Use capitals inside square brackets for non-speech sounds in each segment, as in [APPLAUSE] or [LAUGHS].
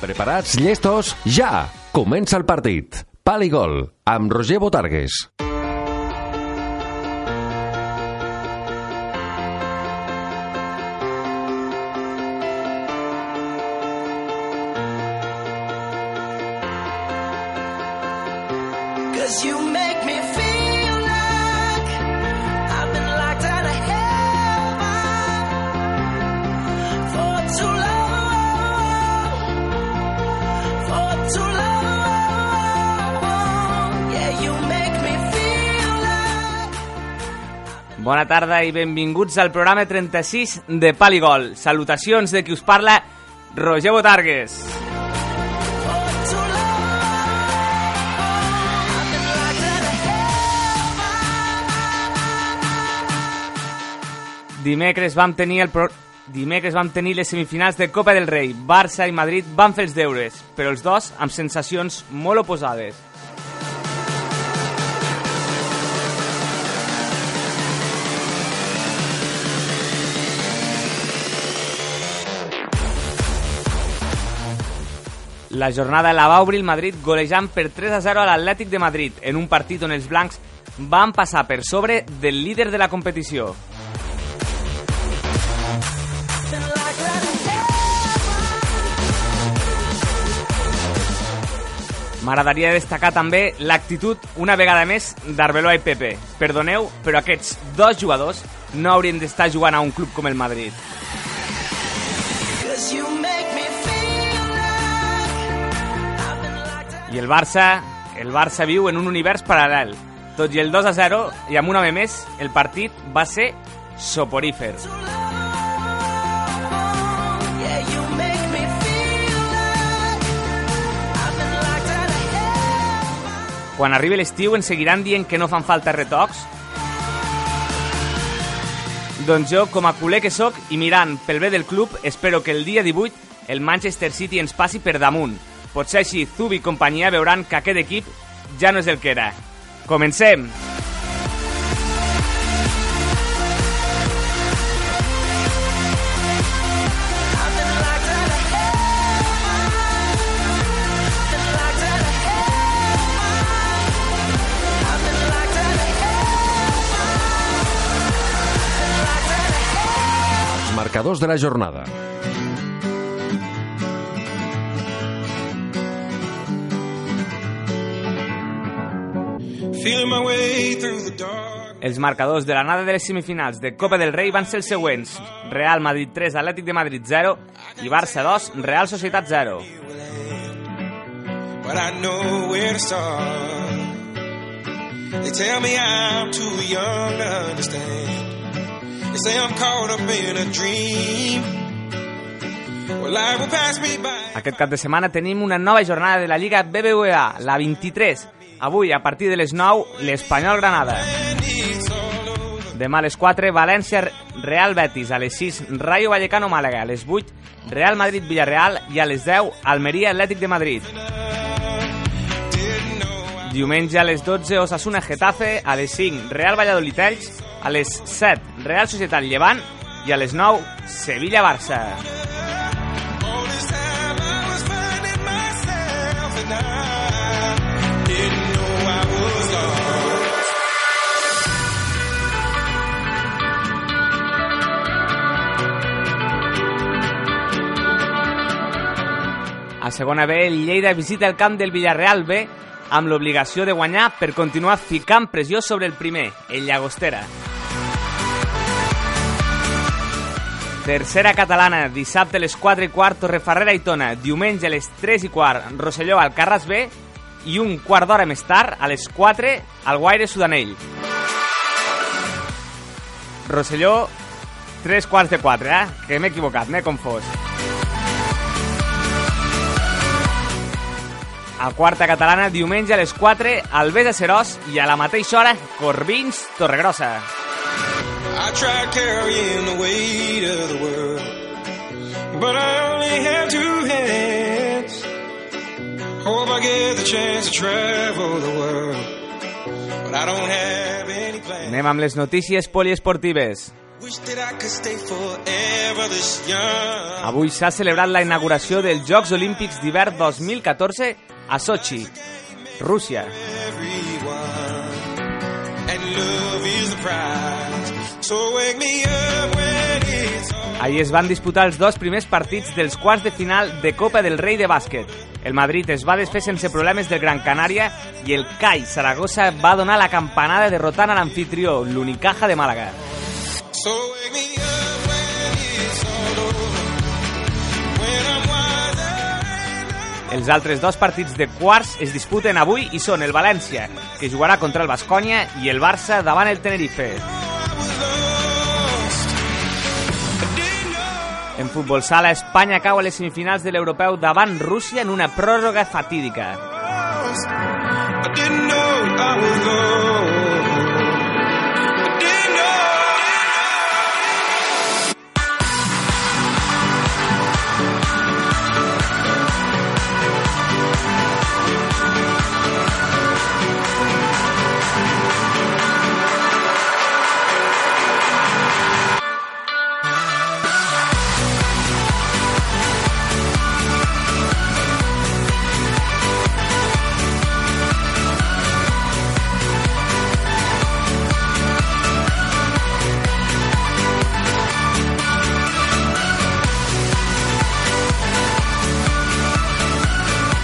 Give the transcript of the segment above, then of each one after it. Preparats, llestos, ja! Comença el partit. Pal i gol, amb Roger Botargues. Cause you make me feel like I've been locked out of heaven for too long. For too long. Yeah, you make me feel like. Bona tarda i benvinguts al programa 36 de Paligol. Salutacions de qui us parla, Roger Botargues. Dimecres vam tenir el pro... Dimecres vam tenir les semifinals de Copa del Rei. Barça i Madrid van fer els deures, però els dos amb sensacions molt oposades. La jornada la va obrir el Madrid golejant per 3 a 0 a l'Atlètic de Madrid, en un partit on els blancs van passar per sobre del líder de la competició. M'agradaria destacar també l'actitud, una vegada més, d'Arbeloa i Pepe. Perdoneu, però aquests dos jugadors no haurien d'estar jugant a un club com el Madrid. Cause you make me feel like I've been locked out. I el Barça, el Barça viu en un univers paral·lel. Tot i el 2 a 0, i amb un home més, el partit va ser soporífer. Yeah, you make me feel like I've been locked out of heaven. Quan arribi l'estiu ens seguiran dient que no fan falta retocs? Doncs jo, com a culer que sóc i mirant pel bé del club, espero que el dia 18 el Manchester City ens passi per damunt. Potser així Zubi i companyia veuran que aquest equip ja no és el que era. Comencem! Els marcadors de la jornada. Feeling my way through the dark. Els marcadors de la nada de les semifinals de Copa del Rei van ser els següents. Real Madrid 3, Atlètic de Madrid 0 i Barça 2, Real Societat 0. But I know where to start. They tell me I'm too young to understand. They say I'm caught up in a dream. Well, life will pass me by. Aquest cap de setmana tenim una nova jornada de la Lliga BBVA, la 23. Avui, a partir de les 9, l'Espanyol Granada. And it's all over. Demà a les 4, València Real Betis. A les 6, Rayo Vallecano Màlaga. A les 8, Real Madrid Villarreal. I a les 10, Almeria Atlètic de Madrid. Didn't know I Diumenge a les 12, Osasuna Getafe. A les 5, Real Valladolid Elx. A les 7, Real Societat Llevant. I a les 9, Sevilla Barça. all this time I was finding myself and I didn't know I was lost. A segona B, el Lleida visita el camp del Villarreal B amb l'obligació de guanyar per continuar ficant pressió sobre el primer, el Llagostera. Tercera catalana, dissabte a les 4 i quart, Torrefarrera i Tona, diumenge a les 3 i quart, Rosselló al Carras B i un quart d'hora més tard, a les 4, al Guaire Sudanell. Rosselló, 3 quarts de 4, eh? Que m'he equivocat, m'he confós. A quarta catalana, diumenge a les 4, al Besa Serós i a la mateixa hora, Corbins, Torregrossa. I tried carrying the weight of the world, but I only had two hands. Hope I get the chance to travel the world, but I don't have any plans. Anem amb les notícies poliesportives. Wish that I could stay forever this young. Avui s'ha celebrat la inauguració dels Jocs Olímpics d'hivern 2014 a Sochi, Rússia. everyone. And love is the prize. So wake me up when it's all. Ahir es van disputar els dos primers partits dels quarts de final de Copa del Rei de bàsquet. El Madrid es va desfer sense problemes del Gran Canària i el CAI Saragossa va donar la campanada derrotant a l'anfitrió, l'Unicaja de Màlaga. So wake me up when it's all over. When I'm wiser. Els altres dos partits de quarts es disputen avui i són el València, que jugarà contra el Bascònia, i el Barça davant el Tenerife. En futbol sala, Espanya cau a les semifinals de l'Europeu davant Rússia en una pròrroga fatídica. I didn't know I would go. I didn't know.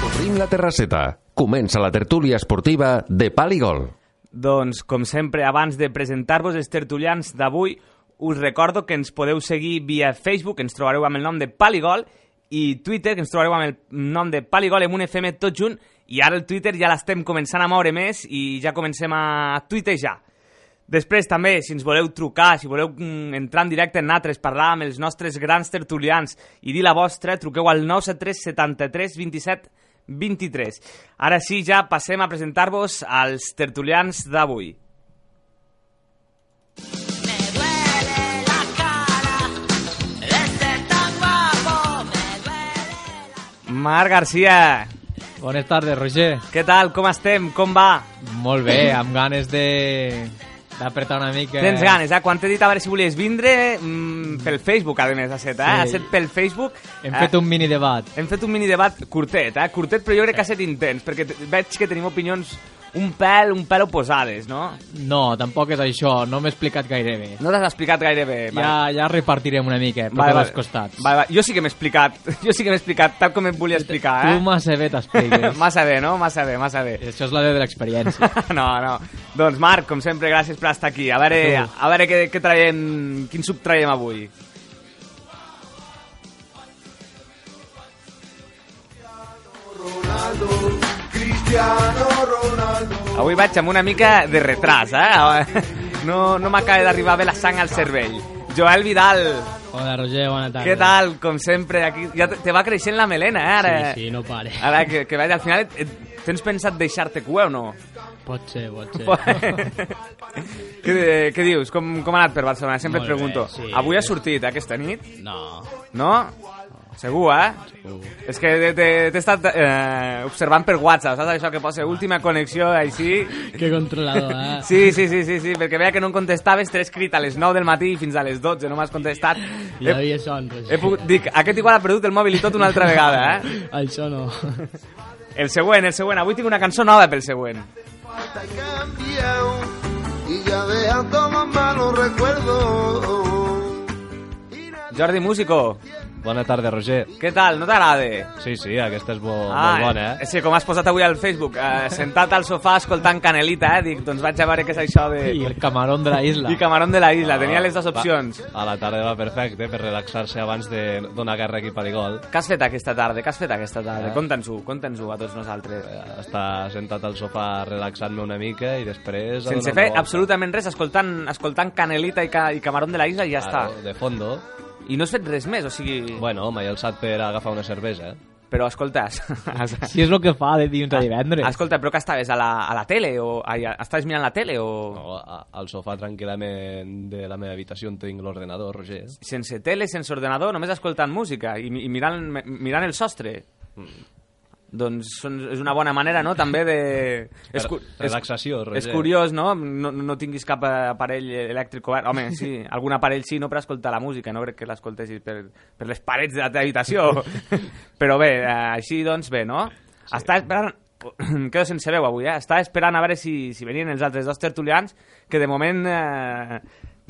Obrim la terrasseta. Comença la tertúlia esportiva de Paligol. Doncs, com sempre, abans de presentar-vos els tertulians d'avui, us recordo que ens podeu seguir via Facebook, que ens trobareu amb el nom de Paligol, i Twitter, que ens trobareu amb el nom de Paligol amb un FM tot junt, i ara el Twitter ja l'estem començant a moure més i ja comencem a tuitejar. Després també, si ens voleu trucar, si voleu mm, entrar en directe en altres, parlar amb els nostres grans tertulians i dir la vostra, truqueu al 973 73 27 23. Ara sí, ja passem a presentar-vos als tertulians d'avui. Me duele la cara de ser tan guapo. Me duele la Marc Garcia, Bones tardes, Roger. què tal? Com estem? Com va? Molt bé, amb ganes de d'apretar una mica. Tens ganes, eh? Quan t'he dit a veure si volies vindre, mm, pel Facebook, a més, ha Sí. set, eh? Ha set pel Facebook. Hem eh? fet un mini debat. Hem fet un mini debat curtet, eh? Curtet, però jo crec que ha estat intens, perquè t- veig que tenim opinions un pèl, un pèl oposades, no? No, tampoc és això, no m'he explicat gaire bé. No t'has explicat gaire bé. vale. Ja, ja repartirem una mica per tots els costats. Vale, vale. Jo sí que m'he explicat, [LAUGHS] jo sí que m'he explicat tal com et volia explicar, eh? Tu massa bé [LAUGHS] t'expliques. massa bé, no? Massa bé, massa bé. això és la veu de l'experiència. [LAUGHS] no, no. Doncs Marc, com sempre, gràcies per estar aquí. A veure, A tu. a veure què, què traiem, quin sub traiem avui. Avui vaig amb una mica de retras, eh? [LAUGHS] No, no m'acaba d'arribar bé la sang al cervell. Joel Vidal, Hola, Roger, bona tarda. què tal? Com sempre, aquí ja te- te va creixent la melena, eh? Ara, Sí, sí, no pare. ara que, que vaig al final, et, et, tens pensat deixar-te cua o no? Pot ser, pot ser. [LAUGHS] què, què dius? Com, com ha anat per Barcelona? Sempre et Molt bé, pregunto. sí. Avui ha sortit eh, aquesta nit? [LAUGHS] No. No? Segur, eh? Uh, És que t'he- t'he t'he estat eh, observant per WhatsApp, saps això que posa última connexió, així? que controlador, eh? Sí, sí, sí, sí, sí, perquè veia que no em contestaves, t'he escrit a les 9 del matí i fins a les 12, no m'has contestat. He, Ja havia son, Roger. he pogut, dic, aquest igual ha perdut el mòbil i tot una altra vegada, eh? Això no. El següent, el següent, avui tinc una cançó nova pel següent. Te cambiado y ya dejando los malos recuerdos. Jordi Músico, Bona tarda, Roger. què tal? No t'agrada? Sí, sí, aquesta és molt, ah, molt bona, eh? Sí, com has posat avui al Facebook, eh, sentat al sofà escoltant Canelita, eh? Dic, doncs vaig a veure què és això de... I el camarón de la isla. I Camarón de la Isla, tenia les dues Ah, Va, opcions. A la tarda va perfecte eh, per relaxar-se abans de donar guerra aquí a Paligol. Què has fet aquesta tarda? Què has fet aquesta tarda? Conta'ns-ho, conta'ns-ho a tots nosaltres. Eh, Està sentat al sofà relaxant-me una mica i després... a Sense donar una fer volta. absolutament res, escoltant, escoltant Canelita i, ca, i Camarón de la Isla i ja Claro, està. De fondo. I no has fet res més, o sigui... Bueno, m'he alçat per agafar una cervesa. eh. Però escolta, [LAUGHS] [LAUGHS] has- Si és el que fa de dilluns a divendres. Ah, escolta, però que estaves a la, a la tele? O, ai, a- estaves mirant la tele? O... No, a, al sofà tranquil·lament de la meva habitació on tinc l'ordenador, Roger. Sense tele, sense ordenador, només escoltant música i, mi- i mirant, mi- mirant el sostre. Doncs són, és una bona manera, no?, també de... [LAUGHS] És, cu- és- relaxació, Roger. És curiós, no? no? No tinguis cap eh, aparell elèctric. o- Home, sí, [LAUGHS] algun aparell sí, no per escoltar la música, no crec que l'escoltessis per, per les parets de la teva [LAUGHS] habitació. Però bé, eh, així doncs bé, no? Sí. Està esperant... [CLEARS THROAT] Quedo sense veu avui, eh? Està esperant a veure si, si venien els altres dos tertulians, que de moment... Eh,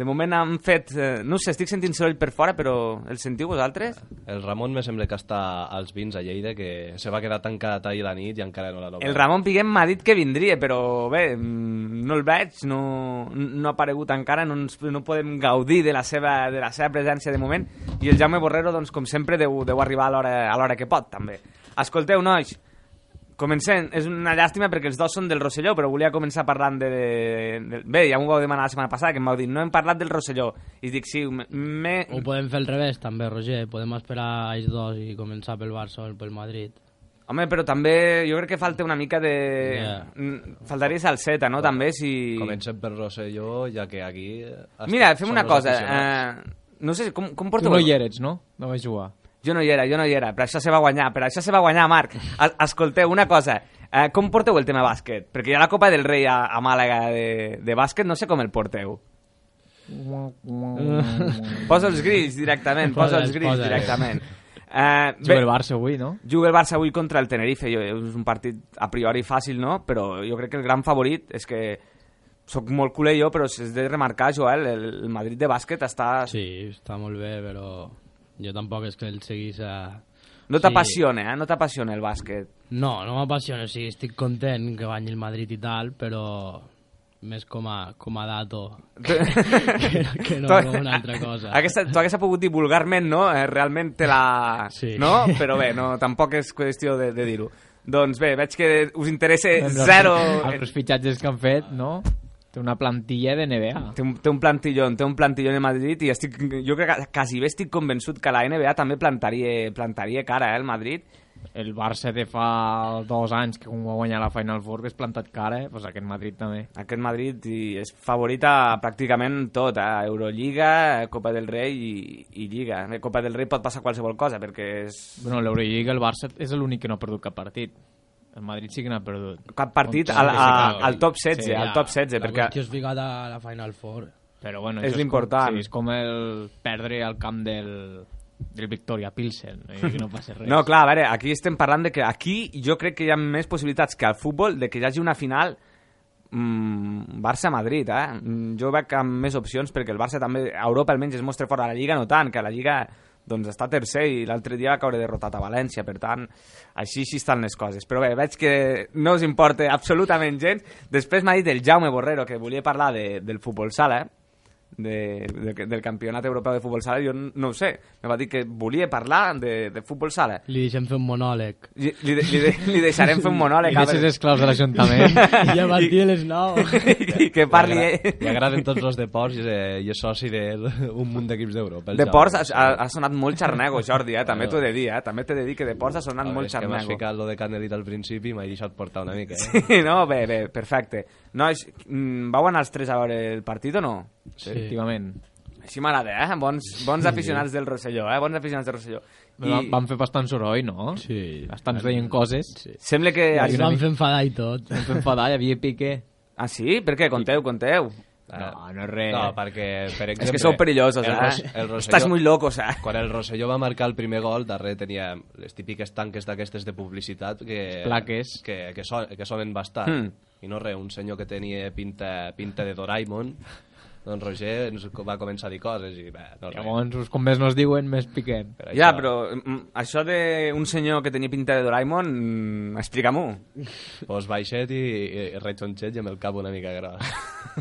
de moment han fet... Eh, no ho sé, estic sentint soroll per fora, però el sentiu vosaltres? El Ramon me sembla que està als vins a Lleida, que se va quedar tancat ahir a la nit i encara no l'han obert. El Ramon Piguem m'ha dit que vindria, però bé, mm, no el veig, no, no ha aparegut encara, no, ens, no podem gaudir de la, seva, de la seva presència de moment, i el Jaume Borrero, doncs, com sempre, deu, deu arribar a l'hora a l'hora que pot, també. Escolteu, nois, comencem. És una llàstima perquè els dos són del Rosselló, però volia començar parlant de... de bé, ja m'ho vau demanar la setmana passada, que em vau dir, no hem parlat del Rosselló. I dic, sí, m'he... Ho podem fer al revés, també, Roger. Podem esperar a ells dos i començar pel Barça o pel Madrid. Home, però també jo crec que falta una mica de... Ja. Yeah. Faltaria Salseta, no? També, si... Comencem per Rosselló, ja que aquí... eh, Mira, fem som una els cosa. aficionats. Eh, no sé com, com Tu porto... no hi eres, no? No vas jugar. Jo no hi era, jo no hi era, però això se va guanyar, però això se va guanyar, Marc. Es- Escolteu, una cosa, eh, com porteu el tema bàsquet? Perquè hi ha la Copa del Rei a, a Màlaga de, de bàsquet, no sé com el porteu. Posa els grills directament, posa els Posa'ls, grills posa'ls. [LAUGHS] directament. Eh, Juga el Barça avui, no? Juga el Barça avui contra el Tenerife, jo, és un partit a priori fàcil, no? Però jo crec que el gran favorit és que... Soc molt culer jo, però s'és de remarcar, Joel, el el Madrid de bàsquet està... Sí, està molt bé, però jo tampoc és que el seguís a... No Sí. t'apassiona, eh? No t'apassiona el bàsquet. No, no m'apassiona, o sigui, estic content que guanyi el Madrid i tal, però més com a, com a dato [LAUGHS] que, no- que no com una altra cosa. Aquesta, tu hagués pogut dir vulgarment, no? Eh, realment te la... Sí. No? Però bé, no, tampoc és qüestió de, de dir-ho. Doncs bé, veig que us interessa Amb els- Eh, zero... Amb els fitxatges que han fet, no? Té una plantilla de NBA. Té un, té un plantillón, té un plantillón a Madrid i estic, jo crec que quasi bé estic convençut que la NBA també plantaria, plantaria cara, eh, el Madrid. El Barça de fa dos anys que com va guanyar la Final Four que és plantat cara, eh? pues aquest Madrid també. Aquest Madrid i és favorita pràcticament tot, eh? Euroliga, Copa del Rei i, i Lliga. A Copa del Rei pot passar qualsevol cosa perquè és... Bueno, l'Eurolliga, el Barça és l'únic que no ha perdut cap partit. El Madrid sí que n'ha perdut. cap partit Contra al, el que a, sigui. al top 16, Sí, al ja. top 16, la perquè qüestió és ficar a la Final Four. Però bueno, És això l'important. Com, sí, és com el perdre al camp del, del Victoria Pilsen. eh, Que no passa res. no, clar, a veure, aquí estem parlant de que aquí jo crec que hi ha més possibilitats que al futbol de que hi hagi una final mm, Barça-Madrid, eh? Mm, Jo veig amb més opcions perquè el Barça també, a Europa almenys es mostra fora, a la Lliga no tant, que a la Lliga doncs està tercer i l'altre dia va caure derrotat a València, per tant, així així estan les coses. Però bé, veig que no us importa absolutament gens. Després m'ha dit el Jaume Borrero que volia parlar de, del futbol sala, eh? de, de, del campionat europeu de futbol sala, jo no ho sé. Me va dir que volia parlar de, de futbol sala. Li deixem fer un monòleg. Li, li, de- li, de- li deixarem fer un monòleg. I a deixes veure. els claus de l'Ajuntament. I ja van dir a les 9. I, i que parli Li, eh? agra li agraden tots els deports i, és- i és soci d'un munt d'equips d'Europa. el De Jaume. Ports ha, ha, ha sonat molt xarnego, Jordi, eh? també t'ho he de dir, eh? també t'he de dir que de Ports ha sonat Veure, molt és que m'has xarnego. ficat lo de Canelit al principi i m'he deixat portar una mica. Eh? Sí, no, bé, bé, perfecte. Nois, mm, vau anar els tres a veure el partit o no? Sí. Efectivament. Així m'agrada, eh? Bons, bons aficionats del Rosselló, eh? Bons aficionats del Rosselló. I... I Van fer bastant soroll, no? Sí. Bastants deien coses. Sí. sembla que... Ens van fer enfadar i tot. Em fa enfadar, hi havia pique. Ah, sí? Per què? Conteu, conteu. Ah, No, no és res. Ah, No, perquè, per exemple... Eh, És que sou perillosos, el Ros- eh? el Rosselló- Estàs muy locos, eh? Quan el Rosselló va marcar el primer gol, darrere tenia les típiques tanques d'aquestes de publicitat que, plaques. que, que, so, que sonen bastant. Mm. I no res, un senyor que tenia pinta, pinta de Doraemon, doncs Roger ens co- va començar a dir coses i bé, no res. Llavors, us- com més no es diuen, més piquen. Per Ja, això- però mm, això de un senyor que tenia pinta de Doraemon, mm, explica-m'ho. Doncs baixet i, i, i rechonxet i amb el cap una mica gros. [LAUGHS]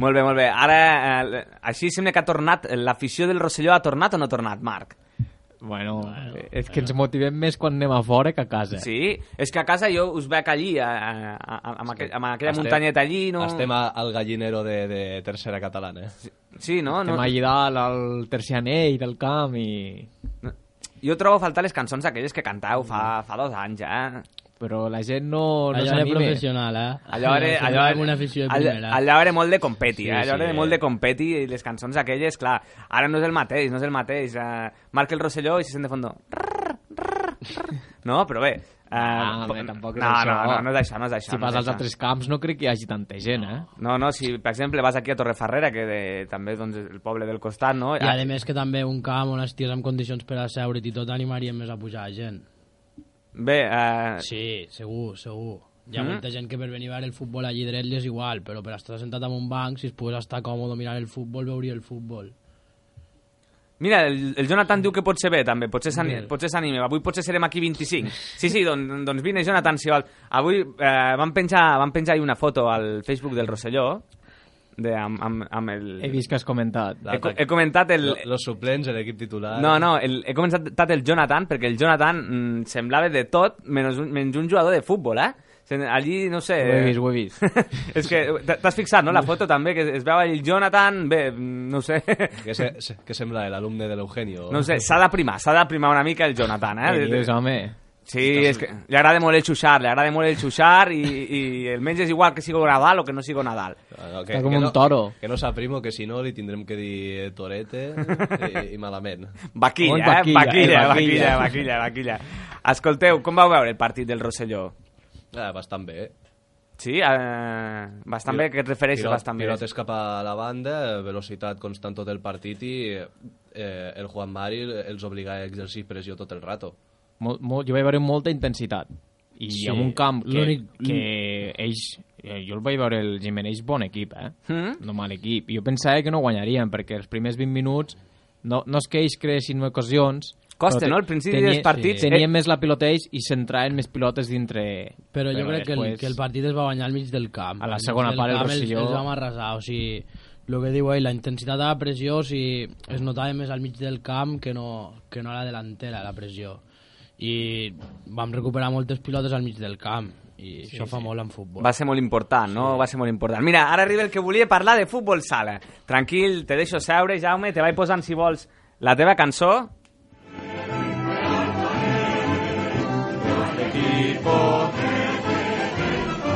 Molt bé, molt bé. Ara, eh, l- així sembla que ha tornat, l'afició del Rosselló ha tornat o no ha tornat, Marc? Bueno, és que ens motivem més quan anem a fora que a Ah, casa. Sí? És que a casa jo us veig allí, a, a, a, amb, aquell, amb aquella Estem- muntanyeta allí, no? Estem a, al gallinero de, de tercera eh? catalana. Sí. Sí, no? Anem no? allà dalt al tercer anell del camp i... Jo trobo a faltar les cançons aquelles que cantau Mm. fa, fa dos anys, eh? Però la gent no, no Allò era s'anima. professional, eh? Allò era, Sembla allò, com una afició de allò, primera. allò era molt de competi, Sí, eh? allò sí, era eh. molt de competi i les cançons aquelles, clar, ara no és el mateix, no és el mateix. Eh, marca el Rosselló i se sent de fondo. No, però bé... eh, Ah, po- bé, tampoc és no, això. no, no, no és això, no és això. Si no vas és als això. altres camps no crec que hi hagi tanta gent, eh? No, no, si per exemple vas aquí a Torrefarrera, que de, també doncs, el poble del costat, no? I a més que també un camp on estigués en condicions per a seure't i tot animarien més a pujar gent. Bé, eh, Sí, segur, segur. Hi ha Mm. molta gent que per venir a veure el futbol allí dret li és igual, però per estar sentat en un banc, si es pogués estar còmode mirant el futbol, veuria el futbol. mira, el, el Jonathan diu que pot ser bé també, potser s'ani- potser s'anime, avui potser serem aquí 25. Sí, sí, doncs, doncs vine Jonathan, si vol. Avui eh, vam penjar, vam penjar ahir una foto al Facebook del Rosselló, de, amb, amb, amb el... He vist que has comentat. He, co- he comentat el... Lo- Los suplents, l'equip titular... No, no, el, he començat el Jonathan, perquè el Jonathan mm, semblava de tot menys un, menys un jugador de futbol, eh? Se- Allí, no sé... eh. Ho he vist, ho he vist. [LAUGHS] és que t- t'has fixat, no?, la foto també, que es veu el Jonathan... Bé, mm, no ho sé... Què, se, se, què sembla, l'alumne de l'Eugenio? No ho sé, s'ha d'aprimar, s'ha d'aprimar una mica el Jonathan, eh? Què dius, home? Sí, és que li agrada molt el xuxar, li agrada molt el xuxar i, i el menys és igual que sigo Nadal o que no sigo Nadal. No, no, Està com un toro. Que no s'aprimo, que si no li tindrem que dir [LAUGHS] Torete i, i malament. Molt Vaquilla, eh? vaquilla, Vaquilla, eh, vaquilla, vaquilla. vaquilla, vaquilla. Escolteu, com vau veure el partit del Rosselló? Ah, bastant bé. Sí, eh, bastant bé, que et refereixes bastant bé. Pilotes cap a la banda, velocitat constant tot el partit i eh, el Juan Mari els obliga a exercir pressió tot el rato. Molt, molt, jo vaig veure molta intensitat. I sí, en un camp que, l'únic- que ells... eh, Jo el vaig veure el Gimeneix bon equip, eh? Mm? No mal equip. Jo pensava que no guanyarien, perquè els primers 20 minuts no, no és que ells creessin ocasions... però Costa, te- no? Al principi tenia- dels partits, Sí. Tenien eh- més la pilota ells i centraven més pilotes dintre... Però jo crec que el, després- que el partit es va guanyar al mig del camp. A la Al mig segona del part el camp els- Rosselló- Els vam arrasar, o sigui, el que diu ell, la intensitat de la pressió, o sigui, es notava més al mig del camp que no, que no a la delantera, la pressió. I vam recuperar moltes pilotes al mig del camp, i sí, això sí. fa molt en futbol. Va ser molt important, no? Va ser molt important. Mira, ara arriba el que volia parlar de futbol sala. Tranquil, te deixo seure, Jaume, te vaig posant, si vols, la teva cançó.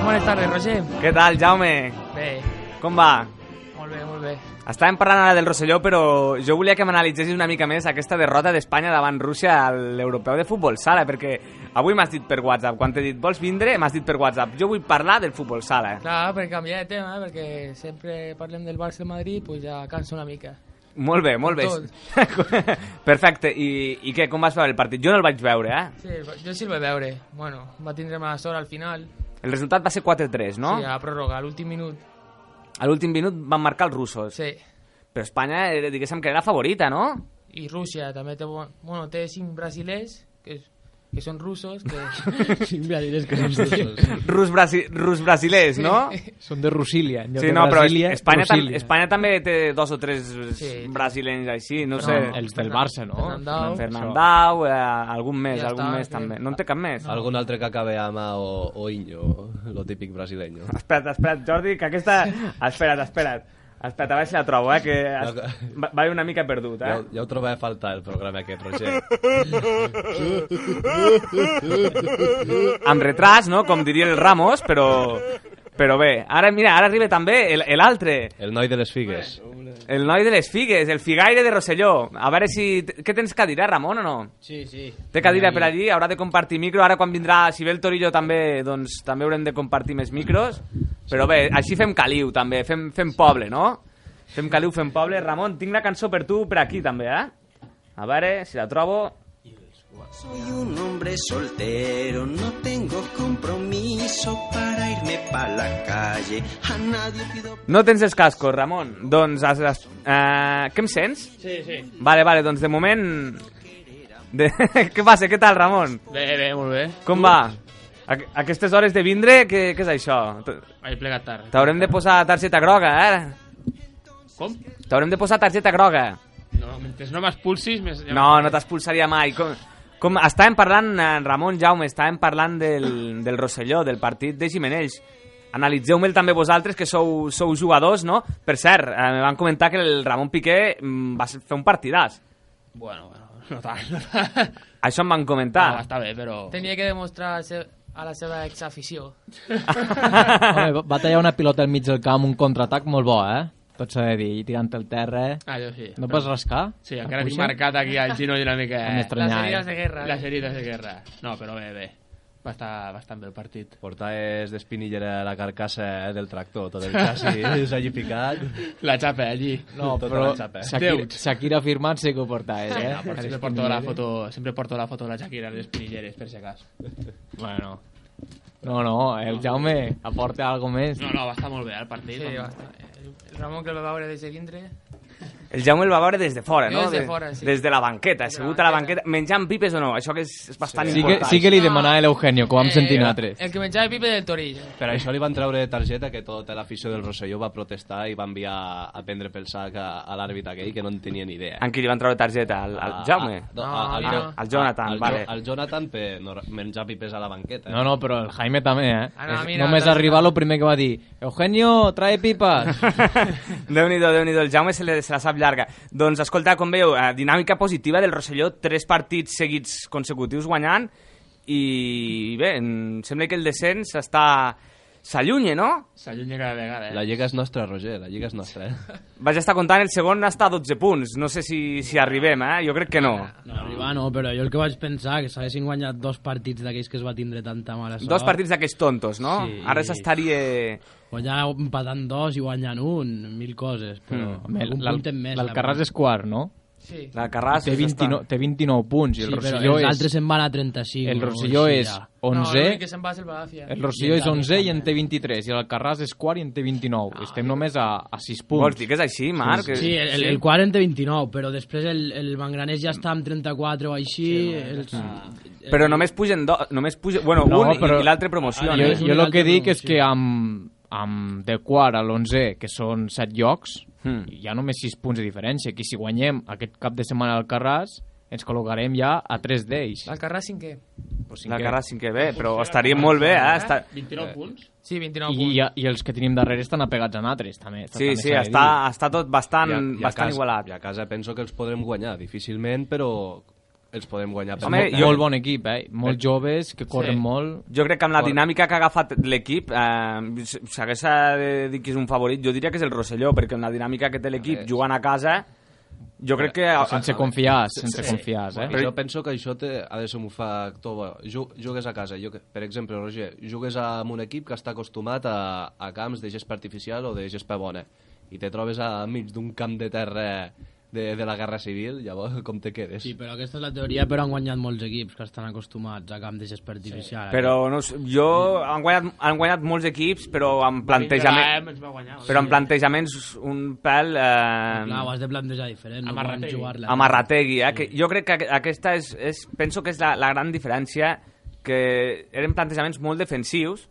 Bona tarda, Roger. Què tal, Jaume? Bé, Com va? molt bé, molt bé. Estàvem parlant ara del Rosselló, però jo volia que m'analitzessis una mica més aquesta derrota d'Espanya davant Rússia a l'europeu de futbol sala, perquè avui m'has dit per WhatsApp, quan t'he dit vols vindre, m'has dit per WhatsApp, jo vull parlar del futbol sala. Clar, per canviar de tema, eh, perquè sempre parlem del Barça i el Madrid, pues ja cansa una mica. Molt bé, molt bé. [LAUGHS] Perfecte, I, i què, com vas veure el partit? Jo no el vaig veure, eh? Sí, jo sí el vaig veure. Bueno, va tindre mala sort al final. El resultat va ser 4-3, no? Sí, a pròrroga, a l'últim minut. A l'últim minut van marcar els russos. Sí. Però Espanya, eh, diguéssim que era favorita, no? I Rússia també té, bon- bueno, té cinc brasilers, que, que són russos, [LAUGHS] que... Sí, mira, diré que [LAUGHS] són russos. Rus, brasi rus brasilers, [LAUGHS] no? Són de Rusília. en lloc Sí, de no, però es- Brasília, Espanya, tam Rusília. Espanya també té dos o tres sí, Sí. brasilens així, no, No, sé. el- Els del Barça, no? Fernandao. Fernandau, eh, algun més, Ja algun està, més sí. també. No en té cap més. No. Algun altre que acabe amb A o, o Iño, lo típic brasileño. [LAUGHS] Espera't, espera't, Jordi, que aquesta... Espera't, espera't. Espera't, a veure si la trobo, eh, que es... va, va haver una mica perdut, eh? Ja, ja ho trobava a faltar el programa aquest, Roger. amb retras, no? Com diria el Ramos, però... Però bé, ara mira, ara arriba també el- l'altre, El noi de les figues. el noi de les figues, el figaire de Rosselló. A veure si... Què tens cadira, Ramon, o no? Sí, sí. Té cadira per allí, haurà de compartir micro. Ara quan vindrà, si ve el Torillo també, doncs també haurem de compartir més micros. Però bé, així fem caliu també, fem, fem poble, no? Fem caliu, fem poble. Ramon, tinc la cançó per tu per aquí també, eh? A veure si la trobo. Soy un hombre soltero, no tengo compromiso para irme pa' la calle. A nadie pido No tens els cascos, Ramon. Doncs... Has, has, eh, què em sents? Sí, sí. Vale, vale, doncs de moment... De... [LAUGHS] què passa? Què tal, Ramon? Bé, bé, molt bé. Com va? A aquestes hores de vindre, què, què és això? T- He plegat tard. T'haurem de posar targeta groga, eh? Com? T'haurem de posar targeta groga. No, mentre no m'expulsis... Més... No, no t'expulsaria mai. Com, com estàvem parlant, eh, Ramon, Jaume, estàvem parlant del, del Rosselló, del partit de Gimenells. Analitzeu-me'l també vosaltres, que sou, sou jugadors, no? Per cert, eh, me van comentar que el Ramon Piqué mm, va ser- fer un partidàs. Bueno, bueno, no tant, no tant. Això em van Ah. comentar. No, està bé, però... [LAUGHS] Tenia que demostrar a, se... a la seva [LAUGHS] exafició. Home, va- va tallar una pilota al mig del camp, un contraatac molt bo, eh? tot s'ha de dir, i tirant el terra... Ah, jo sí. No pots rascar? Sí, encara tinc Puja? marcat aquí al ginoll una mica... Em m'estranya, Les herides eh? de guerra, Les eh? herides de guerra. No, però bé, bé. Va estar bastant bé el partit. Portaves d'espinillera la carcassa eh, del tractor, tot [LAUGHS] el xassis allí picat. La xapa, eh, allí. No, Tota però la xapa. Shakira, Déu. Shakira afirmat sí que ho portaves, Sí, eh? no, però sempre porto la foto, sempre porto la foto de la Shakira a les pinilleres, per si acas. Bueno. No, no, el Jaume aporta algo més. No, no, va estar molt bé el partit. Sí, vam- va estar. El Ramon que el va veure des de dintre. El Jaume el va veure des de fora, no? Des de fora, sí. Des de la banqueta, assegut a la banqueta, menjant pipes o no, això que és, és bastant Sí que, important. sí que li demanava a l'Eugenio, que ho Eh, vam sentir nosaltres. Eh, El que menjava pipe del Torill. Per això li van treure targeta que tota l'afició del Rosselló va protestar i va enviar a prendre pel sac a, a l'àrbitre aquell que no en tenia ni idea. En qui li van treure targeta? Al, al Ah, A- Jaume? a- no, a- al- Ah, al Jonathan, al, vale. Al Jonathan per no- menjar pipes a la banqueta. No, no, però el Jaime també, eh? Ah, no, a mi no, Només no, arribar, el primer que va dir Eugenio, trae [LAUGHS] pipes! [LAUGHS] Déu-n'hi-do, déu nhi déu el Jaume se, le, se la sap llarga. Doncs escolta, com veieu, eh, dinàmica positiva del Rosselló, tres partits seguits consecutius guanyant, i bé, em sembla que el descens està... s'allunya, no? S'allunya cada vegada, eh? La lliga és nostra, Roger, la lliga és nostra, eh? [LAUGHS] Vaig estar comptant, el segon està a 12 punts, no sé si, si arribem, eh? Jo crec que no. No, arribar no, però jo el que vaig pensar que s'haguessin guanyat dos partits d'aquells que es va tindre tanta mala sort. Dos partits d'aquells tontos, no? Sí. Ara s'estaria... Guanyar empatant dos i guanyant un, mil coses, però Mm. mm. Home, algun l'Al- punt en més. L'Alcarràs és quart, no? Sí. L'Alcarràs té és 29, té 29 punts i Sí, el però Rosselló els és... altres se'n van a 35 El o Rosselló així, és ja. 11... No, l'únic que se'n va és el Badàfia. el I Rosselló el és Dani 11 i en té 23, i l'Alcarràs és quart i en té 29. Ah. Estem només a, a 6 punts. Vols dir que és així, Marc? Sí, sí, el, el 40 29, però després el, el Manganès ja està amb 34 o així. els, Eh, Però només pugen, do, només pugen bueno, No, un i- però- i l'altre promociona. Jo, jo el que dic és que amb, amb de quart a l'11, que són 7 llocs, Hmm. hi ha només 6 punts de diferència, que si guanyem aquest cap de setmana al Carràs, ens col·locarem ja a 3 d'ells. Alcarràs cinquè. Pues La cara cinquè bé, però estaria molt bé, eh? Està... 29 punts? Sí, 29 I, i, I els que tenim darrere estan apegats a nosaltres, també. Sí, també sí, s'ha de està, dir. està tot bastant, bastant casa, igualat. I a casa penso que els podrem guanyar, difícilment, però els podem guanyar. És per Home, molt- molt, molt bon equip, eh? Molts joves que corren Sí. molt. Jo crec que amb la dinàmica que ha agafat l'equip, eh, s- s'hagués de dir que és un favorit, jo diria que és el Rosselló, perquè amb la dinàmica que té l'equip jugant a casa, jo crec que... Eh, Sense confiar, sense confiar, eh? Però... Jo penso que això té, ha de ser un factor... bo. Ju- Jugues a casa, jo, que- per exemple, Roger, jugues amb un equip que està acostumat a, a camps de gespa artificial o de gespa bona i te trobes enmig d'un camp de terra de, de la Guerra Civil, llavors com te quedes? Sí, però aquesta és la teoria, però han guanyat molts equips que estan acostumats a camp de gespa artificial. Però no, sé, jo han guanyat, han guanyat molts equips, però amb Vinga, va, plantejament, ens va guanyar. però amb plantejaments un pèl... Eh, Clar, ho has de plantejar diferent, no poden Amarrategui. jugar-la. Amarrategui, eh? que jo crec que aqu- aquesta és, és penso que és la, la gran diferència, que eren plantejaments molt defensius,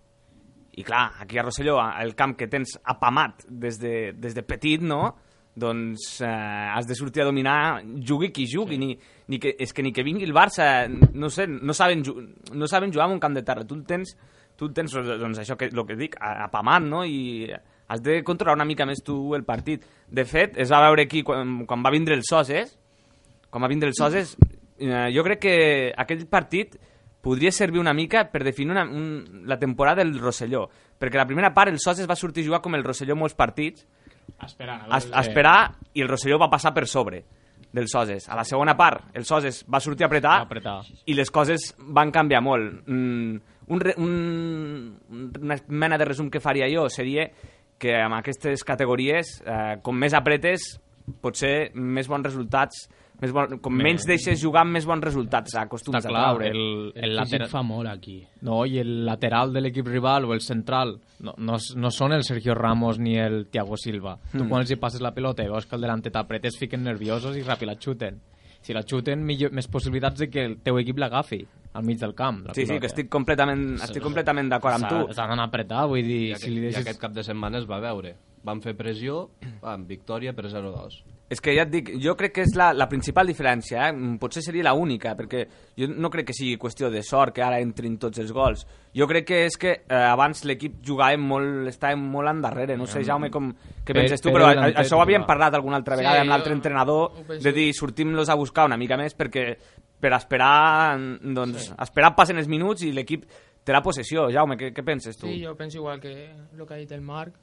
i clar, aquí a Rosselló, a- el camp que tens apamat des de, des de petit, no?, doncs eh, has de sortir a dominar, jugui qui jugui, sí. ni, ni que, és que ni que vingui el Barça, no sé, no saben, ju- no saben jugar en un camp de terra, tu el tens, tu el tens doncs això que, el que dic, a- apamat, no? I has de controlar una mica més tu el partit. De fet, es va veure aquí quan, quan va vindre el Soses, com a vindre el Soses, eh, jo crec que aquell partit podria servir una mica per definir una, un, la temporada del Rosselló, perquè la primera part el Soses va sortir a jugar com el Rosselló en molts partits, Ah, Esperant. a, a esperar, i el Rosselló va passar per sobre del Soses. A la segona part, el Soses va sortir a apretar, Va apretar. i les coses van canviar molt. Mm, un, re, un, una mena de resum que faria jo seria que amb aquestes categories, eh, com més apretes, potser més bons resultats, més bon, com Bé. menys deixes jugar, més bons resultats Està acostums clar, a traure. el, el El físic lateral... fa molt aquí. No, i el lateral de l'equip rival o el central no, no, s- no són el Sergio Ramos ni el Thiago Silva. Tu Mm. quan els hi passes la pelota i veus que el delanter t'apretes, fiquen nerviosos i ràpid la xuten. Si la xuten, millor, més possibilitats de que el teu equip l'agafi al mig del camp. La Sí, sí, pilota. que estic completament, estic completament d'acord amb S'ha- tu. S'ha d'anar a apretar, vull dir, I, aquest, si li I deixes... aquest cap de setmana es va veure. Van fer pressió, van, victòria per 0-2. És que ja et dic, jo crec que és la, la principal diferència, eh? Mm, potser seria la única, perquè jo no crec que sigui qüestió de sort que ara entrin tots els gols. Jo crec que és que eh, abans l'equip jugava molt, estava molt endarrere, no sé, Jaume, com, què Pere- penses tu, Pere però a- Delanter això ho havíem jugava. parlat alguna altra Sí, vegada amb jo- l'altre entrenador, ho penso. de dir, sortim-los a buscar una mica més perquè per esperar, doncs, esperar passen els minuts i l'equip té la possessió. Jaume, què, què penses tu? Sí, jo penso igual que el que ha dit el Marc,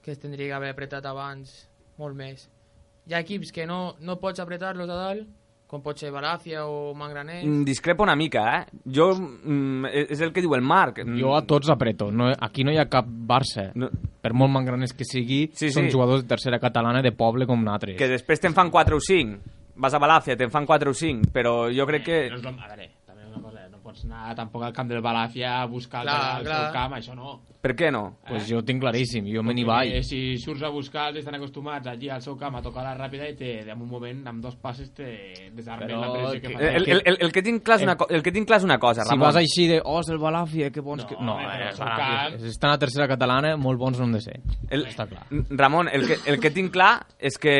que es tindria que haver apretat abans molt més. Hi ha equips que no, no pots apretar-los a dalt, com pot ser Balàcia o Mangraner... Mm, Discrepo una mica, eh? Jo, mm, és el que diu el Marc. Mm, Jo a tots apreto. No, aquí no hi ha cap Barça. Per molt mangraners que sigui, Sí, són sí. jugadors de tercera catalana de poble com nosaltres. Que després te'n fan 4 o 5. Vas a Balàcia, te'n fan 4 o 5, però jo crec que... No és lo- a veure, també és una cosa, no pots anar tampoc al camp del Balàfia a buscar Clar, clar, el, clar. clar. el camp, això no. Per què no? Pues jo ho tinc claríssim, jo me n'hi Eh, vaig. si surts a buscar, els estan acostumats allí al seu camp a tocar la ràpida i te, en un moment, amb dos passes, te desarmen Però la pressió que, que- fa. El, el, el, el, que tinc clar és una, co- el que tinc clar és una cosa, Si Ramon. vas així de, oh, és el Balàfia, que bons... No, que... no home, però eh, és un Balàfia, camp. si estan a tercera catalana, molt bons no han de ser. El- Està clar. Mm, Ramon, el que, el que tinc clar és que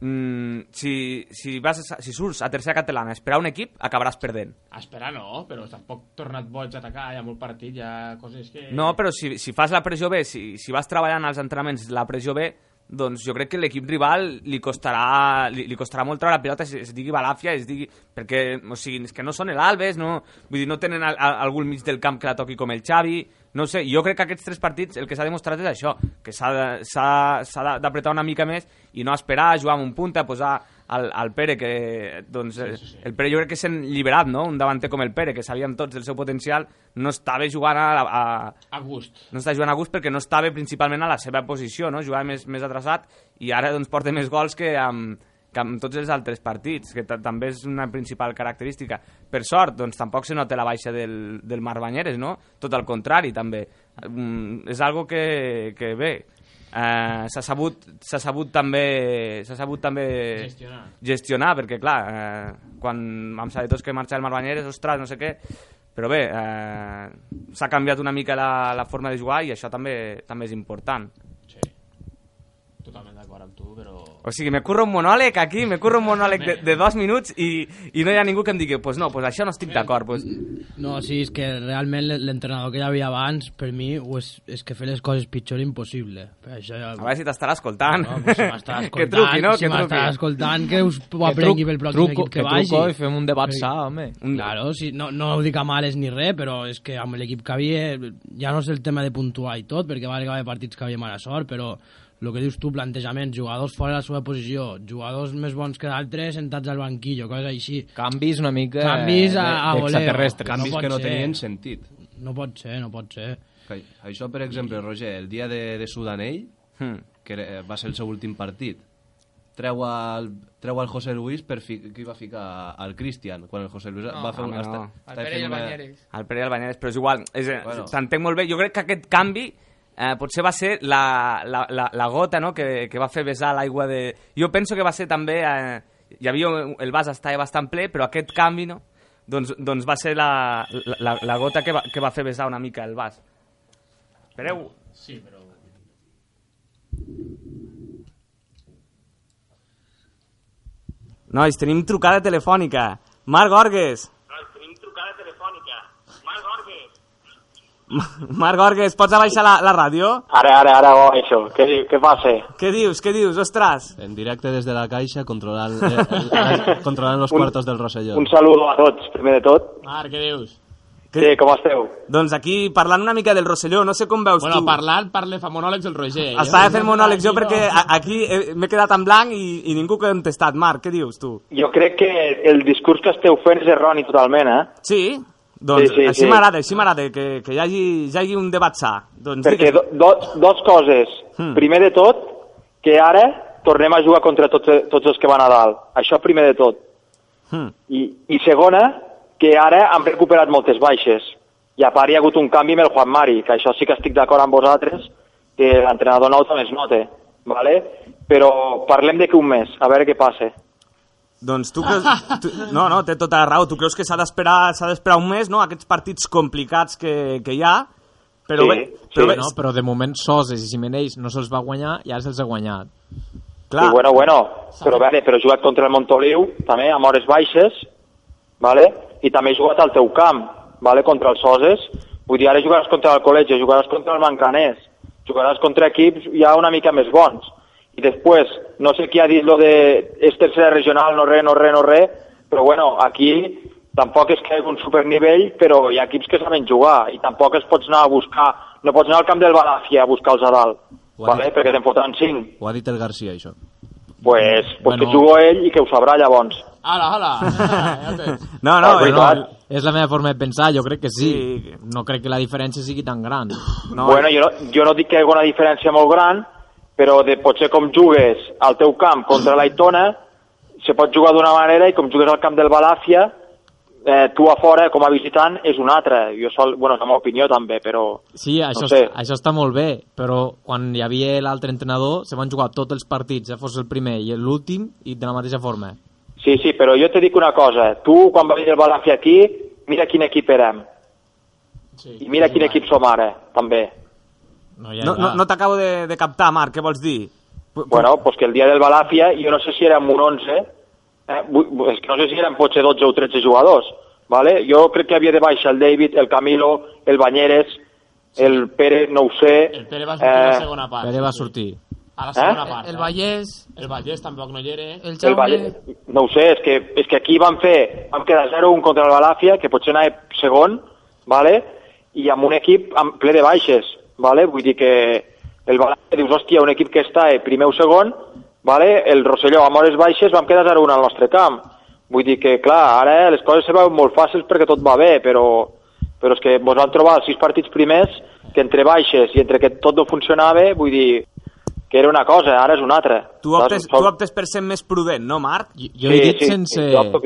mm, si, si, vas, a- si surts a tercera catalana a esperar un equip, acabaràs perdent. A Esperar no, però tampoc tornat boig a atacar, hi ha molt partit, hi ha coses que... No, però si, si fas la pressió bé, si, si vas treballant als entrenaments la pressió bé, doncs jo crec que l'equip rival li costarà, li, li costarà molt treure la pilota, es, es digui Balàfia, es digui... Perquè, o sigui, és que no són l'Albes, no, vull dir, no tenen al, a, algú al mig del camp que la toqui com el Xavi, no ho sé, jo crec que aquests tres partits el que s'ha demostrat és això, que s'ha de- s'ha s'ha de- d'apretar una mica més i no esperar, jugar amb un punta, posar al, al Pere, que doncs, sí, sí, sí. el Pere jo crec que s'ha alliberat, no? un davanter com el Pere, que sabíem tots del seu potencial, no estava jugant a, la- a, A gust. no està jugant a gust perquè no estava principalment a la seva posició, no? jugava més, més atrasat i ara doncs, porta més gols que amb, que amb tots els altres partits, que ta- també és una principal característica. Per sort, doncs, tampoc se nota la baixa del, del Marc Banyeres, no? Tot al contrari, també. Mm, és algo que, que bé, eh, s'ha sabut, s'ha sabut també... S'ha sabut també Gestionar. gestionar, perquè clar, eh, quan vam saber tots que marxa el Marbanyeres, ostres, no sé què, però bé, eh, s'ha canviat una mica la, la forma de jugar i això també també és important. Sí. Totalment d'acord amb tu, però... O sigui, me curro un monòleg aquí, me curro un monòleg de, de dos minuts i, i no hi ha ningú que em digui, pues no, pues això no estic d'acord. Pues... No, sí, és que realment l'en- l'entrenador que hi havia abans, per mi, ho és, és que fer les coses pitjor impossible. Per això ja... A veure si t'estarà escoltant. No, pues si m'està escoltant, [LAUGHS] que truqui, no? si que m'està truqui. escoltant, que us ho aprengui pel pròxim truco, equip que, que vagi. truco i fem un debat sa, home. Claro, sí, no, no ho dic a males ni res, però és que amb l'equip que havia, ja no és el tema de puntuar i tot, perquè va haver partits que havia mala sort, però el que dius tu, plantejament, jugadors fora de la seva posició, jugadors més bons que d'altres sentats al banquillo, coses així. Canvis una Eh, mica... Canvis a- de- a de voleo. extraterrestres. Canvis Canvis pot que no ser. tenien sentit. No pot ser, no pot ser. Que Això, per exemple, Roger, el dia de, de Sudanell, Hmm. que era- va ser el seu últim partit, treu al, treu al José Luis per fi, qui va ficar al Cristian, quan el José Luis No, va fer... un- home, no. El està- estava Pere fent i el una- Banyeres. El Pere i el Banyeres, però és igual, és, bueno. Bueno. t'entenc molt bé. Jo crec que aquest canvi eh, potser va ser la, la, la, la gota no? que, que va fer besar l'aigua de... Jo penso que va ser també... Eh, hi havia el vas estava bastant ple, però aquest canvi no? doncs, doncs va ser la, la, la, la gota que va, que va fer besar una mica el vas. Espereu, Sí, però... nois, tenim trucada telefònica. Marc Gorgues. Nois, tenim trucada telefònica. Marc Gorgues. Marc Gorgues, pots abaixar la, la ràdio? Ara, ara, ara ho això. Què, diu- què passa? Què dius, què dius? Ostres! En directe des de la caixa controlant, eh, el- controlant los cuartos del Rosselló. Un saludo a tots, primer de tot. Marc, què dius? Què- Sí, com esteu? Doncs aquí, parlant una mica del Rosselló, no sé com veus Bueno, eh, tu. parlant, parle fa monòlegs el Roger. Estava Jo- fent monòlegs jo perquè a- aquí eh, m'he quedat en blanc i, i ningú que ha contestat. Marc, què dius tu? Jo crec que el discurs que esteu fent és erroni totalment, eh? Sí? Doncs Sí, sí, així sí. m'agrada, així m'agrada, que, que hi, hagi, hi hagi un debat sa. Doncs Perquè do, digues- do, dos coses. Hmm. Primer de tot, que ara tornem a jugar contra tots, tots els que van a dalt. Això primer de tot. Hmm. I, I segona, que ara han recuperat moltes baixes. I a part hi ha hagut un canvi amb el Juan Mari, que això sí que estic d'acord amb vosaltres, que l'entrenador nou també es nota, ¿vale? però parlem de que un mes, a veure què passa. Doncs tu creus... Tu, no, no, té tota la raó. Tu creus que s'ha d'esperar s'ha d'esperar un mes, no?, aquests partits complicats que, que hi ha. Però Sí, bé, però sí. bé, No, però de moment Soses i Gimenells no se'ls va guanyar i ara se'ls ha guanyat. clar, I bueno, bueno, però a veure, però he jugat contra el Montoliu, també amb hores baixes, vale? i també he jugat al teu camp, vale? contra els Soses, vull dir, ara jugaràs contra el col·legi, jugaràs contra el Mancanés, jugaràs contra equips ja una mica més bons. I després, no sé qui ha dit lo de és tercera regional, no re, no re, no re, però bueno, aquí tampoc és que hi hagi un supernivell, però hi ha equips que saben jugar i tampoc es pots anar a buscar, no pots anar al camp del Balàfia a buscar els a dalt. Ho ha vale? perquè te'n fotran 5. Ho ha dit el Garcia, això. Pues, pues Bueno. que jugo ell i que ho sabrà llavors. Ala, ala! No, no, Ah, és- veritat. és la meva forma de pensar, jo crec que sí. No crec que la diferència sigui tan gran. No, bueno, jo no, jo no dic que hi hagi una diferència molt gran, però de, potser com jugues al teu camp contra l'Aitona, se pot jugar d'una manera i com jugues al camp del Balàfia, eh, tu a fora, com a visitant, és una altra. Jo sol, bueno, és la meva opinió també, però... Sí, això, no sé. això està molt bé, però quan hi havia l'altre entrenador se van jugar tots els partits, ja fos el primer i l'últim, i de la mateixa forma. eh. Sí, sí, però jo te dic una cosa. Tu, quan va venir el Balàfia aquí, mira quin equip érem. Sí, I mira quin equip som ara, també. No, no, no t'acabo de, de captar, Marc, què vols dir? Bueno, pues que el dia del Balàfia, jo no sé si érem un 11, eh, vu- vu- és que no sé si eren potser 12 o 13 jugadors, vale? jo crec que havia de baixar el David, el Camilo, el Banyeres, el Pere, no ho sé... Eh, El Pere va sortir a la segona part. Pere va sortir. A la segona Eh? part. El Vallès... El Vallès tampoc no hi era. El El Valle, no ho sé, és que, és que aquí vam fer, vam quedar 0-1 contra el Balàfia, que potser anava segon, vale? i amb un equip amb, ple de baixes. Vale? Vull dir que el Balàfia, dius, hòstia, un equip que està eh, primer o segon, vale? el Rosselló amb hores baixes vam quedar 0-1 al nostre camp. Vull dir que, clar, ara les coses se veuen molt fàcils perquè tot va bé, però, però és que vos vam trobar els sis partits primers que entre baixes i entre que tot no funcionava, vull dir que era una cosa, ara és una altra. Tu optes, tu optes per ser més prudent, no, Marc? Jo he dit sense,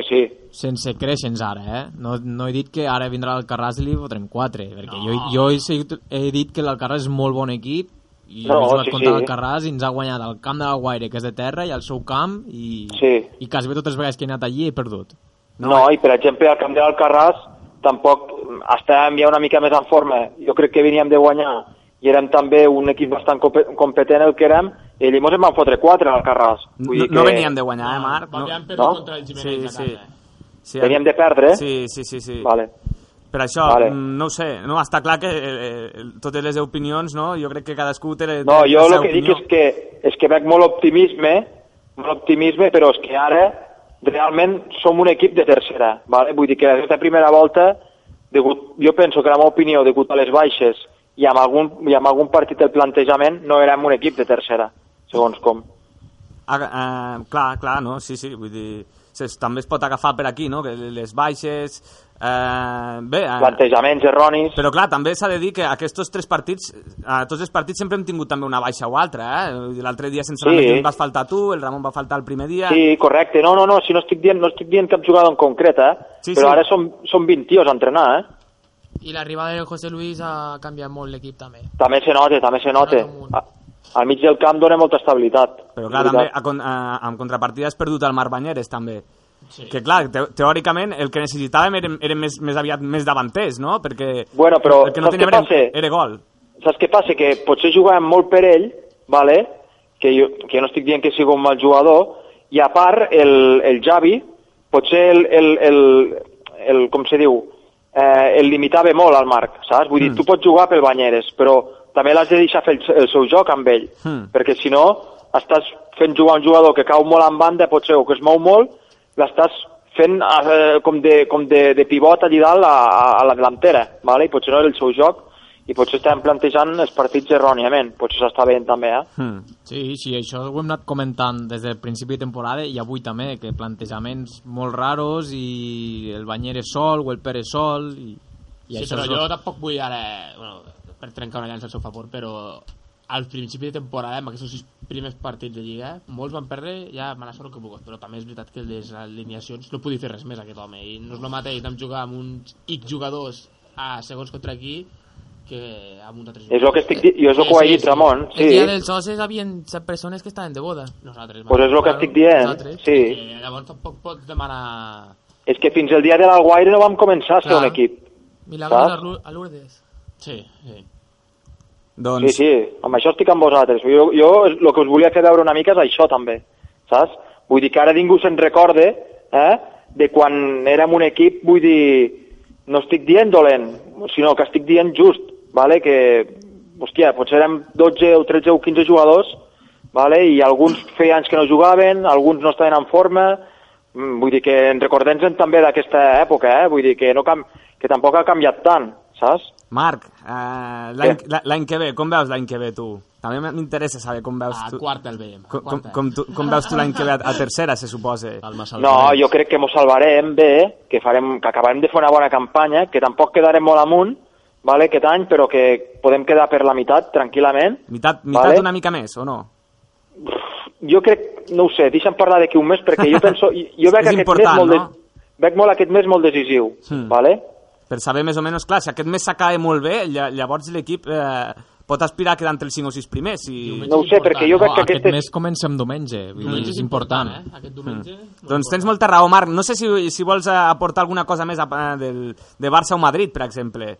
sí. sense creixens ara, eh? No, no he dit que ara vindrà l'Alcarràs i li fotrem 4, perquè no. jo, jo he, sigut, he dit que l'Alcarràs és molt bon equip, i no, No, hem jugat sí, sí, contra sí. l'Alcarràs i ens ha guanyat al camp de la Guaire, que és de terra, i al seu camp, i, sí. i quasi bé totes les vegades que he anat allí he perdut. No, eh? no i per exemple, al camp de l'Alcarràs tampoc estàvem ja una mica més en forma. Jo crec que veníem de guanyar i érem també un equip bastant compe- competent el que érem i allí mos en van fotre quatre a l'Alcarràs. Vull No, dir no que veníem de guanyar, eh, Marc? No, Vam perdre No? contra el Jiménez. sí, sí. sí Veníem de perdre, eh? Sí, sí, sí. sí. Vale. Per això, Vale. mm, no ho sé, no, està clar que eh, eh, totes les opinions, no? Jo crec que cadascú té, té No, jo la el seva que dic opinió. és que, és que veig molt optimisme, molt optimisme, però és que ara realment som un equip de tercera. Vale? Vull dir que aquesta primera volta, degut, jo penso que la meva opinió, degut a les baixes i amb algun, i amb algun partit del plantejament, no érem un equip de tercera, segons com. Ah, eh, clar, clar, no? Sí, sí, vull dir... Es, també es pot agafar per aquí, no? Que les baixes... Eh, bé, eh, Plantejaments erronis... Però clar, també s'ha de dir que aquests tres partits, a tots els partits sempre hem tingut també una baixa o altra, eh? Vull dir, L'altre dia sense Sí. sí. la vas faltar tu, el Ramon va faltar el primer dia... Sí, correcte. No, no, no, si no estic dient, no estic dient cap jugador en concret, eh? Sí, però sí. ara som, som 20 tios a entrenar, eh? I l'arribada del José Luis ha canviat molt l'equip, també. També se nota, també se nota. A- Al mig del camp dona molta estabilitat. Però clar, també, a, con- a, en contrapartida has perdut el Marc Banyeres, també. Sí. Que clar, te, teòricament el que necessitàvem eren, eren més, més aviat més davanters, no? Perquè Bueno, però el que no saps què teníem era, passa? era gol. saps què passa? Que potser jugàvem molt per ell, vale? que, jo, que jo no estic dient que sigui un mal jugador, i a part el, el Javi, potser el, el, el, el com se diu, eh, el limitava molt al Marc, saps? Vull Mm. dir, tu pots jugar pel Banyeres, però també l'has de deixar fer el, el seu joc amb ell, Hmm. perquè si no estàs fent jugar un jugador que cau molt en banda, potser, o que es mou molt, l'estàs fent eh, com, de, com de, de pivot allà dalt a, a, a la delantera, vale? i potser no era el seu joc, i potser estem plantejant els partits erròniament, potser s'està veient també, eh? Hmm. Sí, sí, això ho hem anat comentant des del principi de temporada i avui també, que plantejaments molt raros i el Banyer és sol o el Pere és sol i, i Sí, això però és jo el- tampoc vull ara... Bueno, per trencar una llança al seu favor, però al principi de temporada, amb aquests sis primers partits de Lliga, molts van perdre ja mala sort que pogut, però també és veritat que les alineacions no podia fer res més aquest home, i no és el mateix anar a jugar amb uns X jugadors a segons contra aquí que amb uns altres És el que estic di- jo és el que ho he dit, Ramon, sí. El dia dels socis hi havia set persones que estaven de boda. Nosaltres. Pues és el que estic dient, sí. Eh, llavors tampoc pots demanar... És que fins el dia de l'Alguaire no vam començar a ser Clar. un equip. Milagros Saps? a Lu- a Lourdes. Sí, sí. Doncs... Sí, sí, amb això estic amb vosaltres. Jo, jo el que us volia fer veure una mica és això, també, saps? Vull dir que ara ningú se'n recorde eh, de quan érem un equip, vull dir, no estic dient dolent, sinó que estic dient just, vale? que, hòstia, potser érem 12 o 13 o 15 jugadors, vale? i alguns feia anys que no jugaven, alguns no estaven en forma, mm, vull dir que ens recordem també d'aquesta època, eh? vull dir que, no cam que tampoc ha canviat tant, saps? Marc, eh, l'any- l'any que ve, com veus l'any que ve tu? També m'interessa saber com veus A tu... quarta el veiem. Com, com, quarta. com, tu, com veus tu l'any que ve a, a tercera, se suposa. No, jo crec que mos salvarem bé, que farem, que acabarem de fer una bona campanya, que tampoc quedarem molt amunt, vale, aquest any, però que podem quedar per la meitat, tranquil·lament. Mitat, mitat Vale. una mica més, o no? Jo crec, no ho sé, deixa'm parlar d'aquí un mes, perquè jo [LAUGHS] penso... Jo veig És aquest mes important, molt, no? de, veig molt aquest mes molt decisiu, Hmm. vale? Per saber més o menys, clar, si aquest mes s'acaba molt bé, lla- llavors l'equip eh, pot aspirar a quedar entre els 5 o 6 primers. I... No ho sé, perquè jo veig que aquest aquestes... mes comença amb diumenge, vull dir, Diumenge és és important. Eh? Aquest diumenge... Doncs tens molta raó, Marc. No sé si, si vols eh, aportar alguna cosa més a, eh, del, de Barça o Madrid, per exemple.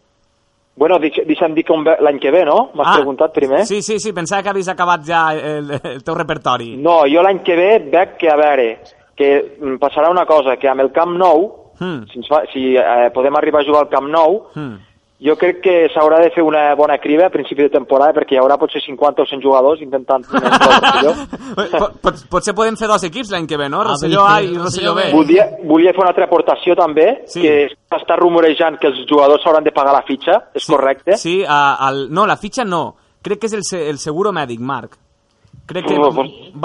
Bueno, deix- deixa'm dir que un ve- l'any que ve, no? M'has preguntat primer? Ah, Sí, sí, sí, pensava que havies acabat ja el, el teu repertori. No, jo l'any que ve veig que, a veure, que mm, passarà una cosa, que amb el Camp Nou, Hmm. si, ens fa, si eh, podem arribar a jugar al Camp Nou, Hmm. jo crec que s'haurà de fer una bona criba a principi de temporada, perquè hi haurà potser 50 o 100 jugadors intentant... Pot, pot, potser podem fer dos equips l'any que ve, no? A, B, Rosselló C, A i Ah, Rosselló B. volia, volia fer una altra aportació també, sí. que s'està rumorejant que els jugadors s'hauran de pagar la fitxa, és sí. correcte? Sí, a, al, no, la fitxa no. Crec que és el, se- el seguro mèdic, Marc. Crec que No, va,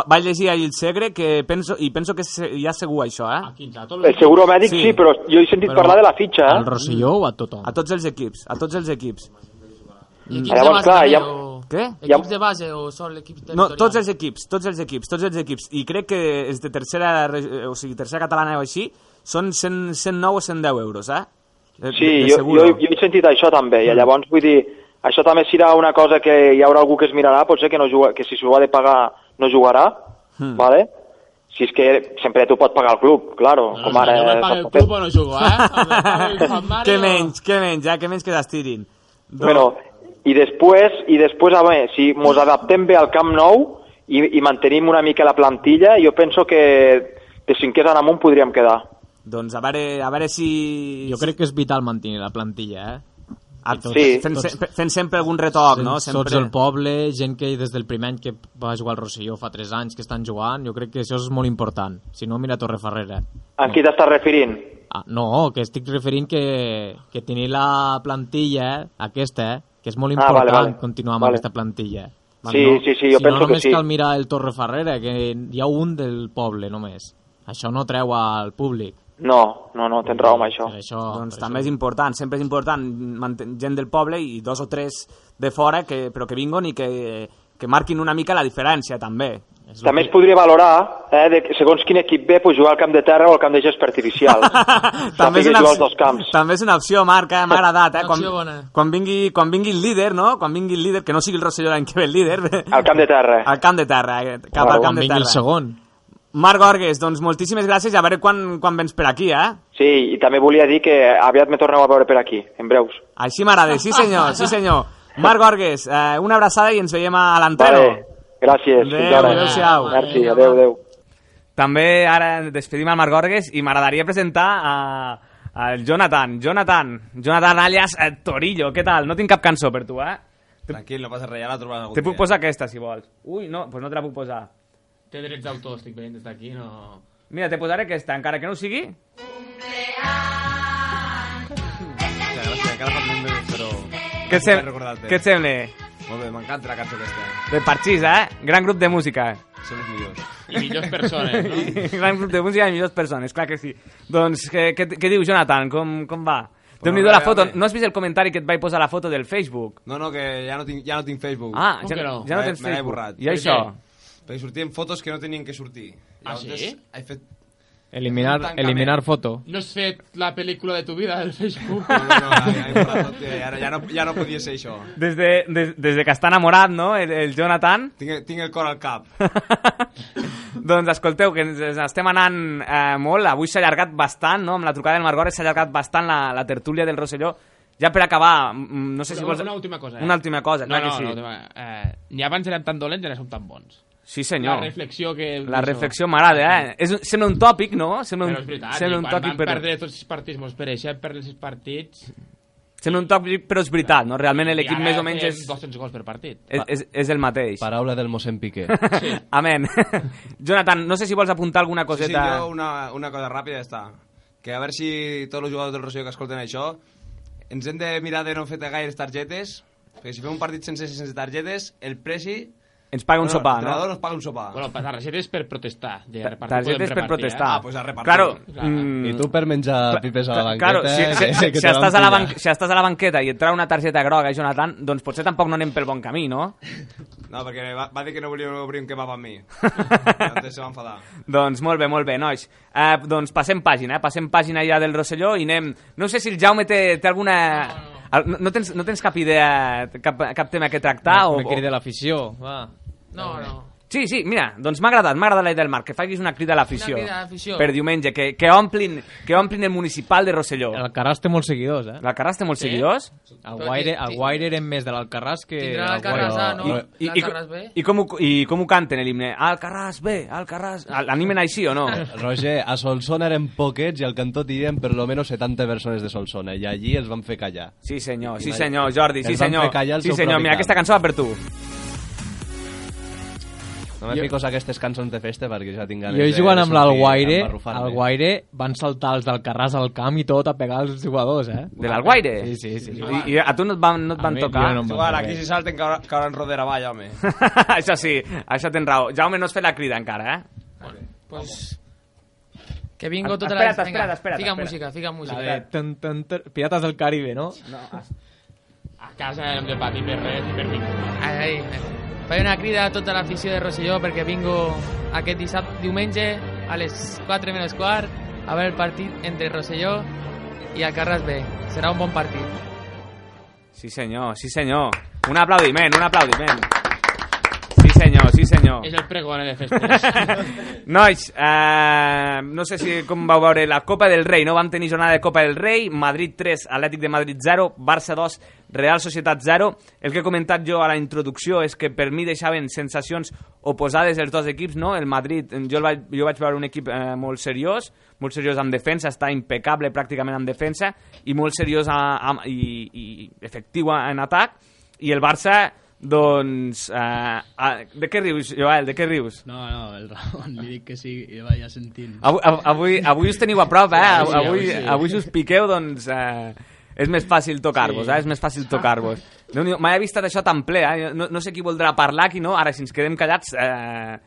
va llegir ahir el Segre que penso, i penso que se- ja segur això, eh? El seguro mèdic sí, però jo he sentit parlar de la fitxa, eh? Rosselló o a tothom? A tots els equips, a tots els equips. Equips de Llavors, base clar, també, ja- Què? Equips de base o sol equips de... Doncs No, tots els equips, tots els equips, tots els equips. I crec que els de tercera, reg- eh, o sigui, tercera catalana o així, són 100, 109 o 110 euros, eh? De- Sí, de- de jo, seguro. jo, jo he sentit això també, i Mm. llavors vull dir, això també serà una cosa que hi haurà algú que es mirarà, potser que, no juga, que si s'ho ha de pagar no jugarà, Mm. vale? si és que sempre t'ho pot pagar el club, claro, no, com ara... eh, Ah, el club o no jugo, [LAUGHS] eh? Què menys, què menys, ja, què menys que t'estirin. Bueno, i després, i després, a veure, si mos adaptem bé al Camp Nou i, i mantenim una mica la plantilla, jo penso que de cinquers en amunt podríem quedar. Doncs a veure, a veure si... Jo crec que és vital mantenir la plantilla, eh? Ah, tots- sí. fent se- fe- fent sempre algun retoc, no? Tots Sempre. el poble, gent que des del primer any que va jugar al Rosselló fa 3 anys que estan jugant, jo crec que això és molt important. Si no, mira Torrefarrera. A qui t'estàs referint? Ah, no, que estic referint que, que tenir la plantilla eh, aquesta, que és molt Ah, important vale, vale. continuar amb Vale. aquesta plantilla. Sí, sí, sí, jo si penso no, que només sí. cal mirar el Torrefarrera, que hi ha un del poble només. Això no treu al públic. No, no, no, tens raó amb això. això doncs també és important, sempre és important manten- gent del poble i dos o tres de fora, que, però que vinguin i que, que marquin una mica la diferència, també. També es podria valorar, eh, de, segons quin equip ve, pues, jugar al camp de terra o al camp de gest [LAUGHS] artificial. També També és és una opció- jugar als dos camps. També és una opció, Marc, eh? m'ha agradat. Eh? Una Quan, opció bona. quan, vingui, quan vingui el líder, no? Quan vingui el líder, que no sigui el Rosselló l'any que ve el líder. Al camp de terra. Al camp de terra, eh? cap al camp de terra. Marc Gorgues, doncs moltíssimes gràcies i a veure quan, quan vens per aquí, eh? Sí, i també volia dir que aviat me torneu a veure per aquí, en breus. Així m'agrada, sí senyor, sí [LAUGHS] senyor. Marc Gorgues, eh, una abraçada i ens veiem a l'entreno. Vale, gràcies. fins Adéu, ara. adéu-siau. Merci, adéu, adéu. També ara despedim al Marc Gorgues i m'agradaria presentar a, al Jonathan. Jonathan, Jonathan alias eh, Torillo, què tal? No tinc cap cançó per tu, eh? Tranquil, no passa res, ja la trobem algun Te pues, puc dia. posar aquesta, si vols. Ui, no, doncs no te la puc posar. Té drets d'autor, estic veient des d'aquí, no... Mira, te posaré aquesta, encara que no ho sigui. Hòstia, gràcies, encara fa un minut, però... Què et, sem Recordar-te. què et sembla? Molt bé, m'encanta la cançó aquesta. De Parxís, eh? Gran grup de música. Són els millors. I millors [LAUGHS] persones, no? I Gran grup de música i millors persones, clar que sí. Doncs què, què, què diu, Jonathan? Com, com va? déu nhi res, la foto. Pues eh, home. No has vist el comentari que et vaig posar la foto del Facebook? No, no, que ja no tinc, ja no tinc Facebook. Ah, Com ja- que no? ja no Me- tens me l'he Facebook. borrat. I Per això? què? Perquè sortien fotos que no tenien que sortir. Ah, sí? Llavors, He fet... Eliminar, Tancament. eliminar foto. No has fet la pel·lícula de tu vida del [LAUGHS] Facebook. No, no, no, ja, ja, ja, ara ja, pues, no, ja no podia ser això. Des de, des, des de que està enamorat, no?, el, el Jonathan. Tinc, tinc el cor al cap. [LAUGHS] Doncs escolteu, que ens, ens estem anant eh, molt. Avui s'ha allargat bastant, no?, amb la trucada del Margores s'ha allargat bastant la, la tertúlia del Rosselló. Ja per acabar, mm, no sé si Una- vols... una última cosa, eh? Una última cosa, No, clar no, que sí. no, última- eh, ni abans érem tan dolents, ara som tan bons. Sí, senyor. La reflexió que... La reflexió m'agrada, eh? És, un- sembla un tòpic, no? Sembla un, Però és veritat, sembla i un quan tòpic, vam però... perdre tots els partits, mos pereixem per els partits... Sembla un tòpic, però és veritat, no? Realment i l'equip ara més o menys fem és... 200 gols per partit. És, és, és el mateix. Paraula del mossèn Piqué. [LAUGHS] Amén. Jonathan, no sé si vols apuntar alguna Sí, sí, coseta... jo una, una cosa ràpida ja està. Que a veure si tots els jugadors del Rosselló que escolten això ens hem de mirar de no fer gaires targetes Perquè si fem un partit sense, sense targetes, el presi... Ens paga un sopar, no? L'entrenador ens paga un sopar. Bueno, per targetes per protestar. De Ta- repartir, targetes podem per repartir, protestar. Eh? Ah, pues a repartir. Claro. Clar. mm, I tu per menjar pipes a la banqueta... Claro, si, si, que- si, que si, te van estàs a la pillar. ban si estàs a la banqueta i et trau una targeta groga, Jonathan, doncs potser tampoc no anem pel bon camí, no? No, perquè va, va dir que no volia obrir un [LAUGHS] kebab amb mi. Llavors se va enfadar. doncs molt bé, molt bé, nois. Eh, doncs passem pàgina, eh? passem pàgina ja del Rosselló i anem... No sé si el Jaume té, té alguna... Al- No, no, tens, no tens cap idea, cap, cap tema que tractar? Me- o, me crida l'afició, va. No, no. Sí, sí, mira, doncs m'ha agradat, m'ha agradat la idea del Marc, que facis una crida a l'afició. Una crida a l'afició. Per diumenge, que, que, omplin, que omplin el municipal de Rosselló. L'Alcarràs té molts seguidors, eh? L'Alcarràs té molts seguidors? El Guaire, el Guaire eren més de l'Alcarràs que... Tindrà el Guaire. l'Alcarràs A, no? I, i, Alcarràs B. i, com ho, I com ho canten, l'himne? Alcarràs B, Alcarràs... L'animen així o no? [LAUGHS] Roger, a Solsona eren poquets i al cantó tirien per lo menos 70 persones de Solsona i allí els van fer callar. Sí senyor, sí Imagina't. senyor, Jordi, sí Els van senyor. fer callar el Sí seu senyor, propi mira, camp. aquesta cançó va per tu. No me Jo- fico a aquestes cançons de festa perquè ja tinc ganes Jo de- jugant de amb sortir l'Alguaire, a eh. embarrufar-me. al Guaire van saltar els d'Alcarràs al camp i tot a pegar els jugadors, eh? De l'Alguaire? Sí, sí, sí. I, I, a tu no et van, no et A van mi- tocar? jo no em van Igual, aquí si salten caurà- cauran rodera avall, home. [LAUGHS] això sí, això tens raó. Jaume, no has fet la crida encara, eh? Pues... Que vingo Es- tota espera't, la... Vinga, espera't, espera't, Fica espera't. música, fica música. La de tan, tan, tan, Pirates del Caribe, no? No, A casa hem de patir per res i per ningú. Ai, ai. Faré una crida a tota l'afició de Rosselló perquè vingo aquest dissabte, diumenge, a les 4 menys quart, a veure el partit entre Rosselló i Alcarràs B. Serà un bon partit. Sí senyor, sí senyor. Un aplaudiment, un aplaudiment. Sí senyor, sí senyor. És el pregone de festes. [LAUGHS] Nois, eh, no sé si com vau veure la Copa del Rei, no? Vam tenir jornada de Copa del Rei, Madrid 3, Atlètic de Madrid 0, Barça 2, Real Societat 0. El que he comentat jo a la introducció és que per mi deixaven sensacions oposades els dos equips, no? El Madrid, eh, jo, el vaig, jo vaig veure un equip eh, molt seriós, molt seriós en defensa, està impecable pràcticament en defensa i molt seriós a, a, i, i efectiu en atac. I el Barça, doncs... Eh, a, de què rius, Joel? De què rius? No, no, el Ramon, li dic que sí i vaya sentint. Avui, av- avui, avui us teniu a prop, eh? Sí, sí, Avui, avui sí. avui si us piqueu, doncs... Eh, és més fàcil tocar-vos, eh? És més fàcil tocar-vos. Déu-n'hi-do, Mai he vist això tan ple, eh? No, no sé qui voldrà parlar, qui no. Ara, si ens quedem callats, eh,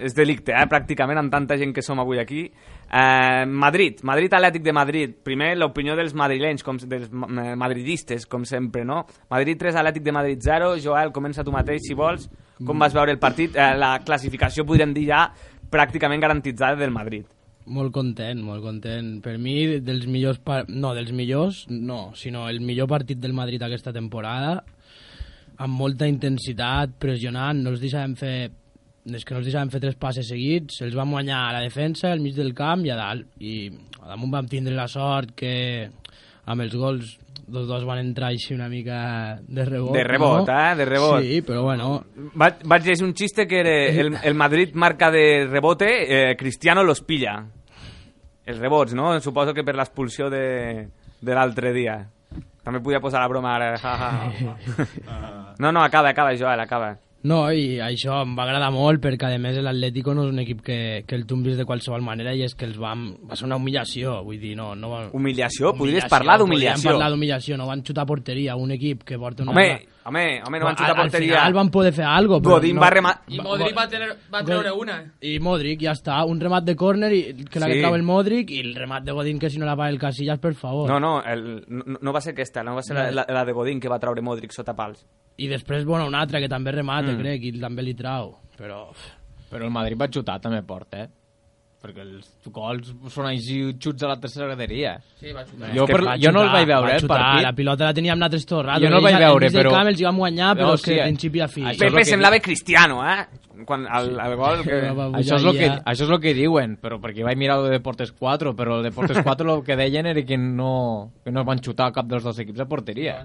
és delicte, eh? Pràcticament, amb tanta gent que som avui aquí. Eh, Madrid, Madrid Atlètic de Madrid. Primer, l'opinió dels madrilenys, com, dels ma- eh, madridistes, com sempre, no? Madrid 3, Atlètic de Madrid 0. Joel, comença tu mateix, si vols. Com vas veure el partit? Eh, la classificació, podríem dir ja, pràcticament garantitzada del Madrid. Molt content, molt content. Per mi, dels millors... Par... No, dels millors, no, sinó el millor partit del Madrid aquesta temporada, amb molta intensitat, pressionant, no els deixàvem fer... És que no els deixàvem fer tres passes seguits, els vam guanyar a la defensa, al mig del camp i a dalt. I a damunt vam tindre la sort que amb els gols dos dos van entrar així una mica de rebot. De rebot, no? eh? De rebot. Sí, però bueno, Va, vaig llegir un xiste que era el, el Madrid marca de rebote, eh, Cristiano los pilla. Els rebots, no? Suposo que per l'expulsió de, de l'altre dia. També podia posar la broma ara. ja, ja. No, no, acaba, acaba, Joel, acaba. No, i això em va agradar molt perquè, a més, l'Atlético no és un equip que, que el tombis de qualsevol manera i és que els vam... Va ser una humiliació, vull dir, no... no Humiliació? Podries parlar d'humiliació. Podríem parlar d'humiliació, no van xutar a porteria un equip que porta una... Home, home, home, no van xutar Al- porteria. Al final van poder fer alguna cosa, Godín va remar- I Modric va, tener, va treure una. I Modric, ja està, un remat de córner i, que la Sí. que trau el Modric i el remat de Godín que si no la va el Casillas, per favor. No, no, el, no, no va ser aquesta, no va ser la, la, la de Godín que va traure Modric sota pals. I després, bueno, un altre que també remata, Mm. mm. crec, i també li trau. Però... Però el Madrid va xutar també fort, eh? Perquè els gols són així xuts a la tercera graderia. Sí, va xutar. Jo, És que per, va jo no el xutar, vaig veure, va eh, el xutar, partit. La pilota la teníem nosaltres tot el rato. Jo no el vaig Ells- ells veure, de però- camp els hi van guanyar, però No, és que sí, de eh. principi a fi. Això és lo Pepe que semblava Cristiano, eh? Quan el, el gol que... Això és, lo que, això és lo que diuen, però perquè vaig mirar el de Deportes 4, però el [LAUGHS] Deportes 4 el que deien era que no, que no van xutar cap dels dos equips a porteria.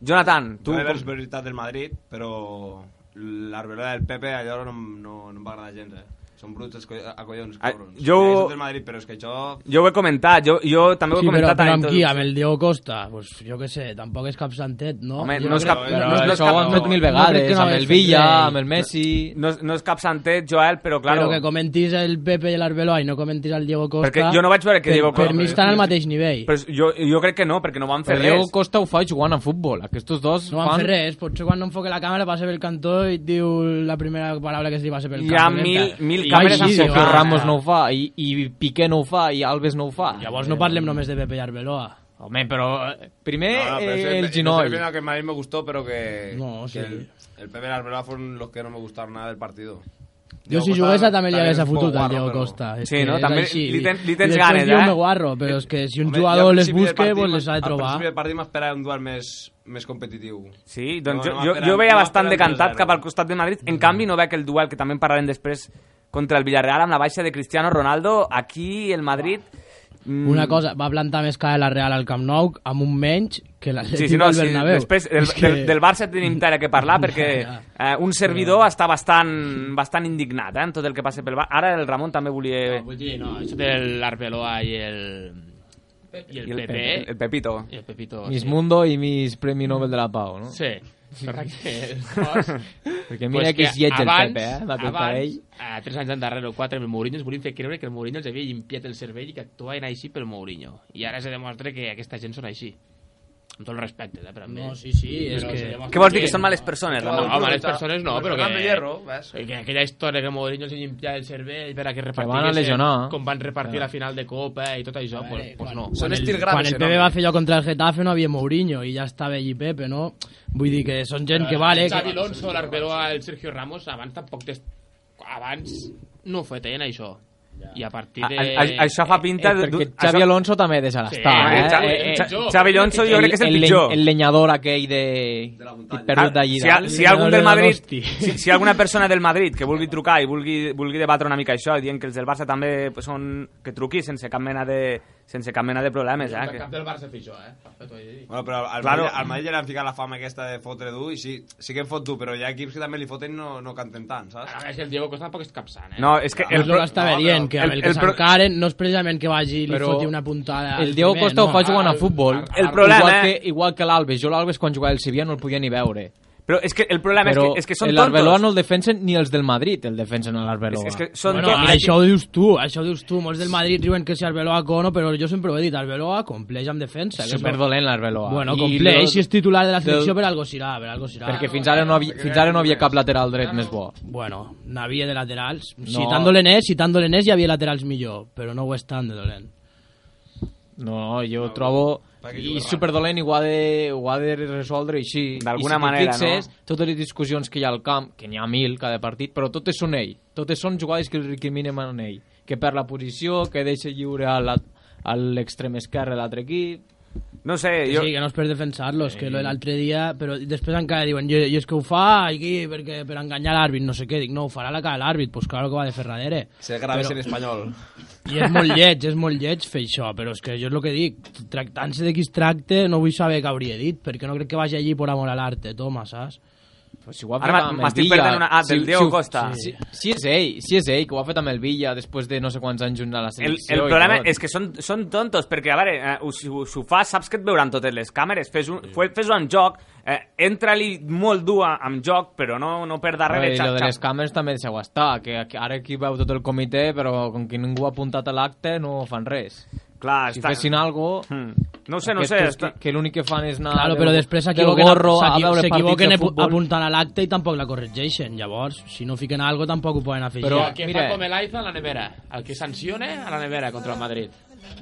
Jonathan, Tu, jo he vist veritat del Madrid, però l'arbelola del Pepe allò no, em- no, no em va agradar gens, eh? Són bruts els co- a collons, Ah, cabrons. jo- Ja, soc del Madrid, però és que això... Jo ho he comentat, jo, jo també ho he Sí, però, comentat... però a amb Introdu- qui? Amb el Diego Costa? Pues, jo què sé, tampoc és cap santet, no? Home, Jo no és crec- cap... però no, no és això cap, ho han fet mil vegades, amb el Villa, amb el Messi... No, és- no és cap santet, Joel, però, claro... Però que comentis el Pepe i l'Arbeló i no comentis el Diego Costa... Perquè jo no vaig veure que per, Diego Costa- Per mi estan al mateix nivell. Però jo, jo crec que no, perquè no van fer Però Diego res. Costa ho fa jugant a futbol. Aquests dos No van fer res, potser quan no enfoque la càmera passa pel cantó i et diu la primera paraula que es diu passa pel Hi cantó. ha neta. mil- mil I ah, càmeres així, enfocades. home. Ramos no ho fa, i- i Piqué no ho fa, i Alves no ho fa. Eh, Llavors no parlem només de Pepe i Arbeloa. Home, però eh, primer No, pero eh, ese- el ese ginoll. final que en Madrid me gustó, pero que, No, que sí. el, el Pepe y el Arbeloa fueron los que no me gustaron nada del partido. Jo si Costa jugués a també li también hagués es un poco fotut al guarro, Diego pero- Costa. És Sí, que no? és També així. li ten- li I tens després ganes, jo eh? me guarro, però és que si un Home, jo jugador al les principi del busca, partit pues m'es- les ha de Al trobar. principi del partit m'esperava un duel més, més competitiu. Sí, doncs No, jo, no jo, jo m'esperava- veia no bastant m'esperava un decantat 0-0. cap al costat de Madrid. Mm. En canvi, no veig el duel, que també en parlarem després, contra el Villarreal, amb la baixa de Cristiano Ronaldo. Aquí, el Madrid... mm, Una cosa, va plantar més cara la Real al Camp Nou amb un menys que l'Atlètic Sí, sí, no, al sí, Bernabéu. després del, És que- del, del Barça [LAUGHS] tenim tela que parlar perquè eh, un servidor està bastant, bastant indignat eh, amb tot el que passa pel Barça. Ara el Ramon també volia... Vull dir, no, això de l'Arbeloa i el... I el, I el Pepe. eh? Pepe. El Pepito. I el Pepito, Miss sí. Mundo i Miss Premi Nobel de la Pau, no? Sí. [LAUGHS] Perquè, Perquè mira que és lleig el Pepe, eh, de tot abans, cabell. a tres anys endarrere o quatre, el Mourinho ens volien fer creure que el Mourinho els havia llimpiat el cervell i que actuaven així pel Mourinho. I ara se demostra que aquesta gent són així. Amb tot el respecte, eh, però amb No, ells. sí, sí, és Però que- se demostra Què vols dir, que són males persones, No, Ramon? no, males persones no, però Ramon que... Hierro, ves. que aquella història que Mourinho els llimpiava el cervell per a que repartís... van a lesionar. Com van repartir Clar. la final de Copa i tot això, doncs pues, pues no. Quan el- Quan eh, el PB va fer allò contra el Getafe no havia Mourinho i ja estava allí Pepe, no? Vull dir que són gent que vale... Xavi Que... Alonso, l'Arbeloa, el Sergio Ramos, abans tampoc... Test... Abans no ho feien, això. I a partir de... A- a- això fa pinta Eh, de- perquè d'un- Xavi això- Alonso també deixa l'estar, Sí, eh? Xavi- Eh, eh, Xa- Xavi Alonso jo crec que és el leny- pitjor. El lenyador aquell de... Perdut Ah, d'allí si, ha- dalt. si, algun del Madrid, si, si [LAUGHS] alguna persona del Madrid que vulgui trucar i vulgui, vulgui debatre una mica això, dient que els del Barça també són... que truqui sense cap mena de, sense cap mena de problemes, eh? Que... Cap del Barça pitjor, eh? Bueno, però Claro. al, claro. Madrid, al Madrid ja li han ficat la fama aquesta de fotre dur i sí, sí que en fot dur, però hi ha equips que també li foten i no, no canten tant, saps? Ah, Ara, el Diego Costa tampoc és cap sant, No, és que... El és el que estava dient, que amb el, que s'encaren no és precisament que vagi i li Però foti una Ah, puntada... El Diego Costa ho fa jugant Ah, a futbol. el problema- Igual que, igual que l'Alves. Jo l'Alves quan jugava al Sevilla no el podia ni veure. Però és que el problema és Però que- és que són l'Arbeloa tontos. no el defensen ni els del Madrid el defensen a l'Arbeloa. És- és que Bueno, això ho dius tu, això ho dius tu. Molts del Madrid diuen que si Arbeloa cono, però jo sempre ho he dit, Arbeloa compleix amb defensa. que és Super lo- dolent l'Arbeloa. Bueno, I lo- compleix, si és titular de la selecció, del- per algo serà, per algo serà. Perquè fins ara no havia, fins ara no havia cap lateral dret més bo. Bueno, n'havia de laterals. No. Si tan dolent és, si tan dolent és, hi havia laterals millor, però no ho és tant de dolent. No, jo trobo... I és superdolent i ho ha de, ho ha de resoldre així. D'alguna I si manera, t'hi fixes, no? totes les discussions que hi ha al camp, que n'hi ha mil cada partit, però totes són ell. Totes són jugades que el recriminen en ell. Que perd la posició, que deixa lliure a la- a l'extrem esquerre l'altre equip... No sé, Sí, jo... sí, que no és per defensar-los, que lo de l'altre dia... Però després encara diuen, jo, jo és que ho fa aquí perquè, per enganyar l'àrbit, no sé què. Dic, no, ho farà la cara de l'àrbit, doncs pues claro que va de Ferradere. Se graves en espanyol. I és molt lleig, és molt lleig fer això, però és que jo és el que dic, tractant-se de qui es tracte, no vull saber què hauria dit, perquè no crec que vagi allí per amor a l'arte, toma, saps? Pues si ho ha Ara fet amb el m'estic Villa. perdent una- ah, del ho- Diego ho- Costa. Si, si, és ell, si és ell, que ho ha fet amb el Villa després de no sé quants anys junts a la El, selecció. el i problema tot. és que són, són tontos, perquè, a veure, eh, si, ho- si ho fas, saps que et veuran totes les càmeres. Fes-ho fes en joc, eh, entra-li molt dur a- amb joc, però no, no per darrere. I xap, lo de xap. les càmeres també deixeu estar, que aquí- ara aquí veu tot el comitè, però com que ningú ha apuntat a l'acte no fan res. Clar, si està- Hmm. fessin algo... No ho sé, no ho aquests sé, Que, que l'únic que fan és anar... Claro, del- però després del s'equivoquen gorro a s'equi- veure s'equivoquen partits de apu- futbol. apuntant a l'acte i tampoc la corregeixen. Llavors, si no fiquen algo tampoc ho poden afegir. Però que fa com el Aiza a la nevera. El que sancione a la nevera contra el Madrid.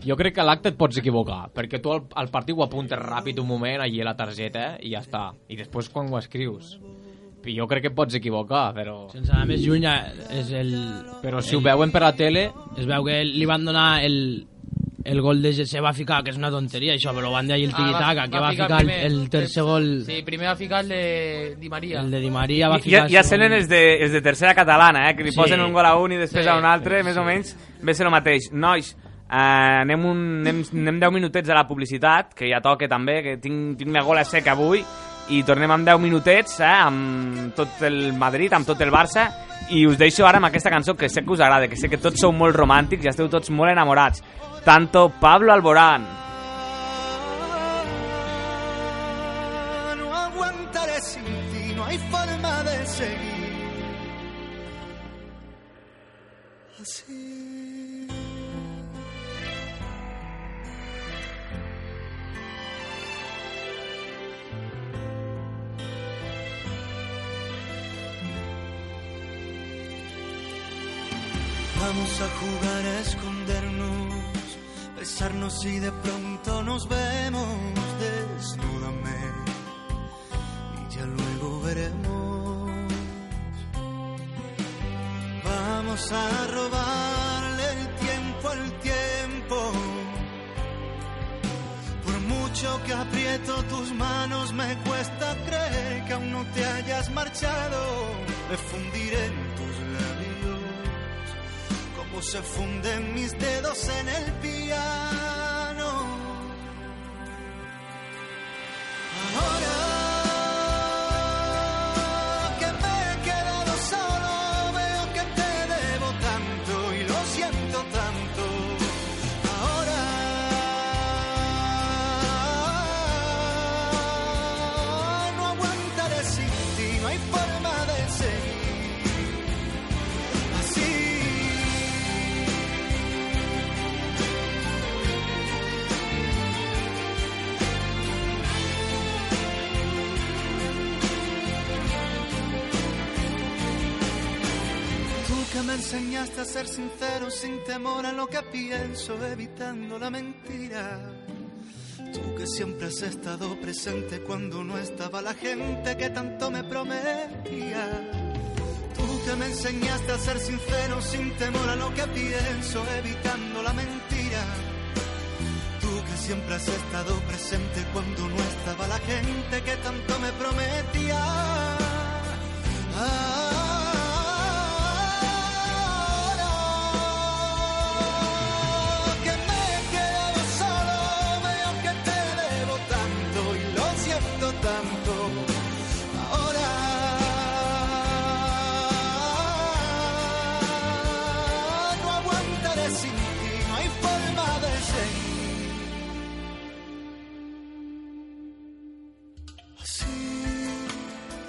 Jo crec que a l'acte et pots equivocar, perquè tu al, al partit ho apuntes ràpid un moment, allí a la targeta, i ja està. I després quan ho escrius. I jo crec que et pots equivocar, però... Sense anar més lluny, eh, és el... Però si ho veuen per la tele... Es veu que li van donar el, el gol de Gese va ficar, que és una tonteria això, però van d'ahir el tiquitaca, que Ah, va ficar el, primer. el tercer gol, Sí, primer va ficar el de Di María. el de Di Maria, va I- Ja, ficar... ja senten els de, els de tercera catalana, eh, que li Sí. posen un gol a un i després Sí, a un altre, més o menys, ve ser el mateix. Nois, eh, anem, un, anem, anem 10 minutets a la publicitat, que ja toca també, que tinc, tinc la gola seca avui, i tornem amb 10 minutets eh, amb tot el Madrid, amb tot el Barça i us deixo ara amb aquesta cançó que sé que us agrada, que sé que tots sou molt romàntics i esteu tots molt enamorats. Tanto Pablo Alborán. No aguantaré sin ti, no hay forma de seguir. Así. Vamos a jugar a escondernos, besarnos y de pronto nos vemos. Desnúdame y ya luego veremos. Vamos a robarle el tiempo al tiempo. Por mucho que aprieto tus manos, me cuesta creer que aún no te hayas marchado. Me fundiré en tus labios como se funden mis dedos en el piano. Ahora que me he quedado solo, veo que te debo tanto y lo siento tanto. Ahora no aguantaré sin ti, no hay forma de seguir así. Tú que me enseñaste a ser sincero sin temor a lo que pienso, evitando la mentira. Tú que siempre has estado presente cuando no estaba la Gente que tanto me prometía. Tú que me enseñaste a ser sincero sin temor a lo que pienso, evitando la mentira. Tú que siempre has estado presente cuando no estaba la gente que tanto me prometía. Ah, Que me he quedado solo, veo que te debo tanto y lo siento tanto. Ahora no aguantaré sin ti, no hay forma de seguir. Así,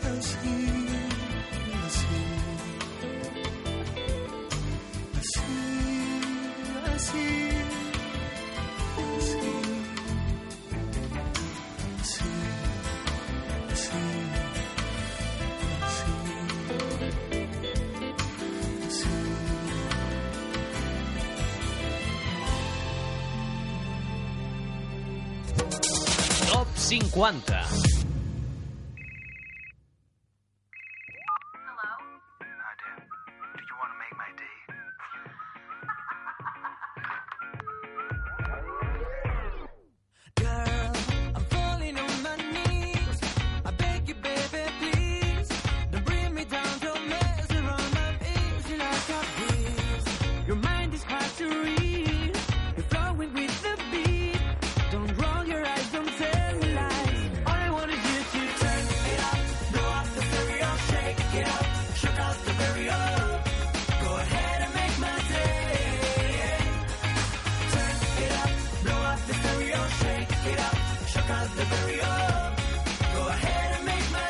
así, así. Así, así, así. Así, así, así. Top 50. Girl, I'm falling on my knees. I beg you, baby, please. Don't bring me down, don't mess around. I'm easy like a breeze. Your mind is hard to read. You're flowing with the beat. Don't roll your eyes, don't tell me lies. All I want is you to turn it up, blow up the stereo, shake it up, shook out the stereo. Go ahead and make my day. Turn it up, blow up the stereo, shake it up, shook out the stereo. Go ahead and make my day.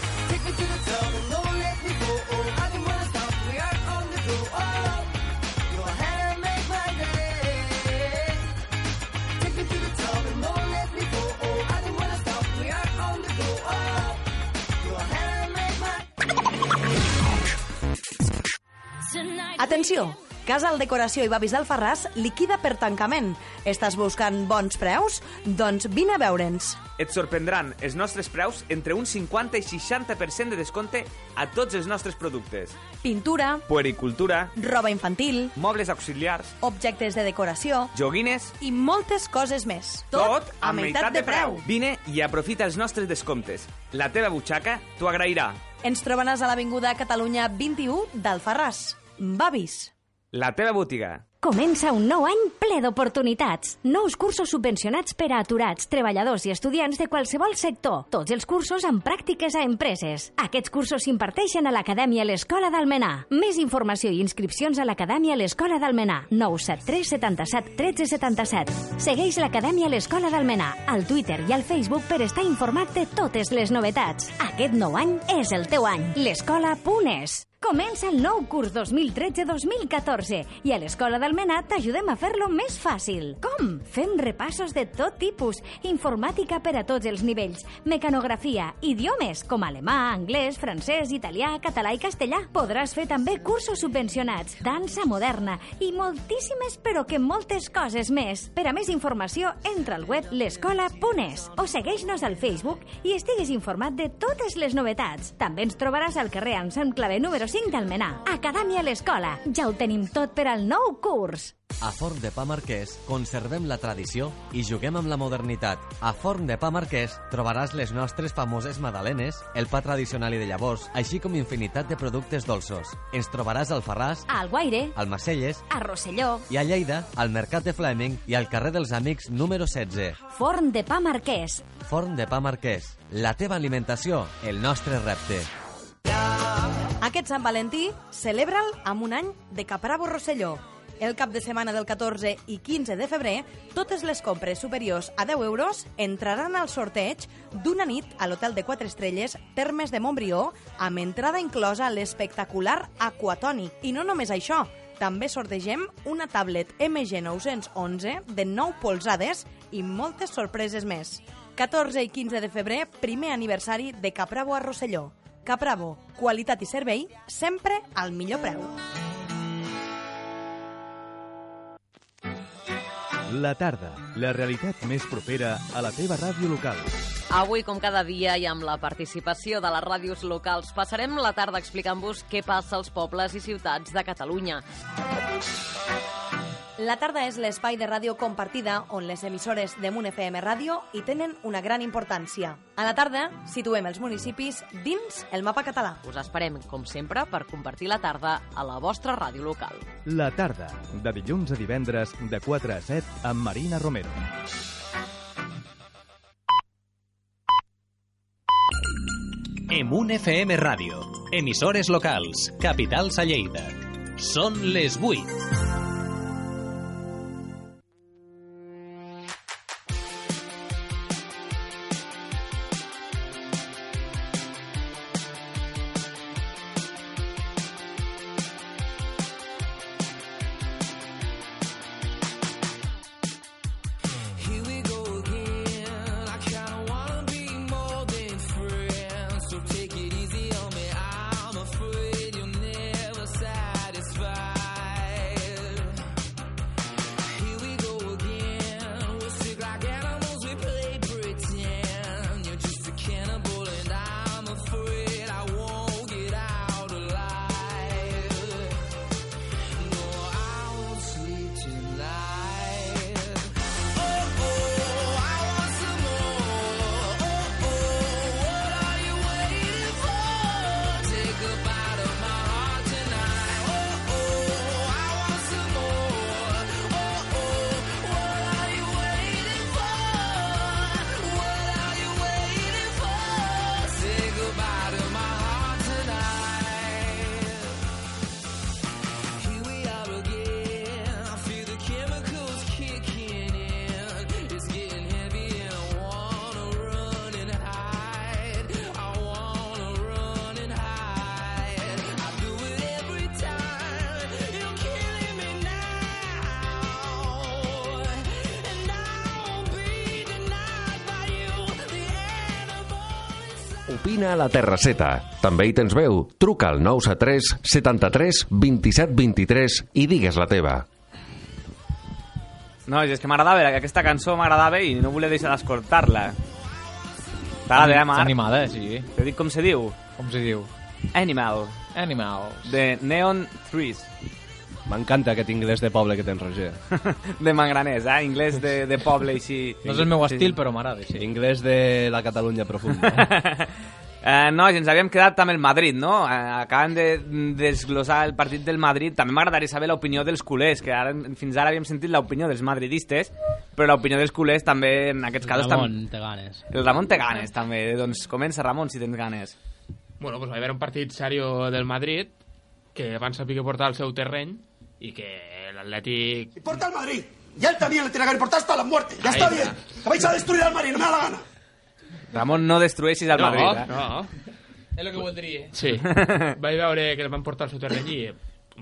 Oh, Oh, Atenció! Casal Decoració i Babis d'Alfarràs liquida per tancament. Estàs buscant bons preus? Doncs vine a veure'ns. Et sorprendran els nostres preus entre un 50 i 60% de descompte a tots els nostres productes. Pintura, Puericultura, roba infantil, mobles auxiliars, objectes de decoració joguines... i moltes coses més. Vine i aprofita els nostres descomptes. La teva butxaca t'ho agrairà. Ens trobaràs a l'Avinguda Catalunya 21 d'Alfarràs. Babis. La teva botiga. Comença un nou any ple d'oportunitats. Nous cursos subvencionats per a aturats, treballadors i estudiants de qualsevol sector. Tots els cursos amb pràctiques a empreses. Aquests cursos s'imparteixen a l'Acadèmia L'Escola d'Almenar. Més informació i inscripcions a l'Acadèmia L'Escola d'Almenar. 973 77 13 77. Segueix l'Acadèmia L'Escola d'Almenar al Twitter i al Facebook per estar informat de totes les novetats. Aquest nou any és el teu any. L'escola.es. Comença el nou curs 2013-2014 i a l'Escola d'Almenar t'ajudem a fer-lo més fàcil. Com? Fem repassos de tot tipus, informàtica per a tots els nivells, mecanografia, idiomes com alemà, anglès, francès, italià, català i castellà. Podràs fer també cursos subvencionats, dansa moderna i moltíssimes però que moltes coses més. Per a més informació, entra al web l'escola.es o segueix-nos al Facebook i estigues informat de totes les novetats. També ens trobaràs al carrer Anselm Clavé número 5 d'Almenar. Acadèmia l'Escola. Ja ho tenim tot per al nou curs. A Forn de Pa Marquès conservem la tradició i juguem amb la modernitat. A Forn de Pa Marquès trobaràs les nostres famoses magdalenes, el pa tradicional i de llavors, així com infinitat de productes dolços. Ens trobaràs al Ferràs, A Alguaire, al Macelles a Rosselló, i a Lleida, al Mercat de Fleming i al carrer dels Amics número 16. Forn de Pa Marquès. Forn de Pa Marquès, la teva alimentació, el nostre repte. Aquest Sant Valentí celebra'l amb un any de Caprabo Rosselló. El cap de setmana del 14 i 15 de febrer, totes les compres superiors a 10 euros entraran al sorteig d'una nit a l'hotel de 4 estrelles Termes de Montbrió amb entrada inclosa l'espectacular Aquatònic. I no només això, també sortegem una tablet MG911 de 9 polzades i moltes sorpreses més. 14 i 15 de febrer, primer aniversari de Caprabo a Rosselló. Capravo, qualitat i servei, sempre al millor preu. La tarda, la realitat més propera a la teva ràdio local. Avui, com cada dia i amb la participació de les ràdios locals, passarem la tarda explicant-vos què passa als pobles i ciutats de Catalunya. La tarda és l'espai de ràdio compartida on les emissores de Munt FM Ràdio hi tenen una gran importància. A la tarda situem els municipis dins el mapa català. Us esperem, com sempre, per compartir la tarda a la vostra ràdio local. La tarda, de dilluns a divendres, de 4 a 7, amb Marina Romero. Emun FM Ràdio. Emissores locals. Capitals a Lleida. Són les 8. Here we go again. I kinda wanna be more than friends. So take it easy on me. I'm afraid you'll never satisfy. Opina a la Terrasseta. També hi tens veu. Truca al 973 73 27 23 i digues la teva. No, és que m'agradava, aquesta cançó m'agradava i no volia deixar d'escoltar-la. T'agrada, eh, Marc? Està animada, sí. T'he dit com se diu? Com se diu? Animal. Animal. De Neon Trees. M'encanta aquest anglès de poble que tens, Roger. De Mangranès, eh? Inglès de, de poble així. No és el meu estil, però m'agrada, sí. Inglés de la Catalunya profunda. [LAUGHS] Eh, nois, ens havíem quedat amb el Madrid, no? Eh, acabem de desglossar el partit del Madrid. També m'agradaria saber l'opinió dels culers, que ara, fins ara havíem sentit l'opinió dels madridistes, però l'opinió dels culers també, en aquests casos... Ramon, tam- té ganes. El Ramon té ganes, també. Doncs comença, Ramon, si tens ganes. Bueno, pues va haver un partit serio del Madrid que van saber que portar al seu terreny i que l'Atlètic... Importa al Madrid. Y a él también le tiene que importar hasta la muerte. Ya está bien. Que vais a destruir al Madrid, no me da la gana. Ramon, no destrueixis el no, Madrid, eh? no. És el que voldria. [LAUGHS] Sí. Sí. Vaig veure que el van portar al seu terreny i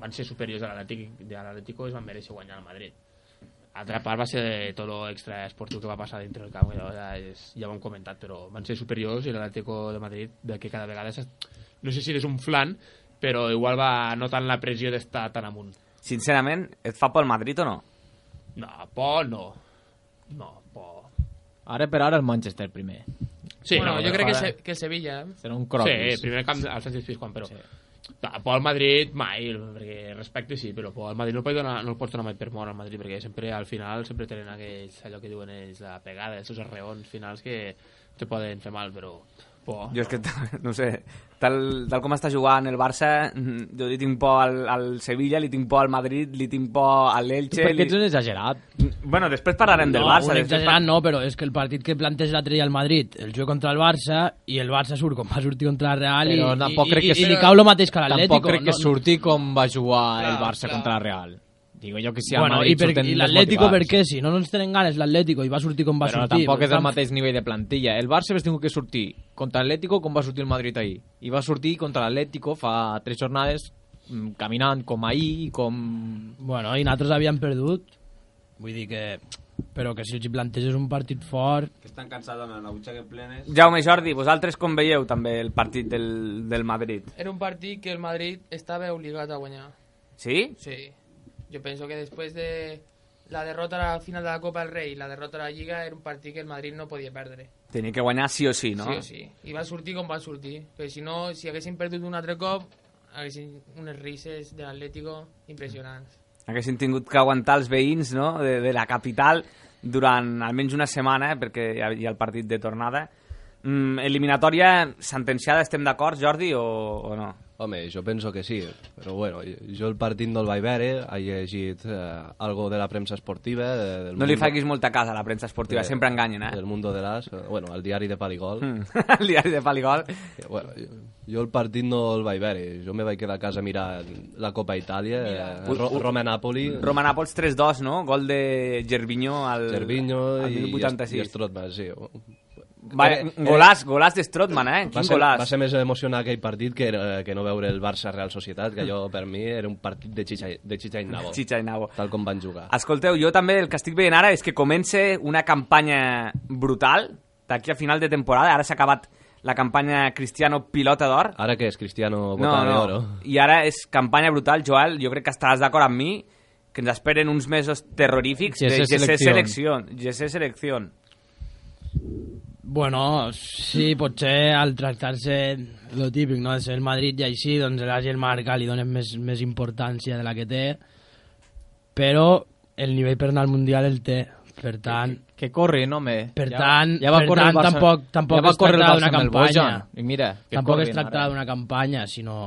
van ser superiors a l'Atlètic de l'Atlético i es van mereixer guanyar el Madrid. Altra part va ser tot l'extra esportiu que va passar dintre del camp, que ja, és, ja ho hem comentat, però van ser superiors i l'Atlético de Madrid, de que cada vegada s'es- no sé si és un flan, però igual va notant la pressió d'estar tan amunt. Sincerament, et fa por el Madrid o no? No, por no. No, por. Ara per ara el Manchester primer. Sí, bueno, no, jo crec que, ara se, que eh? Sevilla... Serà un croquis. Sí, primer camp al Sánchez Pizjuán, però... Sí. Por al Madrid mai, perquè respecte sí, però por al Madrid no el, pots donar, no el pots donar mai per mort al Madrid, perquè sempre al final sempre tenen aquells, allò que diuen ells, la pegada, aquests arreons finals que te poden fer mal, però... Por. Jo és que, [LAUGHS] t- no ho sé, tal, tal com està jugant el Barça, mm, jo li tinc por al, al Sevilla, li tinc por al Madrid, li tinc por a l'Elche... Perquè li- Mm, ets un exagerat. Bueno, després parlarem del No, Barça. un després exagerat no, però és que el partit que planteja l'altre dia el Madrid, el juga contra el Barça i el Barça surt com va sortir contra el Real i, Però tampoc i, crec i, que... i, i li sigui- cau el mateix que l'Atlético. Tampoc crec no, que no- surti com va jugar el Clar, Barça contra el Real. Digo jo que si bueno, el i, Madrid per, surten i l'Atlético per desmotivats. què? Si no, no ens tenen ganes l'Atlético i va sortir com va Però sortir. tampoc per és el tant, mateix nivell de plantilla. El Barça hauria tingut que sortir contra l'Atlético com va sortir el Madrid ahir. I va sortir contra l'Atlético fa tres jornades mm, caminant com ahir, com... Bueno, i nosaltres havíem perdut, vull dir que... Però que si els hi planteges un partit fort... Que estan cansats d'anar a la butxaca en plenes. Jaume i Jordi, vosaltres com veieu també el partit del, del Madrid? Era un partit que el Madrid estava obligat a guanyar. Sí? Sí. Yo pienso que después de la derrota a la final de la Copa del Rey y la derrota a la Liga, era un partido que el Madrid no podía perder. Tenia que guanyar sí o sí, no? Sí o sí. I va sortir com va sortir. Perquè si no, si haguessin perdut un altre cop, haguessin unes risses de l'Atlético impressionants. Haguessin tingut que aguantar els veïns no? de, de la capital durant almenys una setmana, eh, perquè hi ha, hi ha el partit de tornada. Mm, eliminatòria sentenciada, estem d'acord, Jordi, o, o no? Home, jo penso que sí, però bueno, jo el partit no el vaig veure, he llegit eh, algo de la premsa esportiva... De, del No li facis molta casa a la premsa esportiva, sempre enganyen, eh? Del Mundo de l'As, eh, bueno, el diari de Paligol. Mm, [LAUGHS] el diari de Paligol. Bueno, jo, jo el partit no el vaig veure, jo me vaig quedar a casa mirant la Copa Itàlia, eh, Ro Roma-Napoli... Roma-Nàpols 3-2, no? Gol de Gervinho al, Gervinho al i- minut i 86. Strootman, sí. Va, Eh, eh, golàs, golàs de Strootman, eh? Va Quin ser, golàs. va ser més emocionant aquell partit que, era- que no veure el Barça-Real Societat, que allò per mi era un partit de Chicha, de Chicha i [LAUGHS] Nabo. Chicha i Nabo. Tal com van jugar. Escolteu, jo també el que estic veient ara és que comença una campanya brutal d'aquí a final de temporada. Ara s'ha acabat la campanya Cristiano Pilota d'Or. Ara què és, Cristiano Bota de Oro? I ara és campanya brutal, Joel. Jo crec que estaràs d'acord amb mi que ens esperen uns mesos terrorífics GC de GC Selección. Selección. GC Selección. Bueno, sí, potser al tractar-se lo típic, no?, de ser el Madrid i així, doncs a l'Àsia el Marca li dones més, més importància de la que té, però el nivell per anar al Mundial el té, per tant... Que corre, no, home. Per Ja- tant, ja va per córrer el tant Barça- tampoc, tampoc ja va es córrer el tracta d'una Barça amb el campanya. Bojan. I mira, que tampoc es corren tracta ara. d'una campanya, sinó...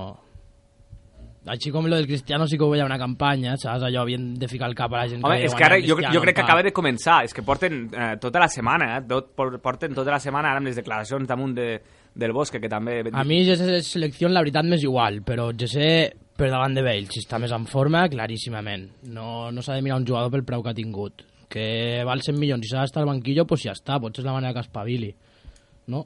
Així com lo del Cristiano sí que ho veia una campanya, saps? Allò havien de ficar el cap a la gent Home, deia, és que "Bueno, ara jo, Cristiano, jo crec que tal". acaba de començar. És que porten eh, tota la setmana, eh? Tot, por- porten tota la setmana ara amb les declaracions damunt de, del Bosque, que també... A mi ja sé selecció, la veritat, m'és igual, però ja sé per davant de Bale, si està més en forma, claríssimament. No, no s'ha de mirar un jugador pel preu que ha tingut. Que val 100 milions i s'ha d'estar al banquillo, doncs pues ja està, potser és la manera que espavili. No?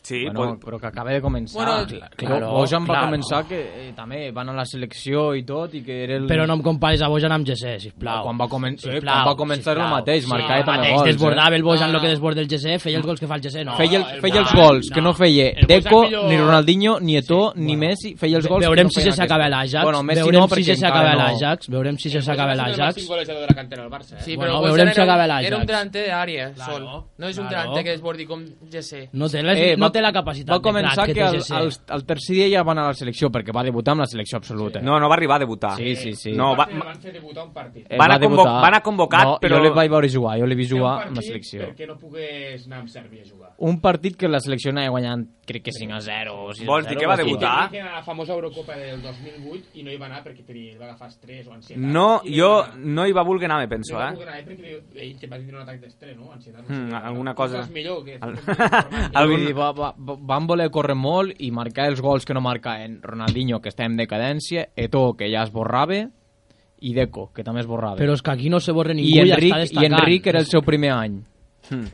Sí, bueno, pot- però que acaba de començar. Bueno, claro, claro, Bojan va claro. començar que eh, també van a la selecció i tot i que era el... Però no em comparis a Bojan amb Gessé, sisplau. Quan va comen- eh, quan va començar era el mateix, marcava el també mateix, gols, Desbordava eh? el Bojan el que desborda el Gessé, feia els gols que fa el Gessé, no. feia, el, el feia els Bojan- gols que no feia El Bojan Deco, millor- ni Ronaldinho, ni Eto'o, ni Messi, feia els gols que Veurem no si feien se s'acaba aquests. l'Ajax. Bueno, Messi veurem no, si perquè se encara s'acaba no. l'àjax. Veurem si se s'acaba l'Ajax. golejador de la cantera del Barça, eh? Sí, Bueno, però Bojan veurem si era, acaba un- l'Ajax. era un delanter d'àrea, Claro, sol. No és un claro. delanter que desbordi com Jesse. No té les- no té la capacitat Eh, Va de començar crack que que, té el, Jesse. el, el tercer dia ja va anar a la selecció, perquè va debutar amb la selecció absoluta. No, no va arribar a debutar. Sí, sí, sí. No, va- Eh, El van fer debutar un partit. Eh, Van a convo- debutar. van a convocat, no, però- Jo li vaig veure jugar, jo l'he vist Era jugar un amb la partit selecció. eh. Perquè no pogués anar amb Sèrbia a jugar. Un partit que la selecció anava guanyant, crec que 5 a 0 o 6 a 0. I tenia que anar a la famosa Eurocopa del 2008 i no hi va anar perquè tenia, va agafar estrès o ansietat. No, I jo no hi va voler anar, me penso, No hi va eh? voler anar perquè ell que va tindre un atac d'estrès, no? Ansietat. no sé Mm, què. alguna Tu cosa. saps millor que... [LAUGHS] Al- Algun... Va, va, va- van voler córrer molt i marcar els gols que no marcaven Ronaldinho, que està en decadència, Eto, que ja es borrava, i Deco, que també es borrava. Però és que aquí no se borra ningú I i Enric, està i destacant. Enric era el seu primer any. Hmm.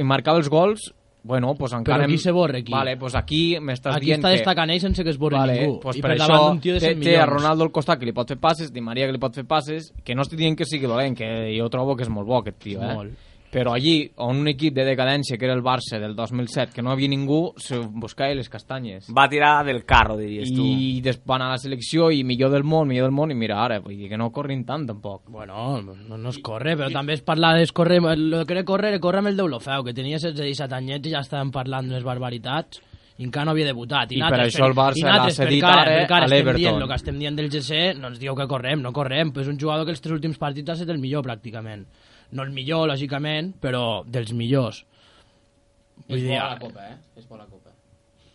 I marcava els gols, bueno, pues encara... Però em- qui se borra, aquí? Vale, pues aquí m'estàs Aquí dient està que... destacant ell sense que es borri vale, ningú. Pues I per, per davant això d'un tio de té, 100 té a milions. Ronaldo al costat que li pot fer passes, Di Maria que li pot fer passes, que no estic dient que sigui dolent, que jo trobo que és molt bo aquest tio, eh? Molt. Però allí, on un equip de decadència, que era el Barça del 2007, que no hi havia ningú, se buscava les castanyes. Va tirar del carro, diries tu. I des, van a la selecció i millor del món, millor del món, i mira, ara, vull dir que no corrin tant, tampoc. Bueno, no, no es corre, però també es parla de corre, el que era córrer, era córrer amb el Deulofeu, que tenia 16 i 17 anyets i ja estàvem parlant d'unes barbaritats i encara no havia debutat. I per natres això el Barça i natres l'ha per cedit cara, ara per cara a estem l'Everton. Dient, el que estem dient del GC no ens diu que correm, no correm, però és un jugador que els tres últims partits ha estat el millor, pràcticament. No el millor, lògicament, però dels millors. És Vull dir, bo la Copa, eh? És bo la Copa.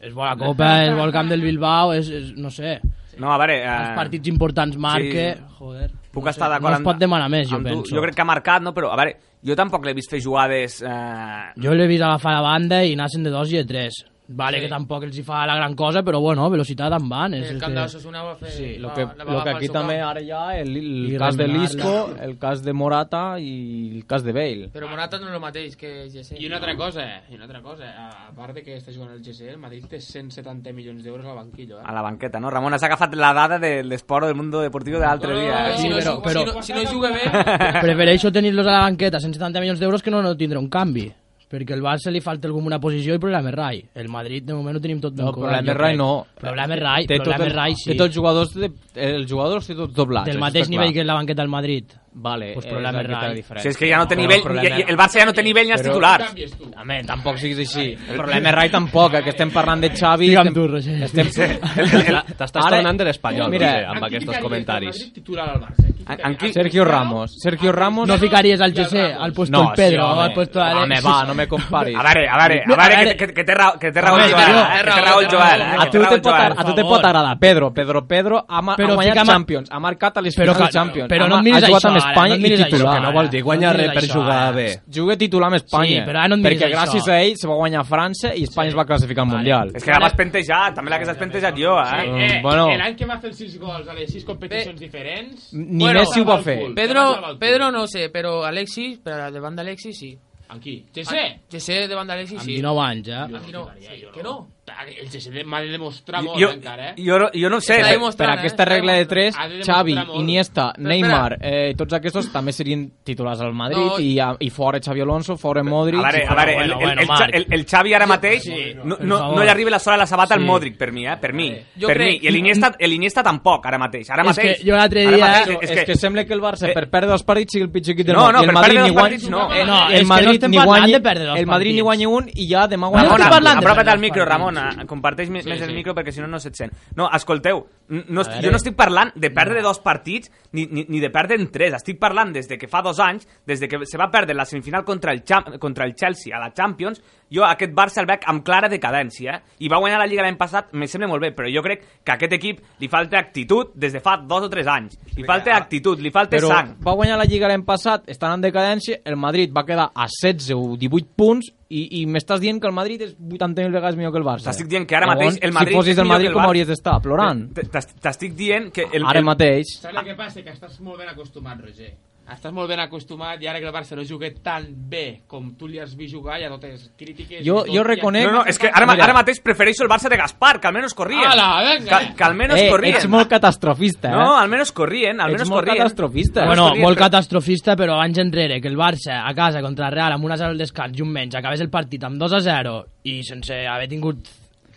és bo la Copa, és bo el camp del Bilbao, és, és no sé... No, a veure... Eh... Els partits importants marque... Joder, Puc no sé, estar no d'acord es pot demanar més, jo amb penso. Tu. Jo crec que ha marcat, no? Però, a veure, jo tampoc l'he vist fer jugades... Eh... Jo l'he vist agafar la banda i anar de dos i de tres. Vale, Sí. que tampoc els hi fa la gran cosa, però bueno, velocitat en van. És, El és camp que- de Osasuna va fer... Sí, lo va- que, la va lo que agafar al aquí seu també camp. ara ja el, el I cas de remenar-la. Lisco, el cas de Morata i el cas de Bale. Però Morata no és el E. mateix que Jesse. I una altra cosa, eh? I una altra cosa. A, a part de que està jugant el GC, el Madrid té 170 milions d'euros al banquillo, eh? A la banqueta, no? Ramon, has agafat la dada de l'esport del mundo deportivo de l'altre Ah, dia. Eh? Si no, però- però, però- si, no, si no juga bé... [LAUGHS] Prefereixo tenir-los a la banqueta 170 milions d'euros que no, no tindre un canvi. Perquè el Barça li falta alguna posició i problema és Rai. El Madrid de moment ho tenim tot ben No, problema cobrat, jo és Rai crec. no. Problema és Rai, Té problema tot és el- Rai, sí. Té tots els jugadors, de, els jugadors té tots doblats. Del això mateix està nivell clar. que és la banqueta del Madrid. Vale, pues eh, problema és és la Rai. diferència. Si és que ja no té No, nivell, problema ja- [LAUGHS] és- el Barça ja no té nivell ni als Però- titulars. Home, tampoc siguis així. El problema és Rai tampoc, eh, que estem parlant de Xavi... Digue'm tu, Roger. Estem... [LAUGHS] T'estàs Ara- tornant de l'espanyol, Mira, Roger, amb aquests comentaris. Titular al Barça. En qui... Sergio Ramos. Sergio Ramos... No ficaries al José, al puesto No, el Pedro, sí, home. al puesto Alex. Home, va, no me comparis. A veure, a veure, a veure, que, que, que té raó, que té raó el Home, Joel, no. eh? Que té raó el Joel, eh? A Que té tu raó te el pot, Joel. a tu te pot agradar Pedro, Pedro, Pedro ha, ma- Però ha guanyat fica'm a- Champions, ha marcat a les Però finals de que- Champions. però ha no ma- em miris ha jugat això amb ara, Espanya no em miris i titular. això Que no vol dir ara, guanyar no em res miris per això jugar ara. bé. Juga titular amb Espanya. Sí, però ara no em miris perquè això. gràcies a ell se va guanyar França i Espanya es va classificar al Mundial. És que la vas pentejar, també la que s'has pentejat jo, eh? Eh, eh, bueno. L'any que va fer els 6 gols eh. a les 6 competicions diferents... Ni Messi ho va fer. Pedro, Pedro no ho sé, però Alexis, però davant d'Alexis sí. Amb qui? GC? Ah, GC davant d'Alexis sí. 19 anys, eh? ja. Amb 19, sí, que no. El GC m'ha de demostrar molt, Jo- encara, eh? Jo, no- jo no ho sé. Per, Per, per eh, aquesta regla de 3, Ha de demostrar Xavi, molt. Iniesta, Però espera. Neymar, eh, tots aquests també serien titulars al Madrid No. i, a- i fora Xavi Alonso, fora Modric... A veure, i a fora- veure, el, el, el, Xa- el, el Xavi ara mateix no, no, no li arriba la sola a la sabata al Sí. Modric, per mi, eh? Per mi. Jo Per mi. crec- I l'Iniesta l'Iniesta tampoc, ara mateix. Ara És que mateix. jo l'altre Ara dia- mateix, Eh, és eh, que sembla que el Barça, per perdre els partits, sigui el pitjor equip del No, món. no, I el per Madrid perdre ni els guany- partits no. Eh, no, no, és el que no Madrid estem ni parlant guanyi- de perdre els el Madrid ni partits. guanya un i ja demà guanya Ramona, l'altre. apropa't al micro, Ramona. Comparteix més, més el micro perquè si no no se't sent. No, escolteu, n- no, est- veure. jo no estic parlant de perdre dos partits ni, ni, ni de perdre en tres. Estic parlant des de que fa dos anys, des de que se va perdre la semifinal contra el, Cham- contra el Chelsea a la Champions, jo aquest Barça el veig amb clara decadència. eh? I va guanyar la Lliga l'any passat, me sembla molt bé, però jo crec que a aquest equip li falta actitud des de fa dos o tres anys. Li falta actitud, li falta Però sang. va guanyar la Lliga l'any passat, estan en decadència, el Madrid va quedar a 16 o 18 punts i, i m'estàs dient que el Madrid és 80.000 vegades millor que el Barça. T'estic dient que ara mateix el Madrid Si és fossis el millor que Madrid, el com Barça. hauries d'estar? Plorant. T'est- T'estic dient que... El, Ara el- mateix. Saps el que passa? Que estàs molt ben acostumat, Roger. estàs molt ben acostumat i ara que el Barça no juga tan bé com tu li has vist jugar, ja totes crítiques... Jo- i tot, jo ja- reconec- No, no, és que ara, ma- ara mateix prefereixo el Barça de Gaspar, que almenys corrien. Ala, venga. que, que almenys eh, corrien. ets molt catastrofista, eh? No, almenys corrien, almenys Ets molt corrien. catastrofista. Almenys Bueno, corrien, molt però- catastrofista, però anys enrere, que el Barça a casa contra el Real amb una 0 al descans i un menys acabés el partit amb 2 a 0 i sense haver tingut,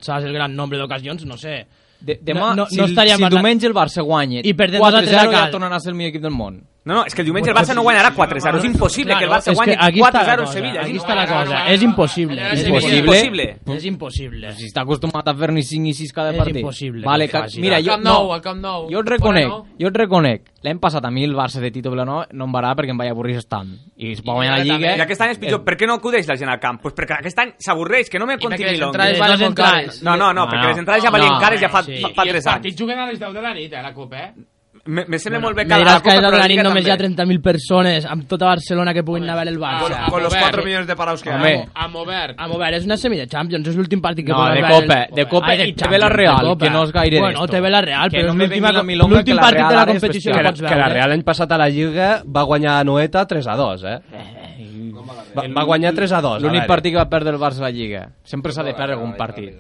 saps, el gran nombre d'ocasions, no sé. De, Demà, no, no, si, no estaria si parlant- diumenge el Barça guanya I perdem 4-0 dos a tres a ja casa. tornarà a ser el millor equip del món. No, no, és que el diumenge el Barça no guanyarà 4-0. És impossible que el Barça és que guanyi aquí està la 4-0 al cosa, Sevilla. Aquí És està la cosa, impossible. és impossible. És impossible. És impossible. Si està acostumat a fer-ne 5 i 6 cada És partit. impossible. Vale, No que, faci. mira, Al jo, Camp Nou, no, al Camp Nou. Jo et reconec, jo et reconec. L'any passat a mi el Barça de Tito Vilanova no em va agradar perquè em vaig avorrir tant. I es va guanyar la Lliga... I aquest any és Eh. pitjor. Per què no acudeix la gent al camp? Pues perquè aquest any s'avorreix, que no me conti les milongues. entrades valen molt cares. No, no, no, No, Ah. perquè no. les entrades ja valien No, cares ja fa, sí. fa, fa I els 3 anys. partits juguen a les 10 de la nit, a la Copa, eh? Me, me sembla molt bé Me diràs que a la nit Lliga només hi ha també. 30.000 persones amb tota Barcelona que puguin anar a veure el Barça. Con- con los Obert. cuatro millones de parados que Home. hay. A Mover. A veure, és una semi de Champions, és l'últim partit que No, podràs de veure el- Copa, de Copa Ai, de i te ve la Champions, Real, de Copa. que no és gaire Bueno, d'esto. te ve la Real, Que però no és me l'última venga co- milonga, que l'últim la partit Real de la ara és competició bestial. que pots Que la- Que veure. la Real l'any passat a la Lliga va guanyar a Noeta 3 a 2, eh? Va, va guanyar 3 a 2. L'únic a veure. partit que va perdre el Barça a la Lliga. Sempre s'ha de perdre algun partit.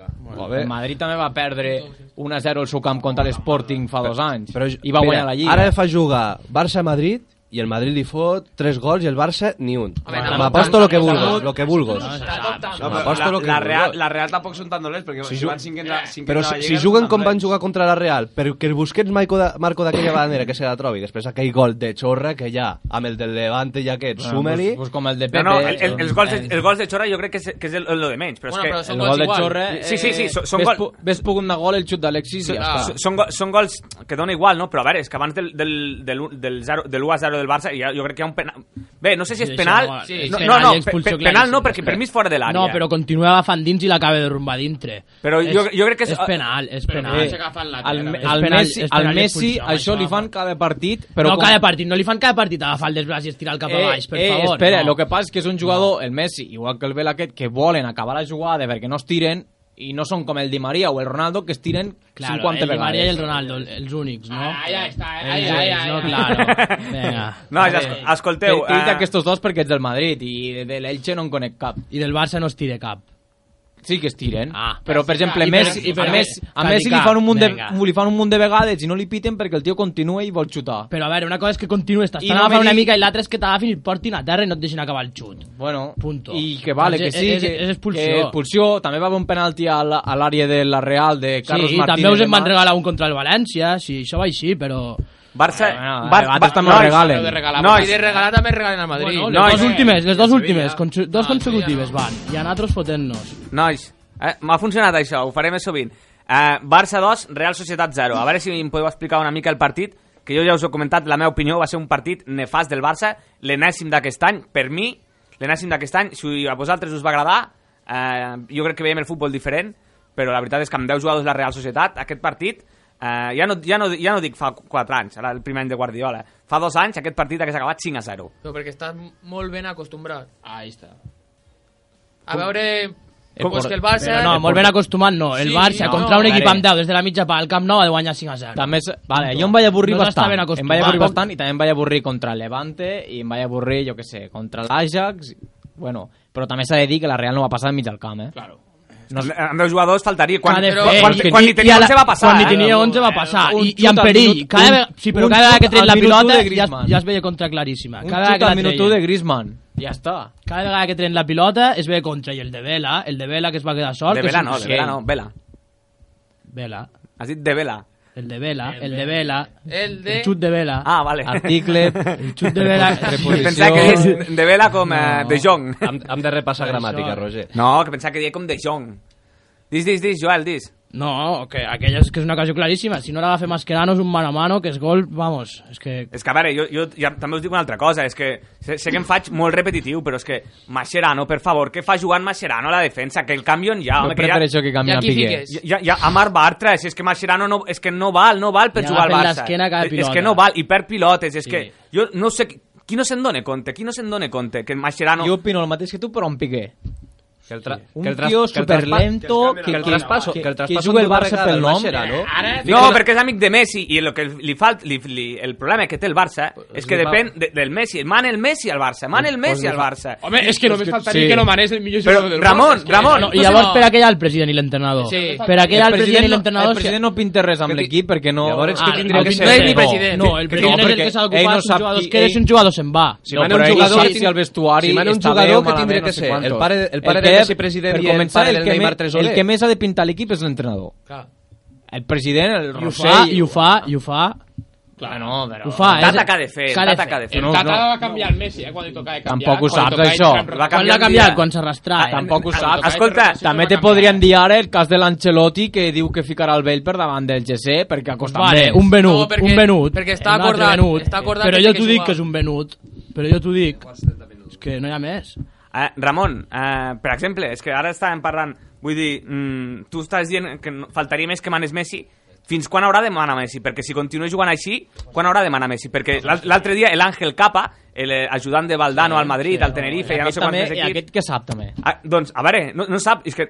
El Madrid també va perdre 1-0 al seu camp contra l'Sporting fa dos anys. Però, I va guanyar Mira, la Lliga. Ara fa jugar Barça-Madrid i el Madrid li fot 3 gols i el Barça ni un. Ah, no, M'aposto no, lo que no, vulguis, no, lo que vulguis. No, però M'aposto lo que la, la, Real, vulguis. la Real tampoc són tan dolents, perquè Si si ju- van cinquens a, cinquens Però a la si, si Lliga, juguen estan com van dolents. jugar contra la Real, perquè el Busquets Marco, de, Marco d'aquella manera que se la trobi, després aquell gol de xorra que ja, amb el del Levante i aquest, Bueno, suma-li... Ah, pues- pues com el de Eh. No, no, el, el, els, gols de, els gols de Chorra jo crec que és, que és el, el de menys. Però és Bueno, que però són El gols gol de igual. Chorra, Sí, sí, sí, eh, són, són ves gols... ah. Ves pogut anar gol el xut d'Alexis i ja està. Són, go- són gols que dona igual, no? Però a veure, és que abans del, del, del, del, 0, de l'1 a 0 del Barça hi ha- jo crec que hi ha un penal... Bé, no sé si és Sí, penal... això, sí, no, és no, penal, no, i expulsió pe- pe- clara, penal no, sí, perquè sí. per mi és fora de l'àrea. No, però continua agafant dins i l'acaba de rumbar dintre. Però jo- jo crec que és- És penal, és Però penal. no s'agafen la ¿eh? Al, És al penal, Messi, és al penal i Messi expulsió, això li home. fan cada partit, però... no com- cada partit, no li fan cada partit agafar el desbraç i estirar el cap a baix, per eh, favor. espera, no. el que passa és que és un jugador, el Messi, igual que el Bel aquest, que volen acabar la jugada perquè no es tiren i no són com el Di Maria o el Ronaldo que es tiren Claro, 50 el Di vegades. Maria i el Ronaldo, els únics, no? Ah, ja està, eh? Els Ai, ai, ai, únics, no, [LAUGHS] ai. claro. Vinga. Nois, es- escolteu, T'he dit eh, aquests dos perquè ets del Madrid i de- de l'Elche no en conec cap. I del Barça no es tira cap. Sí que es tiren. Ah, però, per exemple, I per- Messi, i per- a Messi, a Cadi Messi li, cap, fan un munt de, vinga. li fan un munt de vegades i no li piten perquè el tio continua i vol xutar. Però a veure, una cosa és que continues, t'estan I no no agafant me una digui- mica i l'altra és que t'agafin i et portin a terra i no et deixin acabar el xut. Bueno, Punto. I que vale, que Doncs sí, és- que, és- és expulsió. que expulsió. També va haver un penalti a la- a l'àrea de la Real de Carlos sí, i Martínez. també us en demà. van regalar un contra el València, si això va així, però... Barça... Bueno, Bar- a Bar- també el regalen. de regalar, Nois. però si de regalar també regalen al Madrid. Bueno, les Nois. dues últimes, les dues últimes, consu- dos consecutives van, i a nosaltres fotent-nos. Nois, eh, m'ha funcionat això, ho faré més sovint. Eh, Barça 2, Real Societat 0. A veure si em podeu explicar una mica el partit, que jo ja us he comentat, la meva opinió va ser un partit nefast del Barça, l'enèsim d'aquest any, per mi, l'enèsim d'aquest any, si a vosaltres us va agradar, eh, jo crec que veiem el futbol diferent, però la veritat és que amb 10 jugadors de la Real Societat, aquest partit, eh, ja, no, ja, no, ja no dic fa 4 anys, ara el primer any de Guardiola, fa 2 anys aquest partit hagués acabat 5 a 0. Però perquè estàs molt ben acostumbrat. Ahí està. A Com- veure... Eh, Com- pues que el Barça... Però no, molt ben acostumat no. El Sí, Barça, no, contra no, un a equip veure. eh. amb 10 des de la mitja part, al Camp Nou ha de guanyar 5 a 0. També és, vale, jo em vaig avorrir No s'està bastant. ben Em vaig avorrir acostumat. bastant i també em vaig avorrir contra el Levante i em vaig avorrir, jo que sé, contra l'Ajax. i- Bueno, però també s'ha de dir que la Real no va passar enmig del camp, eh? Claro. No, amb 10 jugadors faltaria. Quan, Ha de però, fer, quan, i que quan ni- li i tenia a la- 11 va passar. Quan li eh? tenia 11 va passar, Un i, xut i en al perill. minut- Cada un- vegada, sí, però un cada vegada xut que tret al la minut u de pilota ja, es- Griezmann. ja es veia contra claríssima. Un Cada xut vegada al que la minut u treien. de Griezmann. Ja està. Cada vegada que tren la pilota es ve contra i el de Vela, el de Vela que es va quedar sol. De que Vela és no, de insuficient. Vela no, Vela. Vela. Has dit de Vela. El de Vela, el de Vela, el de... El xut de Vela. Ah, vale. [LAUGHS] Article, El xut de Vela. Pensava que deies de Vela com eh, de Jong. Hem, hem de [LAUGHS] repassar gramàtica, Roger. No, que pensava que deia com de Jong. Dis, dis, dis, Joel, dis. No, que aquella és, que és una ocasió claríssima. Si no la va fer Mascherano és un mano a mano, que és gol, vamos, és que... És que, a veure, jo, jo ja, també us dic una altra cosa, és que sé, sé que em faig molt repetitiu, però és que Mascherano, per favor, què fa jugant Mascherano a la defensa? Que el canvien ja, Jo home, que ja... prefereixo que canvien Ja a qui Piqué. fiques? Ja, ja, a Marc Bartra, si és que Mascherano no, és que no val, no val per Ja jugar al agafen Barça. l'esquena a cada És- És pilota. que no val, i perd pilotes, és que jo no sé... Qui no se'n dona compte? Qui no se'n dona compte? Que Mascherano... Jo opino el mateix que tu, però amb Piqué. Que el tra- Un que el tras- tio que el traspàs- superlento que que, el traspasso- que el traspasso juga el d'una Barça vegada pel el nom. baixarà, no? Ara- Dic No, que- perquè és amic de Messi i el que li falta, li, li, el problema que té el Barça és que li fa- depèn de, del Messi. Man el Messi al Barça, man el Messi li al Pues fa- Barça. Home, és que només faltaria que no manés el millor Però, jugador del Ramon, món, és que- Ramon, No, I llavors per aquell el president i l'entrenador. Sí. Per aquell el president i no- l'entrenador... El president no pinta res amb l'equip perquè no... Llavors, què tindria que ser? No, no, el president és el que s'ha d'ocupar dels jugadors que deixen jugador se'n va. Si mana un jugador, si el vestuari si mana un està jugador, bé o què tindria malament, que no sé ser? quantos. El pare- el pare de que- Messi president per i el començar, pare del que Neymar me- tresorer. El que més ha de pintar l'equip és l'entrenador. El president, el I ho fa, Rossell... i ho fa, i ho fa... Clar, no, però... Ho fa, eh? Tata que ha de fer, Tata que ha de El No, Tata no. va canviar el Messi, eh, quan li tocava canviar. Tampoc quan ho li saps, tocava això. Inter- Quan l'ha canviat? Quan s'arrastrà. Ah, tampoc ho saps. Escolta, també te podrien dir ara el cas de l'Ancelotti que diu que ficarà el vell per davant del GC perquè ha costat Vale, més. un venut, no, perquè, un venut. perquè està un altre acordat, venut. està acordat Però que jo té t'ho que dic jugar. que és un venut. Però jo t'ho dic. És que no hi ha més. Ah, Ramon, eh, per exemple, és que ara estàvem parlant, vull dir, mm, tu estàs dient que no- faltaria més que manés Messi, fins quan haurà de manar Messi? Perquè si continua jugant així, quan haurà de manar Messi? Perquè l'al- l'altre dia l'Àngel Capa, l'ajudant de Valdano al Madrid, al Tenerife, ja no sé Aquest quants també- més i equips... Aquest que sap, també. Ah, doncs, a veure, no, no sap, és que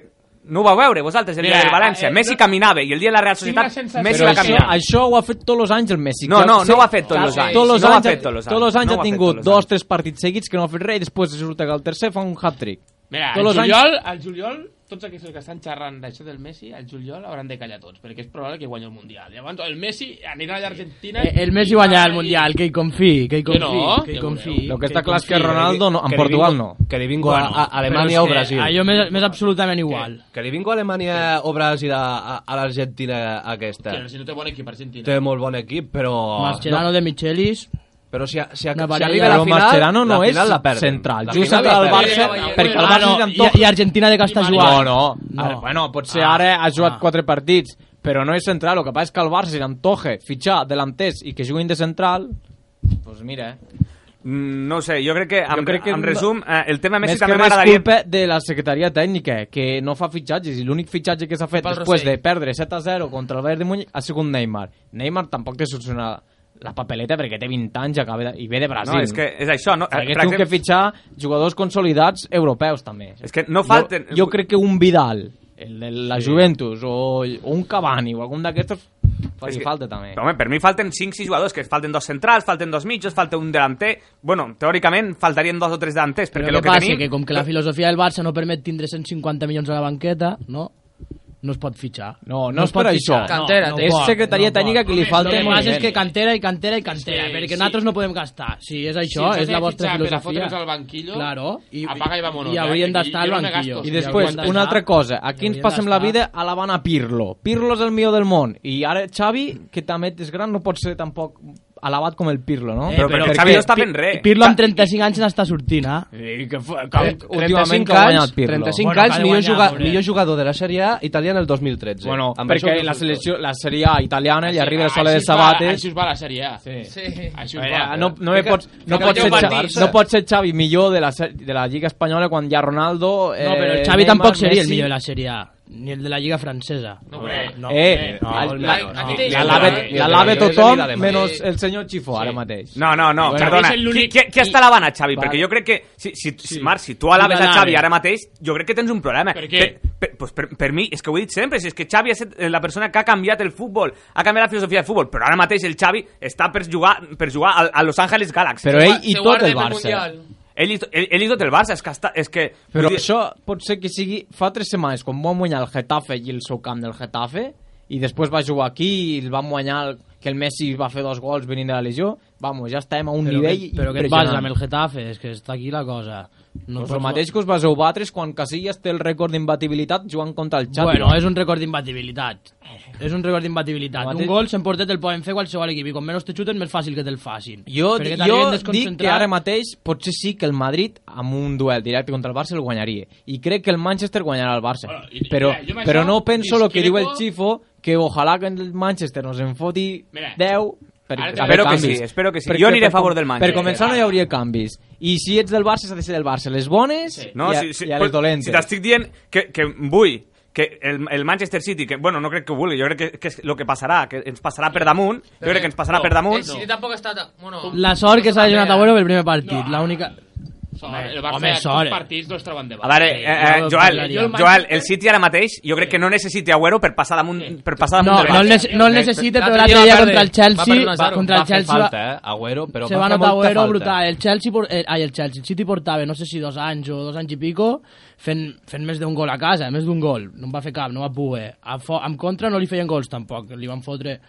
no ho vau veure vosaltres el dia Mira, del València. eh, Messi caminava i el dia de la Real Societat Messi Però va caminar. Això, això ho ha fet tots els anys el Messi. No, Que no, ha- no ho ha fet tots que els anys. Tots els No ho ha anys, fet tots els anys. Tots els anys No ho ha ha fet tingut tots els dos, tres partits seguits que no ha fet res i després resulta que el tercer fa un hat-trick. Mira, Tots el els anys- juliol, el juliol, tots aquests que estan xerrant d'això del Messi, el juliol hauran de callar tots, perquè és probable que guanyi el Mundial. Llavors, el Messi anirà a l'Argentina... Eh, El Messi guanyarà el Mundial, que hi confiï, que hi confiï, que hi confiï. Lo que està clar és que Ronaldo no, en Portugal no. Que li vingo a, a Alemanya o Brasil. Allò m'és m'és absolutament igual. Que li vingo a Alemanya o Brasil a, a, a l'Argentina aquesta. Que si no té bon equip, Argentina. Té molt bon equip, però... Mascherano de Michelis... Però si, si, Una si parella. arriba a la Però final, Mascherano la no és final la perden. central. La Just final central la al perden. Barça, perquè el Ah, Barça no, li i, antoja. I Argentina de què està jugant? Ah. No, no. Ara, bueno, potser ara ha jugat quatre partits, però no és central. El que passa és que el Barça, si l'antoje fitxar delanters i que juguin de central, doncs pues mira... Mm, No ho sé, jo crec que, en, Jo crec que en no- resum, eh, el tema Messi Més que també res m'agradaria... culpa de la secretaria tècnica, que no fa fitxatges, i l'únic fitxatge que s'ha fet Pel després Rossell. de perdre 7-0 contra el Bayern de Múnich ha sigut Neymar. Neymar tampoc té solucionat la papeleta perquè té 20 anys i, acaba de, i ve de Brasil. No, és que és això, no? eh, Hagués Per tingut exemple- que fitxar jugadors consolidats europeus, també. És que no falten- Jo, jo crec que un Vidal, el de la Juventus, o, o un Cavani, o algun d'aquestos, És faci que- falta, també. Home, per mi falten 5-6 jugadors, que falten dos centrals, falten dos mitjos, falta un delanter... Bueno, teòricament faltarien dos o tres delanters, Però perquè què lo que passa? tenim... Que com que la filosofia del Barça no permet tindre 150 milions a la banqueta, no? No es pot fitxar. No, no, és per això. Cantera, és secretaria tècnica que li falta... El que passa és moviment. que cantera i cantera i cantera, perquè nosaltres no podem gastar. Si és això, si és la vostra filosofia. Si al banquillo, Claro, i, apaga i vámonos. i haurien eh? Jo d'estar al no me banquillo. gasto. I després, una haurien d'estar- Eh, altra cosa. Aquí ens haurien passem la d'estar- vida a la vana Pirlo. Pirlo és el millor del món. I ara Xavi, que també és gran, no pot ser tampoc alabat com el Pirlo, no? Eh, Però perquè Xavi no està fent res. I Pirlo amb 35 anys n'està sortint, eh? I que fa, Eh, últimament 35 que ha guanyat anys, Pirlo. 35 Bueno, anys, que ha de millor, guanyar, jugador, pobret. millor jugador de la Sèrie A italiana el 2013. Bueno, Amb això perquè no la, surto. selecció, la sèrie A italiana li arriba el sole de Així us va- sabates. Així us va la Sèrie A. Sí. Així us va. Ah, no, no, me pots, no, Fica- pot ser fica el Xavi, Barça. no pot ser Xavi millor de la, ser- de la Lliga Espanyola quan hi ha Ronaldo... Eh, No, però el Xavi tampoc seria el millor de la Sèrie A, ni el de la Lliga francesa. No, No, eh, no, no, la, no, la, no. la, lave- la lave tothom menys el senyor Xifó ara mateix. Eh, No, no, no, Bueno, perdona. és el Qui, l'únic- qui, qui està lavant a Xavi? Val. Perquè jo crec que... Si, si, si, Marc, si tu alaves a l'alave. Xavi ara mateix, jo crec que tens un problema. Per què? Per, per, pues per, per mi, és que ho he dit sempre, si és que Xavi és la persona que ha canviat el futbol, ha canviat la filosofia del futbol, però ara mateix el Xavi està per jugar, per jugar al- a Los Angeles Galaxy. Però ell i Se guarda tot el pel Barça. Mundial. Ell i, to- ell, ell i tot el Barça, és que... Està, és que Però vull dir- això pot ser que sigui... Fa tres setmanes, quan van guanyar el Getafe i el seu camp del Getafe, i després va jugar aquí i el van guanyar el, que el Messi va fer dos gols venint de la lesió, vamos, ja estàvem a un Però, nivell que, però què et impressionant. vas amb el Getafe? És que està aquí la cosa. No pues pots- el mateix que us vas batres quan Casillas té el rècord d'imbatibilitat jugant contra el Xavi. Bueno, és un rècord d'imbatibilitat. És un rècord d'imbatibilitat. Mateix- Un gol, s'en portet, el poden fer qualsevol equip. I com menys te xuten, més fàcil que te'l facin. Jo, Perquè t'arriben jo dic que desconcentrats. ara mateix potser sí que el Madrid amb un duel directe contra el Barça el guanyaria i crec que el Manchester guanyarà el Barça però, mira, jo amb però això no penso el que diu el discrepo. Chifo que ojalà que el Manchester nos en foti Mira, 10 per, ara te- per Espero que canvis. sí, espero que sí. Perquè Jo aniré a per com- favor del Manchester. per començar no hi hauria canvis i si ets del Barça s'ha de ser del Barça les bones No, i, a, si, si, i a però les dolentes Si t'estic dient que, que vull que el, el Manchester City, que, bueno, no crec que ho vulgui, jo crec que, que és el que passarà, que ens passarà per damunt, jo crec eh, que ens passarà per damunt. El City tampoc està... tan- Bueno, eh, La sort que s'ha donat a Bueno pel primer partit. No. L'única... Sort, el Barça home, home, sort, eh? sort, partits no es troben de A veure, eh, eh, Joel, Jo el Manchester- Joel, el City ara mateix jo crec que no necessita Agüero per passar damunt, per passar damunt No, del no el Barça. nec- no el necessita, però l'altre dia contra el Chelsea... Va- Contra va el fer Chelsea falta, eh, Agüero, però se va va fer notar molta Agüero falta. brutal. El Chelsea, por, eh, ai, el Chelsea, el City portava, no sé si dos anys o dos anys i pico, fent, fent més d'un gol a casa, més d'un gol. No en va fer cap, no va poder. A fo amb contra no li feien gols tampoc, li van fotre...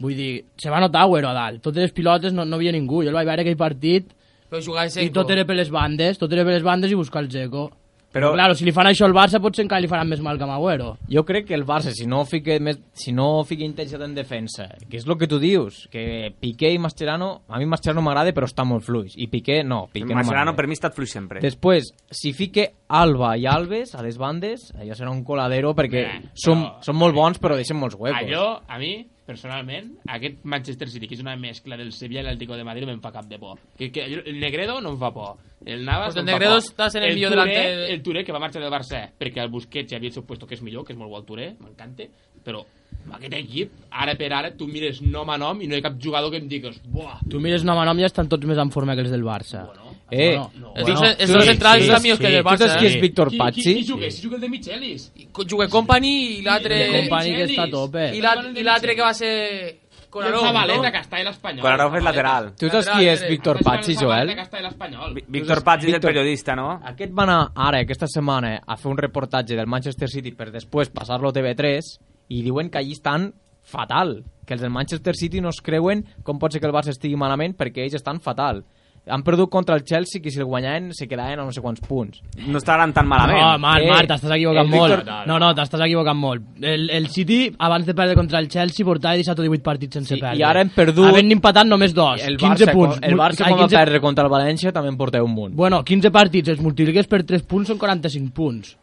Vull dir, se va notar Agüero a dalt. Totes les pilotes no, no havia ningú. Jo el vaig veure aquell partit Però jugava i Seco. tot era per les bandes, tot era per les bandes i buscar el Zeco. Però- Però, claro, si li fan això al Barça potser encara li faran més mal que a Agüero. Jo crec que el Barça, si no fica, més, si no fica intensitat en defensa, que és el que tu dius, que Piqué i Mascherano, a mi Mascherano m'agrada però està molt fluix, i Piqué no, Piqué Mascherano no per mi ha estat fluix sempre. Després, si fique Alba i Alves a les bandes, allò serà un coladero perquè Bé, eh, són, són molt bons però deixen molts huecos. Allò, a mi, personalment, aquest Manchester City, que és una mescla del Sevilla i l'Atlético de Madrid, no em fa cap de por. Que, que el Negredo no em fa por. El Navas Pues el no em fa Negredo por. està sent el millor Touré- delante de- El Touré, que va marxar del Barça, perquè el Busquets ja havia supuesto que és millor, que és molt bo el Touré, m'encanta, però amb aquest equip, ara per ara, tu mires nom a nom i no hi ha cap jugador que em digues buah, Tu mires nom a nom i estan tots més en forma que els del Barça. Eh, Els dos- els dos centrals estan millors que el del Barça, Tu saps qui eh? és Víctor Qui- qui- Pazzi? qui juga? Si juga el de Michelis. Jugué Company i l'altre... El de Company, que està a tope. I l'al- i l'altre que va ser... Colarov, I el Zabaleta, no? que està a l'Espanyol. Kolarov és lateral. Tu saps qui és Víctor Pazzi, Joel? Que està a l'Espanyol. Vi- Víctor Pazzi és el periodista, no? Aquest va anar ara, aquesta setmana, a fer un reportatge del Manchester City per després passar-lo a TV3 i diuen que allí estan fatal, que els del Manchester City no es creuen com pot ser que el Barça estigui malament perquè ells estan fatal. Han perdut contra el Chelsea, que si el guanyaven se quedaven a no sé quants punts. No estaran tan malament. Eh, No, Marc, Marc, t'estàs equivocant el molt. Eh. Víctor- No, no, t'estàs equivocant molt. El, el City, abans de perdre contra el Chelsea, portava 17 o 18 partits sense perdre. i ara hem perdut- Havent empatat només dos. El 15 Barça, punts. el Barça Ai, quan va perdre contra el València també en porteu un munt. Bueno, 15 partits, els multipliques per 3 punts, són 45 punts.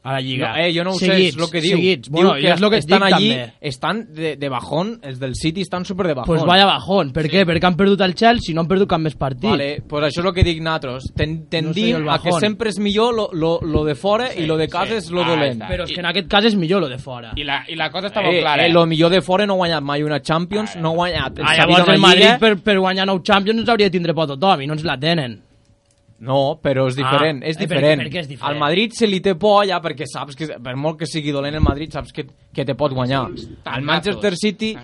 A la Lliga. No, eh, jo no ho seguits, sé, és el que diu. Seguits, Diu bueno, que i és el que estan dic, allí, també. estan de, de bajón, els del City estan super de bajón. Pues vaya bajón. Per què? Perquè han perdut el Chelsea, no han perdut cap més partit. Vale, pues això és el que dic nosaltres. Ten, No sé, tendim el no a que bajón. sempre és millor lo, lo, lo de fora sí, i lo de casa sí. és lo Ah, dolent. està. Però és que en aquest cas és millor lo de fora. I la, i la cosa està eh, eh, lo millor de fora no ha guanyat mai una Champions, no ha guanyat. Ah, s'ha vist llavors una el Madrid lliga. per, per guanyar nou Champions ens hauria de tindre por a tothom i no ens la tenen. No, però és Ah, diferent, és eh, per- diferent. per què és diferent? Al Madrid se li té por allà perquè saps que, per molt que sigui dolent el Madrid, saps que, que te pot guanyar. Al Manchester City Ah,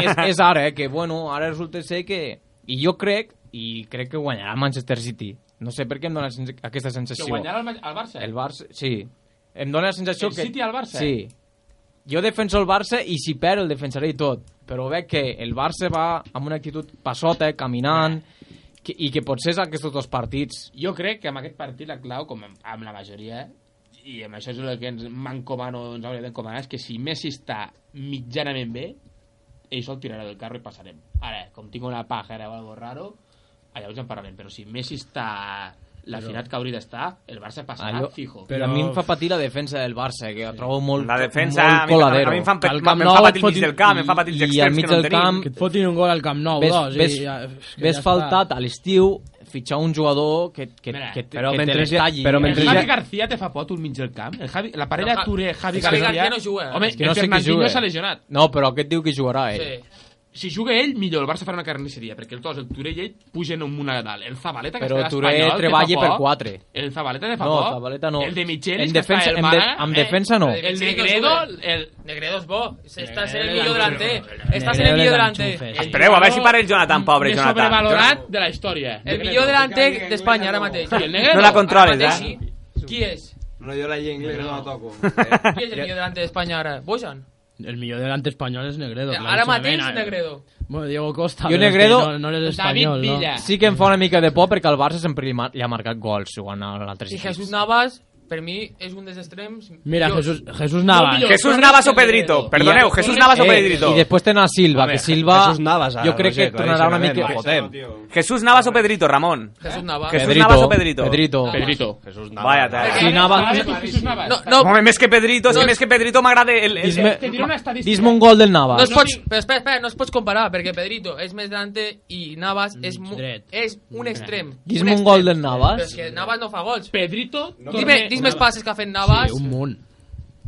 és, és ara, eh, que bueno, ara resulta ser que... I jo crec, i crec que guanyarà el Manchester City. No sé per què em dóna sen- aquesta sensació. Que guanyarà el Ma- el Barça? El Barça, sí. Em dóna la sensació El que... City al Barça? Sí. Jo defenso el Barça i si perd el defensaré i tot. Però veig que el Barça va amb una actitud passota, eh, caminant, que, i que potser és aquests dos partits. Jo crec que amb aquest partit la clau, com amb, amb la majoria, i amb això és el que ens mancomano, ens hauria d'encomanar, és que si Messi està mitjanament bé, ell se'l tirarà del carro i passarem. Ara, com tinc una pàgera o algo raro, llavors en parlarem. Però si Messi està la Però- finat que hauria d'estar, el Barça passarà Allò- fijo. Però Ah, a mi em fa patir la defensa del Barça, que la trobo molt La defensa, a molt mi- a mi- coladera. a mi em fan pe- Al Camp em fa Nou patir et el mig fotin- del camp, em fa patir els i- i extrems al mig que no en del tenim. camp- Que et fotin un gol al Camp Nou, Ves, dos, i ves, ja- és que ves ja faltat a l'estiu fitxar un jugador que, que, Mira, que, eh. però que mentre ja- l'estalli. però mentre El Javi ja- García te fa pot un mig del camp? El Javi, la parella No, Ja- Touré, Javi És que Javi García... García no juga, eh? Home, És que el no sé qui Fernandinho juga. s'ha lesionat. No, però aquest diu que jugarà, eh? Sí. Si juga ell, millor. El Barça farà una carnisseria, perquè els dos, el Touré i ell, pugen un munt a dalt. El Zabaleta, que Però està a Touré l'Espanyol, que treballa fa per por. quatre. El Zabaleta de fa No, por. Zabaleta no. El de Michelis, En que està defensa- el en Mare, de- en defensa no. El Sí, no Negredo... sube. El... Negredo és bo. Està sent el Negredo millor és delanter. bo. Està sent el millor delanter. Espereu, a veure si para el Jonathan, pobre més Jonathan. sobrevalorat de la història. El millor delanter d'Espanya ara mateix. I el Negredo? No la controles, Ara mateix, eh? Ah, sí. Qui és? No, jo la llei inglesa no la toco. Qui és el millor delanter d'Espanya ara? Bojan? Eh, El millor delante espanyol és Negredo. Ara mateix, claríssimament. eh. Negredo. Bueno, Diego Costa. Jo però és que Negredo... No, no és espanyol, no? Sí que em fa una mica de por perquè el Barça sempre li, mar li ha marcat gols jugant a l'altre I equip. Jesús Navas, per mi, és un dels extrems... Mira, millors. Jesús, Jesús Navas. Jesús Navas o Pedrito. Perdoneu, Jesús Navas o Pedrito. Eh, I després tenen a Silva, Home, que Silva... Jesús Navas, ah, ara, jo crec que Roger, tornarà una mica... claríssimament. Jesús Navas o Pedrito, Ramon. Jesús Navas. Jesús Pedrito, Navas o Pedrito. Pedrito. Pedrito. Jesús Navas. Vaya tela. Sí, Navas... No, no. Home, més que Pedrito, és No que és- més que Pedrito m'agrada el... el- Dis-me- Te diré una estadística. Dis-me un gol del No Navas. es pots, però espera, espera, no es pots comparar, perquè Pedrito és més delante i Navas és, mu, és un extrem. Dis-me un gol del Navas. Però és que Navas no fa gols. Pedrito... Dime, dis més passes que ha fet Navas. Sí, un munt.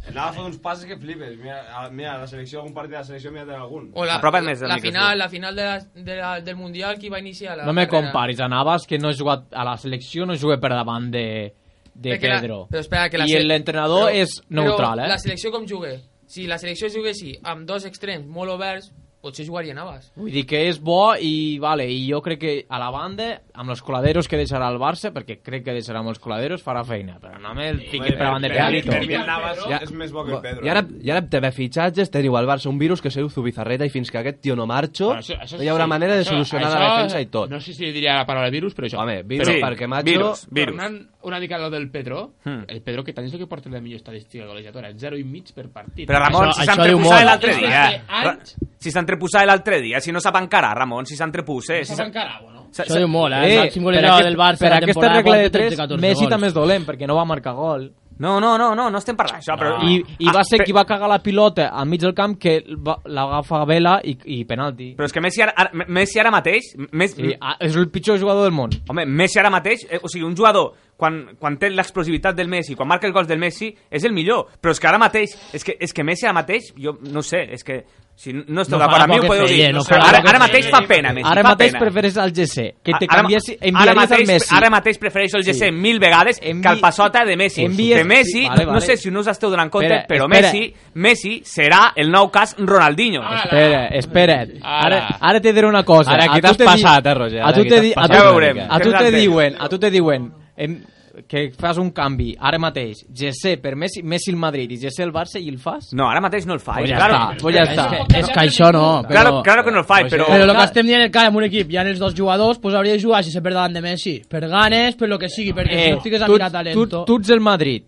Anava a fer uns passes que flipes. Mira, a- mira la selecció, algun partit de la selecció, mira algun. O la, Apropa't més el la micro, final, la final de la, de la, del Mundial qui va iniciar la No me carrera. comparis a Navas, que no ha jugat a la selecció, no juga per davant de, de Perquè la- Pedro. però espera, que la I se- l'entrenador però- és neutral, però eh? la selecció com jugué? Si la selecció juguessi amb dos extrems molt oberts, potser jugaria Navas. Vull dir que és bo i, vale, i jo crec que a la banda, amb els coladeros que deixarà el Barça, perquè crec que deixarà molts coladeros, farà feina. Però no me el fiqui Bueno, per davant de per- Pedrito. per mi el Navas és més bo que el Pedro. I ara, i ara amb telefitxatges teniu al Barça un virus que seu Zubizarreta i fins que aquest tio no marxo Bueno, això- això no hi haurà sí. manera de Això- solucionar la això- defensa i tot. No sé si diria la paraula virus, però això. Home, virus Sí, perquè Macho- virus, virus. Tornant una mica a lo del Pedro, Hmm. el Pedro que tant és el que porta la millor estadística golejadora, 0 i mig per partit. Però Ramon, Això- si això diu s'entreposava molt. l'altre És que dia... anys- Ra- Si s'entreposava l'altre dia, si no sap encara, Ramon, si s'entrepús, eh? Si sap encara, bueno. S'ha- Això diu molt, eh? El màxim per, golejador aquest, del Barça per la aquesta temporada regla de porta 3, 13-14 Messi gols. també és dolent, perquè no va marcar gol. No, no, no, no, no estem parlant d'això, Ah, però... I, i va ser qui va cagar la pilota al mig del camp que va- l'agafa Vela i, i Ah, penalti. Però és que Messi ara, ara, Messi ara mateix... Messi, Sí, ah, és el pitjor jugador del món. Home, Messi ara mateix, eh, o sigui, un jugador, quan, quan té l'explosivitat del Messi, quan marca els gols del Messi, és el millor. Però és que ara mateix, és que, és que Messi ara mateix, jo no sé, és que si no esteu No d'acord farà amb mi poc ho que podeu feia, dir. no sé, farà ara, poc que ara mateix feia. fa pena, Messi, Ara fa mateix pena. prefereix el GC, que Ara- te ara canvies, ma- enviaries ara mateix, el Messi. Ara mateix prefereixo el GC mil vegades que el passota de Messi. Envies- Que Messi, sí, vale, no vale. sé si no us esteu donant compte, Espera, però espera. Messi Messi serà el nou cas Ronaldinho. Espera, espera. Ara, ara te diré una cosa. Ara, aquí A tu t'has te di- passat, eh, Roger? A Ara tu aquí te, t'has di- a passat tu, Ja veurem. A tu te Fernàndez. diuen, a tu te diuen em, que fas un canvi ara mateix, GC per Messi, Messi el Madrid i GC el Barça i el fas? No, ara mateix no el fa. Pues ja claro. està, pues ja està. És que això no, però... Claro, claro que no el fa, però... eh, Però el que estem dient és que amb un equip hi ha els dos jugadors, pues hauria de jugar si se per davant de Messi. Per ganes, per lo que sigui, perquè Eh, si no estigues a tu, mirar tu, talento... tu ets el Madrid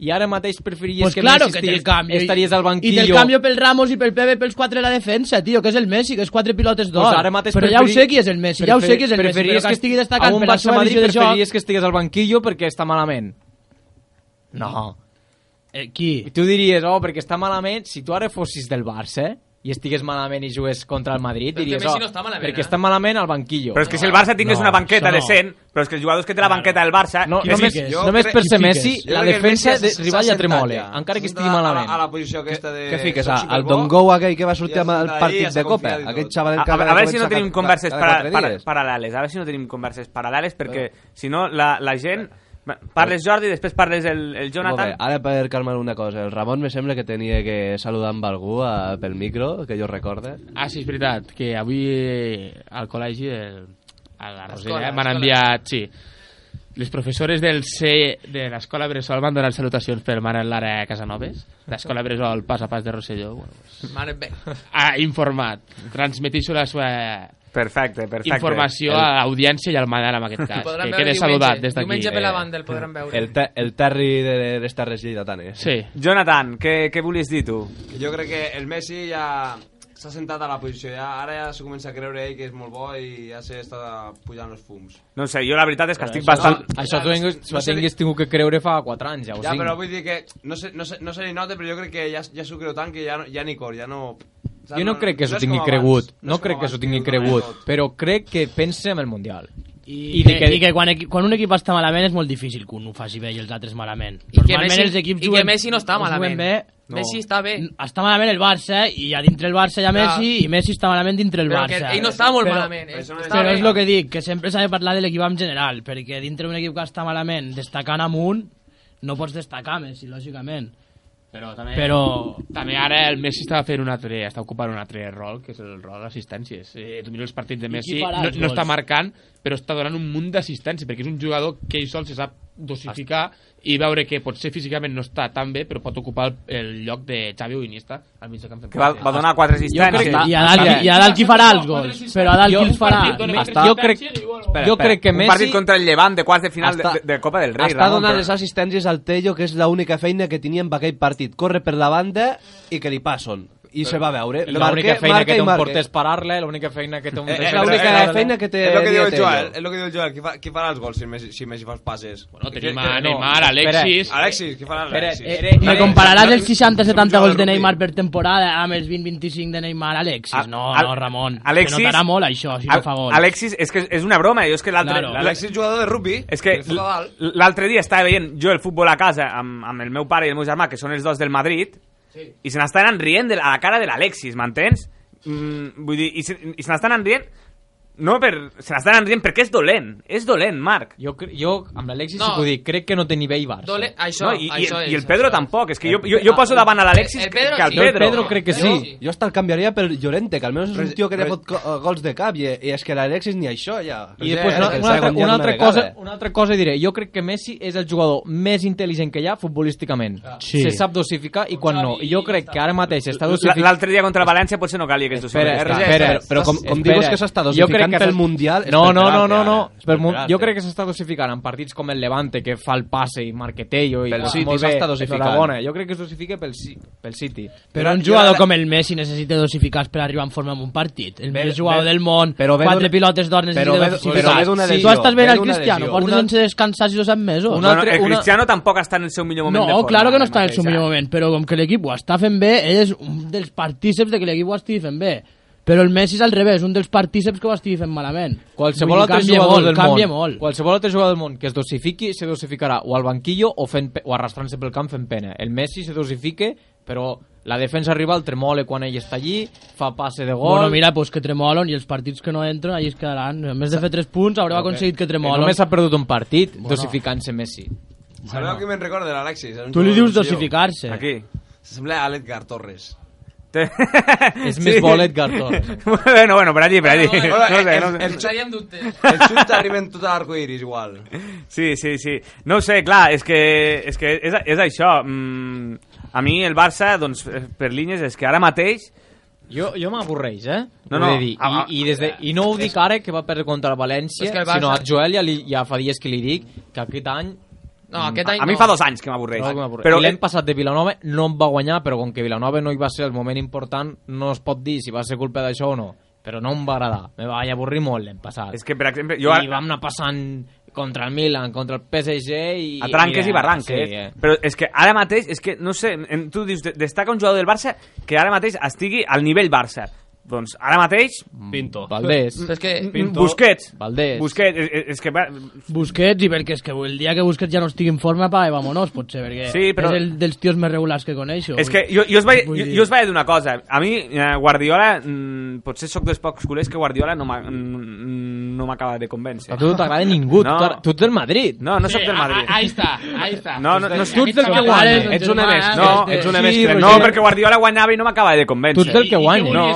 i ara mateix preferiries Pues que claro Messi que te'l estigués- canvio. i- estaries al I banquillo te'l canvio pel Ramos i pel Pepe pels quatre de la defensa, tio, que és el Messi, que és quatre pilotes d'or. Pues Doncs ara mateix però ja ho preferi- sé qui és el Messi, ja ho sé qui és el Messi, preferiries però que estigui a destacant un per la Barça seva Madrid visió de joc. preferiries que estigués al banquillo perquè està malament. No. Eh, qui? I tu diries, oh, perquè està malament, si tu ara fossis del Barça i estigués malament i jugués contra el Madrid, Però és que diries, Messi oh, no està malament, perquè eh?" està malament al banquillo. Però és que si el Barça tingués No, una banqueta això no. decent, però és que els jugadors que té la banqueta del Barça... No, és- només- és- Jo només crec- per ser Messi, Jo la crec que el defensa Messi de s'ha- Rivalla s'ha sentat tremola, ja. encara que S'ha estigui sentat a la- malament. A, la posició aquesta de... Què fiques? Ah, Soc el superbo. Don Go aquell que va sortir Ja amb el s'ha sentat ahí, partit ja de s'ha Copa? confiat i tot. Aquest A, xavalet que a, a acaba veure de si no començar tenim cada- converses cada para, quatre para, dies. paral·leles, a veure si no tenim converses paral·leles, perquè si no la, la gent... Parles Jordi, després parles el, el Molt Jonathan... bé, ara per calmar una cosa, el Ramon me sembla que tenia que saludar amb algú a, pel micro, que jo recorde. Ah, sí, és veritat, que avui eh, al col·legi, el, a la Rosella, Escola, eh, m'han escola. enviat, sí, les professores del C de l'escola Bressol m'han donat salutacions per Manel Lara Casanoves, l'escola Bressol pas a pas de Rosselló. Bueno, pues, Mare bé. ha informat, transmetixo la seva perfecte, perfecte. informació El- a l'audiència i al Manel en aquest cas, Podran que veure quede diumenge. saludat des d'aquí. Diumenge per eh. la banda el podran veure. El, te, el Terry de les Terres Lleidatanes. Sí. Jonathan, què, què volies dir tu? Jo crec que el Messi ja s'ha sentat a la posició, ja, ara ja s'ho comença a creure ell que és molt bo i ja s'està pujant els fums. No ho sé, jo la veritat és que Però estic això- bastant... Això tu tinguis, no no sé- tinguis tingut que creure fa 4 anys, ja o Ja, 5. però vull dir que no se, no se, no se li nota, però jo crec que ja, ja s'ho creu tant que ja, no- ja ni cor, ja no... Jo no crec que s'ho és tingui com abans. cregut, és no com crec que abans, s'ho tingui ho donen cregut, tot. però crec que pensa en el Mundial. I, de que, I que quan, equi- quan un equip està malament és molt difícil que un ho faci bé i els altres malament. I que Normalment Messi- els equips i que juguen, Messi no està juguen malament. Bé, No. Messi està bé. Està malament el Barça eh, i a dintre el Barça hi ha Clar. Messi i Messi està malament dintre el Però Barça. que ell no està molt Però- malament, eh? Però, Està però bé. és el que dic, que sempre s'ha de parlar de l'equip en general, perquè dintre d'un equip que està malament, destacant amunt, no pots destacar Messi, lògicament. Però també, Però- també ara el Messi estava fent un altre, està ocupant un altre rol, que és el rol d'assistències. Eh, tu mires els partits de qui Messi, farà no, els no gols? està marcant, però està donant un munt d'assistència, perquè és un jugador que ell sol se sap dosificar i veure que potser físicament no està tan bé, però pot ocupar el, el lloc de Xavi o Iniesta al mig de camp. Que va, va donar quatre assistències. I a dalt, qui- i a dalt qui farà els gols? Però a dalt qui Jo- els farà? un partit dona Està- Jo crec- Espera, jo espera. crec que un Messi- partit contra el Llevant de quarts de final de, Està- de, de Copa del Rei. Està Ramon, donant però- les assistències al Tello, que és l'única feina que tenia amb aquell partit. Corre per la banda i que li passen. I se va veure. L'única Marque- feina marca que i té un marca. porter és parar-la, l'única feina que té un... Eh, defensa és l'única parar-la. feina que té És el que diu el Dieter, Joel, allò. és el que diu el Joel. Qui, fa, qui farà els gols si Messi, si Messi fa els passes? Bueno, tenim a Neymar, Alexis. Alexis, qui farà l'Alexis? Espera, eh, Me compararàs els 60-70 gols de Neymar per temporada amb els 20-25 de Neymar, Alexis. No, Ah, Al- no, Ramon. Alexis- Se notarà molt això, si Al- no fa gols. Alexis, és que és una broma, jo és que l'altre... Claro. l'al- Alexis, jugador de rugby. És que que juega dalt. l- l'altre dia estava veient jo el futbol a casa amb, amb el meu pare i el meu germà, que són els dos del Madrid, i se n'estan anant rient de, la- a la cara de l'Alexis, m'entens? Mm, vull dir, i se, i se n'estan anant rient... No, per, se n'estan anant rient perquè és dolent. És dolent, Marc. Jo, jo amb l'Alexis No. no. dic, crec que no té nivell Barça. Dole- això, No, i- i això el- és, i el Pedro tampoc, és que jo- jo- jo poso davant a l'Alexis El Pedro que al sí. Pedro. Jo el Pedro crec que Jo, sí. jo hasta el canviaria per Llorente, que almenys és Res- un tio que té res- fot co- eh, gols de cap, i, i és que l'Alexis ni això, ja. I Pues després pues una, una, altra, una, altra cosa, una altra cosa diré. Jo crec que Messi és el jugador més intel·ligent que hi ha futbolísticament. Sí. Se sap dosificar i quan no. I jo crec que ara mateix està L- dosificant... L'altre dia contra el València potser no calia que es Espera, dosifiqui. espera, espera, però com, com digues que s'està dosificant pel Mundial... No, no, no, no, no. Per mun- jo crec que s'està dosificant en partits com el Levante, que fa el passe i Marquetello i ah, Pel City molt bé, s'està dosificant. enhorabona. Jo crec que es dosifica pel, Ci- pel City. Però un jugador com el Messi necessita dosificar per arribar en forma en un partit. El millor jugador ve- del món, però ve quatre d'una- pilotes d'or però necessita ve- dosificar. però ve d'una Si lesió, tu estàs ve veient el d'una Cristiano, lesió. portes Una- sense descansar 6 o 7 mesos. Bueno, el Cristiano tampoc està en el seu millor moment No, de forma. claro que no ara està en el seu mateix, millor moment, però com que l'equip ho està fent bé, ell és un dels partíceps de que l'equip ho estigui fent bé. Però el Messi és al revés, un dels partíceps que ho estigui fent malament. Qualsevol Vull dir, altre canvia jugador molt, del canvia món, molt. qualsevol altre jugador del món que es dosifiqui, se dosificarà o al banquillo o, fent, pe- o arrastrant-se pel camp fent pena. El Messi se dosifique, però la defensa rival tremole quan ell està allí, fa passe de gol... Bueno, mira, pues que tremolen i els partits que no entren allí es quedaran. En més de fer 3 punts, haureu aconseguit que tremolen. Només ha perdut un partit Bueno. dosificant-se Messi. Sabeu qui me'n recorda de l'Alexis? Era un Tu li jugador dius del Sió. dosificar-se. A qui? Sembla a l'Edgar Torres. És més bo l'Edgar Torres. [LAUGHS] bueno, bueno, per allí, per allí. Bueno, No bueno, sé, el- no sé. el- Els xuts arriben tot a l'arcoiris igual. Sí, sí, sí. No ho sé, clar, és que és, que és, és això. Mm, a mi el Barça, doncs, eh, per línies, és que ara mateix... Jo, jo m'avorreix, eh? No, No, no. no. Dir. I, i, des de, I no ho dic ara, que va perdre contra el València, És que el Barça... Barça- sinó a Joel ja, li, ja fa dies que li dic que aquest any... No, aquest any A, a mi no. fa dos anys que m'avorreix. Trobo que No, m'avorreix. però eh, I l'any passat de Vilanova no em va guanyar, però com que Vilanova no hi va ser el moment important, no es pot dir si va ser culpa d'això o no. Però no em va agradar. Me vaig avorrir molt l'any passat. És que, per exemple, Jo jo... I vam anar passant contra el Milan, contra el PSG i... a tranques i, eh, barranques. Sí, eh? Però és que ara mateix, és que, no sé, em- tu dius, de- destaca un jugador del Barça que ara mateix estigui al nivell Barça. Doncs ara mateix... Pinto. Mm, Valdés. Però és que- Pinto. Busquets. Valdés. Busquets. És, és- és que... va- Busquets, i perquè és que el dia que Busquets ja no estigui en forma, pa, i vamonos, potser, perquè Sí, però- és el dels tios més regulars que coneixo. És que jo, jo, us vaig, jo, jo us vaig dir una cosa. A mi, eh, Guardiola, mm, potser sóc dels pocs culers que Guardiola no m'ha- mm, no m'acaba de convèncer. A tu no t'agrada ningú, tu t'agra- tu ets del Madrid. No, no sóc del Madrid. Ahí está, ahí está. No, no, no, Aquest xaval és un germà, No, és de- ets un Sí, més. Roger. No, perquè Guardiola guanyava i no m'acaba de convèncer. No. No,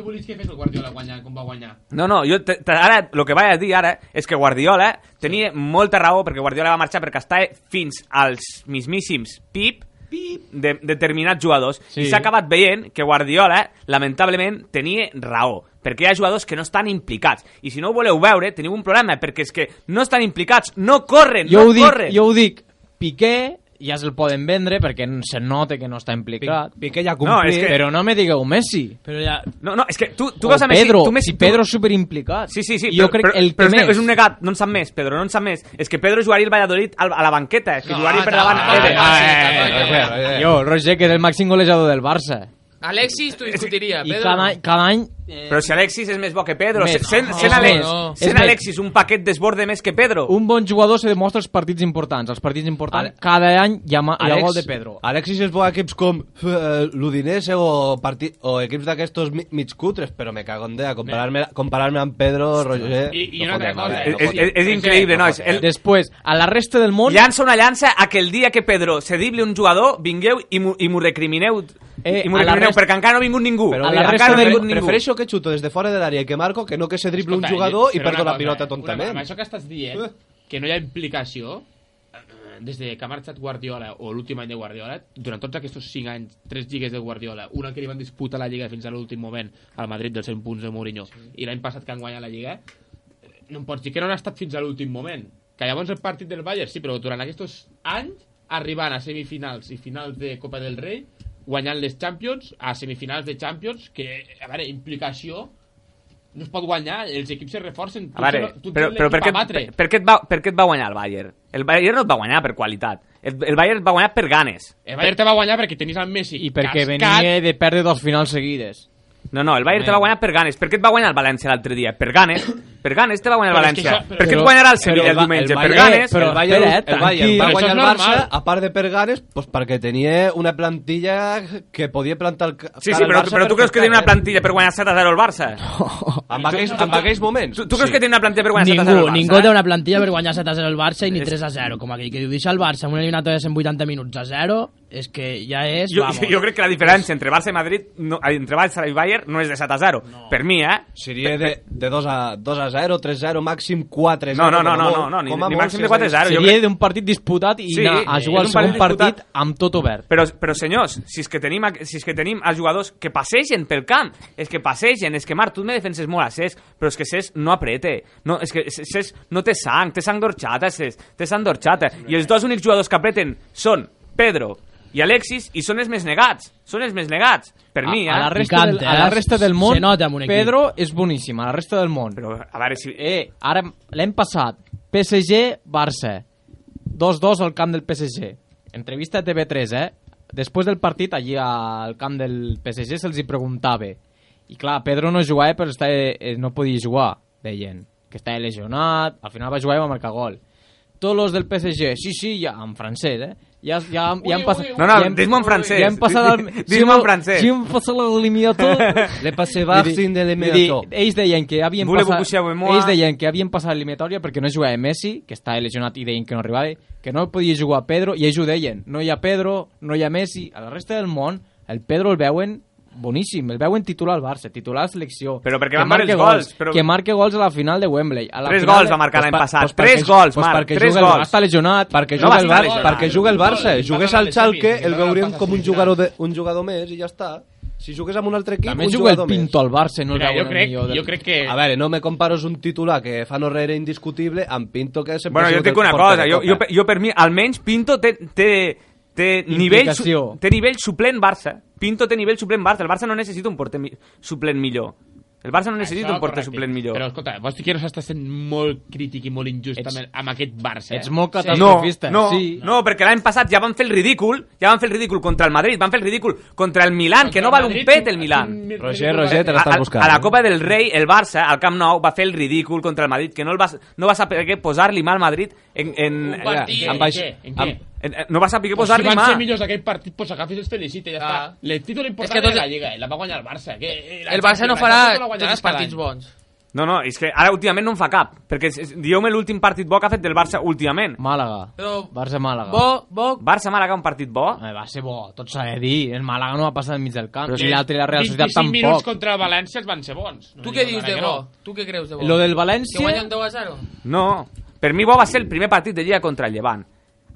I què volies que fes el Guardiola guanyar, com va guanyar? no, no jo te, te, ara, el que vaig a dir ara és que Guardiola tenia molta raó perquè Guardiola va marxar perquè està fins als mismíssims pip de determinats jugadors i Sí. s'ha acabat veient que Guardiola lamentablement tenia raó perquè hi ha jugadors que no estan implicats i si no ho voleu veure teniu un problema perquè és que no estan implicats, no corren jo, no ho dic, corren jo ho dic, Piqué ja se'l poden vendre perquè se nota que no està implicat. Piqué ja complit. No, és que... Però no me digueu Messi. Però ja... No, no, és que tu, tu O vas a Messi... Pedro, tu Messi, si Pedro és superimplicat. Sí, sí, sí, I jo crec el que però és ne- més. és un negat, no en sap més, Pedro, no en sap més. És que Pedro jugaria el Valladolid al- a la banqueta, és que jugaria per davant. Eh, eh, eh, eh, eh, eh. Jo, Roger, que és el màxim golejador del Barça. Alexis t'ho discutiria, I Pedro. cada, any- cada any... Però si Alexis és més bo que Pedro, sent, Més. sent, No, sent, és Alex, més. sent És més. Alexis un paquet desborde més que Pedro. Un bon jugador se demostra els partits importants. Els partits importants, cada any hi ha, ma- hi ha gol de Pedro. Alexis és bo a equips com eh, l'Udinese o, parti- o equips d'aquestos mi- mig cutres, però me cago en Déu, comparar-me comparar amb Pedro, Roger... I- i Pues, no una altra fotem, cosa. eh, no És- fotem. és- és increíble, no, és- el- Després, a la resta del món... Llança una llança a que el dia que Pedro se dible un jugador, vingueu i m'ho i m'ho recrimineu, Eh, i m'ho a la recrimineu resta- perquè encara no ha vingut ningú. Però Encara mira, no ha pre- vingut ningú. prefereixo que xuto des de fora de l'àrea que marco que no que se drible un Escolta, jugador i però perdo una la cosa, pilota eh? Una, amb tontament. Eh? això que estàs dient, que no hi ha implicació, eh, des de que ha marxat Guardiola o l'últim any de Guardiola, durant tots aquests 5 anys, tres lligues de Guardiola, una que li van disputar la lliga fins a l'últim moment al Madrid dels 100 punts de Mourinho i l'any passat que han guanyat la lliga, eh, no em pots dir que no han estat fins a l'últim moment. Que llavors el partit del Bayern, sí, però durant aquests anys, arribant a semifinals i finals de Copa del Rei, guanyant les Champions, a semifinals de Champions, que, a veure, implicació, no es pot guanyar, els equips es reforcen. A veure, tu però, però per, què, per, per, què et va, per què et va guanyar el Bayern? El Bayern no et va guanyar per qualitat. El, el Bayern et va guanyar per ganes. El Bayern te va guanyar perquè tenies el Messi I Perquè venia de perdre dos finals seguides. No, no, el Bayern te va guanyar per ganes. Per què et va guanyar el València l'altre dia? Per ganes. Per ganes te va guanyar el Però és que València. això- Per què et guanyarà el Sevilla el diumenge? Per ganes. Però el Bayern, el Bayern va guanyar el Barça, normal. a part de per ganes, pues perquè tenia una plantilla que podia plantar el ca- Sí, cara sí, al però, Barça però tu creus que té una plantilla per guanyar 7 a 0 el Barça? Amb aquells, amb aquells moments. Tu, tu creus que té una plantilla per guanyar 7 a 0 Ningú, el Barça? eh? ningú té una plantilla per guanyar 7 a 0 el Barça i ni 3 a 0, com aquell que diu, deixa el Barça amb una eliminatòria de 180 minuts a 0, és que ja és, Jo, vamos. jo crec que la diferència entre Barça i Madrid, no, eh, entre Barça i Bayern, no és de 7 a 0. No. Per mi, eh? Seria de, de 2 a, 2 a 0, 3 a 0, màxim 4 a No, 0. no, no, no, no, no ni, ni màxim de 4 a 0. Seria d'un partit disputat i Sí, anar a és jugar un el segon partit partit amb tot obert. Però, però senyors, si és, que tenim, a- si és que tenim els jugadors que passegen pel camp, és que passegen, és que Marc, tu me defenses molt a Cesc, però és que Cesc no aprete, no, és que Cesc no té sang, té sang d'orxata, Cesc, té sang d'orxata, i els dos únics jugadors que apreten són Pedro i Alexis, i són els més negats, són els més negats, per mi, eh? a, a, la resta del, a la resta del món, Pedro és boníssim, a la resta del món. Però, a veure si... Eh, ara l'hem passat. PSG-Barça. 2-2 al camp del PSG. Entrevista a TV3, eh? Després del partit, allí al camp del PSG se'ls hi preguntava. I clar, Pedro no jugava, però estava, eh, no podia jugar, deien. Que estava lesionat, al final va jugar i va marcar gol. Tots los del PSG, sí, sí, ja, en francès, eh? Ja, ja, ja han passat... No, no, ja hem- dis-m'ho en francès. Ja hem passat... [LAUGHS] al- Dis-m'ho en sí, no, francès. Sí, hem [LAUGHS] passat l'eliminator. Le passé Barsin de l'eliminator. Vull dir, Ells deien que havien Voulez-vous passat... coucher avec moi? Ells deien que havien passat l'eliminatòria perquè no jugava Messi, que estava lesionat i deien que no arribava, que no podia jugar Pedro, i ells ho deien. No hi ha Pedro, no hi ha Messi. A la resta del món, el Pedro el veuen boníssim, el veuen titular al Barça, titular a la selecció. Però perquè que van marcar marque els gols, però- Que marque gols a la final de Wembley. A la Tres final gols de- va marcar l'any pa- passat. perquè- Tres gols, Marc, perquè tres juga el- gols. Està lesionat. Perquè No juga el Barça, perquè juga el Barça, jugués al Schalke, el veuríem com un jugador, de, un jugador més i ja està. Si jugués amb un altre equip, També un juga el jugador Pinto al Barça, no el Mira, veuen jo el crec- millor del- jo crec que... A veure, no me comparos un titular que fa no rere indiscutible amb Pinto que sempre... Bueno, ha jo sigut et dic el una porter cosa, de jo, Copa. jo, per- jo per mi, almenys Pinto té, té, té, nivell, su- Implicació. té nivell suplent Barça. Pinto té nivell suplent Barça. El Barça no necessita un porter mi suplent millor. El Barça no necessita Això, un porter correcte. suplent millor. Però escolta, vols dir que no s'està sent molt crític i molt injust amb, el, amb aquest Barça? eh? no, no, no, perquè l'any passat ja van fer el ridícul, ja van fer el ridícul contra el Madrid, van fer el ridícul contra el Milan, que no val un pet el Milan. Roger, Roger, te l'estàs A- a- buscant. A, la Copa del Rei, el Barça, al Camp Nou, va fer el ridícul contra el Madrid, que no, el vas, no vas saber posar-li mal al Madrid en... en Un partit, en, en baix- què? En què? en- en- en- no vas saber Pues si posar-li van mal. ser millors d'aquell partit, pues agafis els felicita, ja està. El títol És Ah. que important és que tots- la Lliga, eh? la va guanyar el Barça. Que, eh, la El Barça no Champions, farà la guanyarà tots els cada partits any. bons. No, no, és que ara últimament no en fa cap, perquè és- és- dieu-me l'últim partit bo que ha fet del Barça últimament. Màlaga. Però Barça-Màlaga. Bo, bo... Barça-Màlaga, un partit bo? Eh, va ser bo, tot s'ha de dir. El Màlaga no va passar enmig del camp. Però I l'altre, la Real Societat, 25 minuts tampoc. contra el València els van ser bons. No Tu em què diguis dius de ara que bo? no. Tu què creus de bo? Lo del València- Que guanyen 10 a 0? No, per mi bo va ser el primer partit de Lliga contra el Llevant.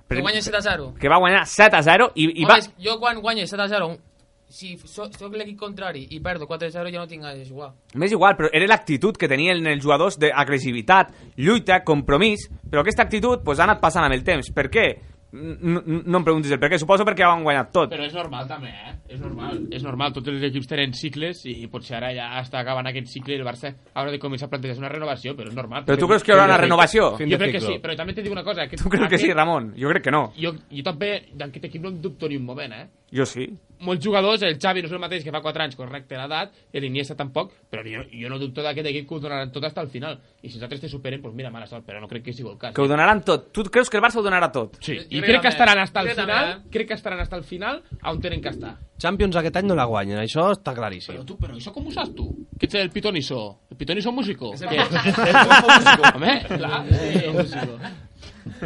Per- Que guanyen 7 a 0? Que va guanyar 7 a 0 i, i Home, va... és- jo quan guanyo 7 a 0, un- si so- sóc l'equip contrari i perdo 4 a 0, ja no tinc ganes de jugar. M'és igual, però era l'actitud que tenien els jugadors d'agressivitat, lluita, compromís, però aquesta actitud pues, ha anat passant amb el temps. Per què? No, no- no em preguntis el per què, suposo perquè ho han guanyat tot. Però és normal també, eh? És normal. És normal, tots els equips tenen cicles i potser ara ja està acabant aquest cicle i el Barça haurà de començar a plantejar una renovació, però és normal. Però tu creus que hi haurà una renovació? Jo crec que sí, però també t'he dic una cosa. Aquest, Tu creus que sí, Ramon? Jo crec que no. Jo, jo també d'aquest equip no en dubto ni un moment, eh? Jo sí. Molts jugadors, el Xavi no és el mateix que fa 4 anys, correcte l'edat, i l'Iniesta tampoc, però jo, jo no dubto d'aquest equip que ho donaran tot fins al final. I si els altres te superen, doncs mira, mala sort, però no crec que sigui el cas. Que ho donaran tot. Tu creus que el Barça ho donarà tot? Sí. I crec que eh? estaran hasta el final, crec que estaran hasta el final on tenen que estar. Champions aquest any no la guanyen, això està claríssim. Però tu, però això com ho saps tu? Que ets el pitoniso. El pitoniso músico. És el- Home, clar, sí, el músico.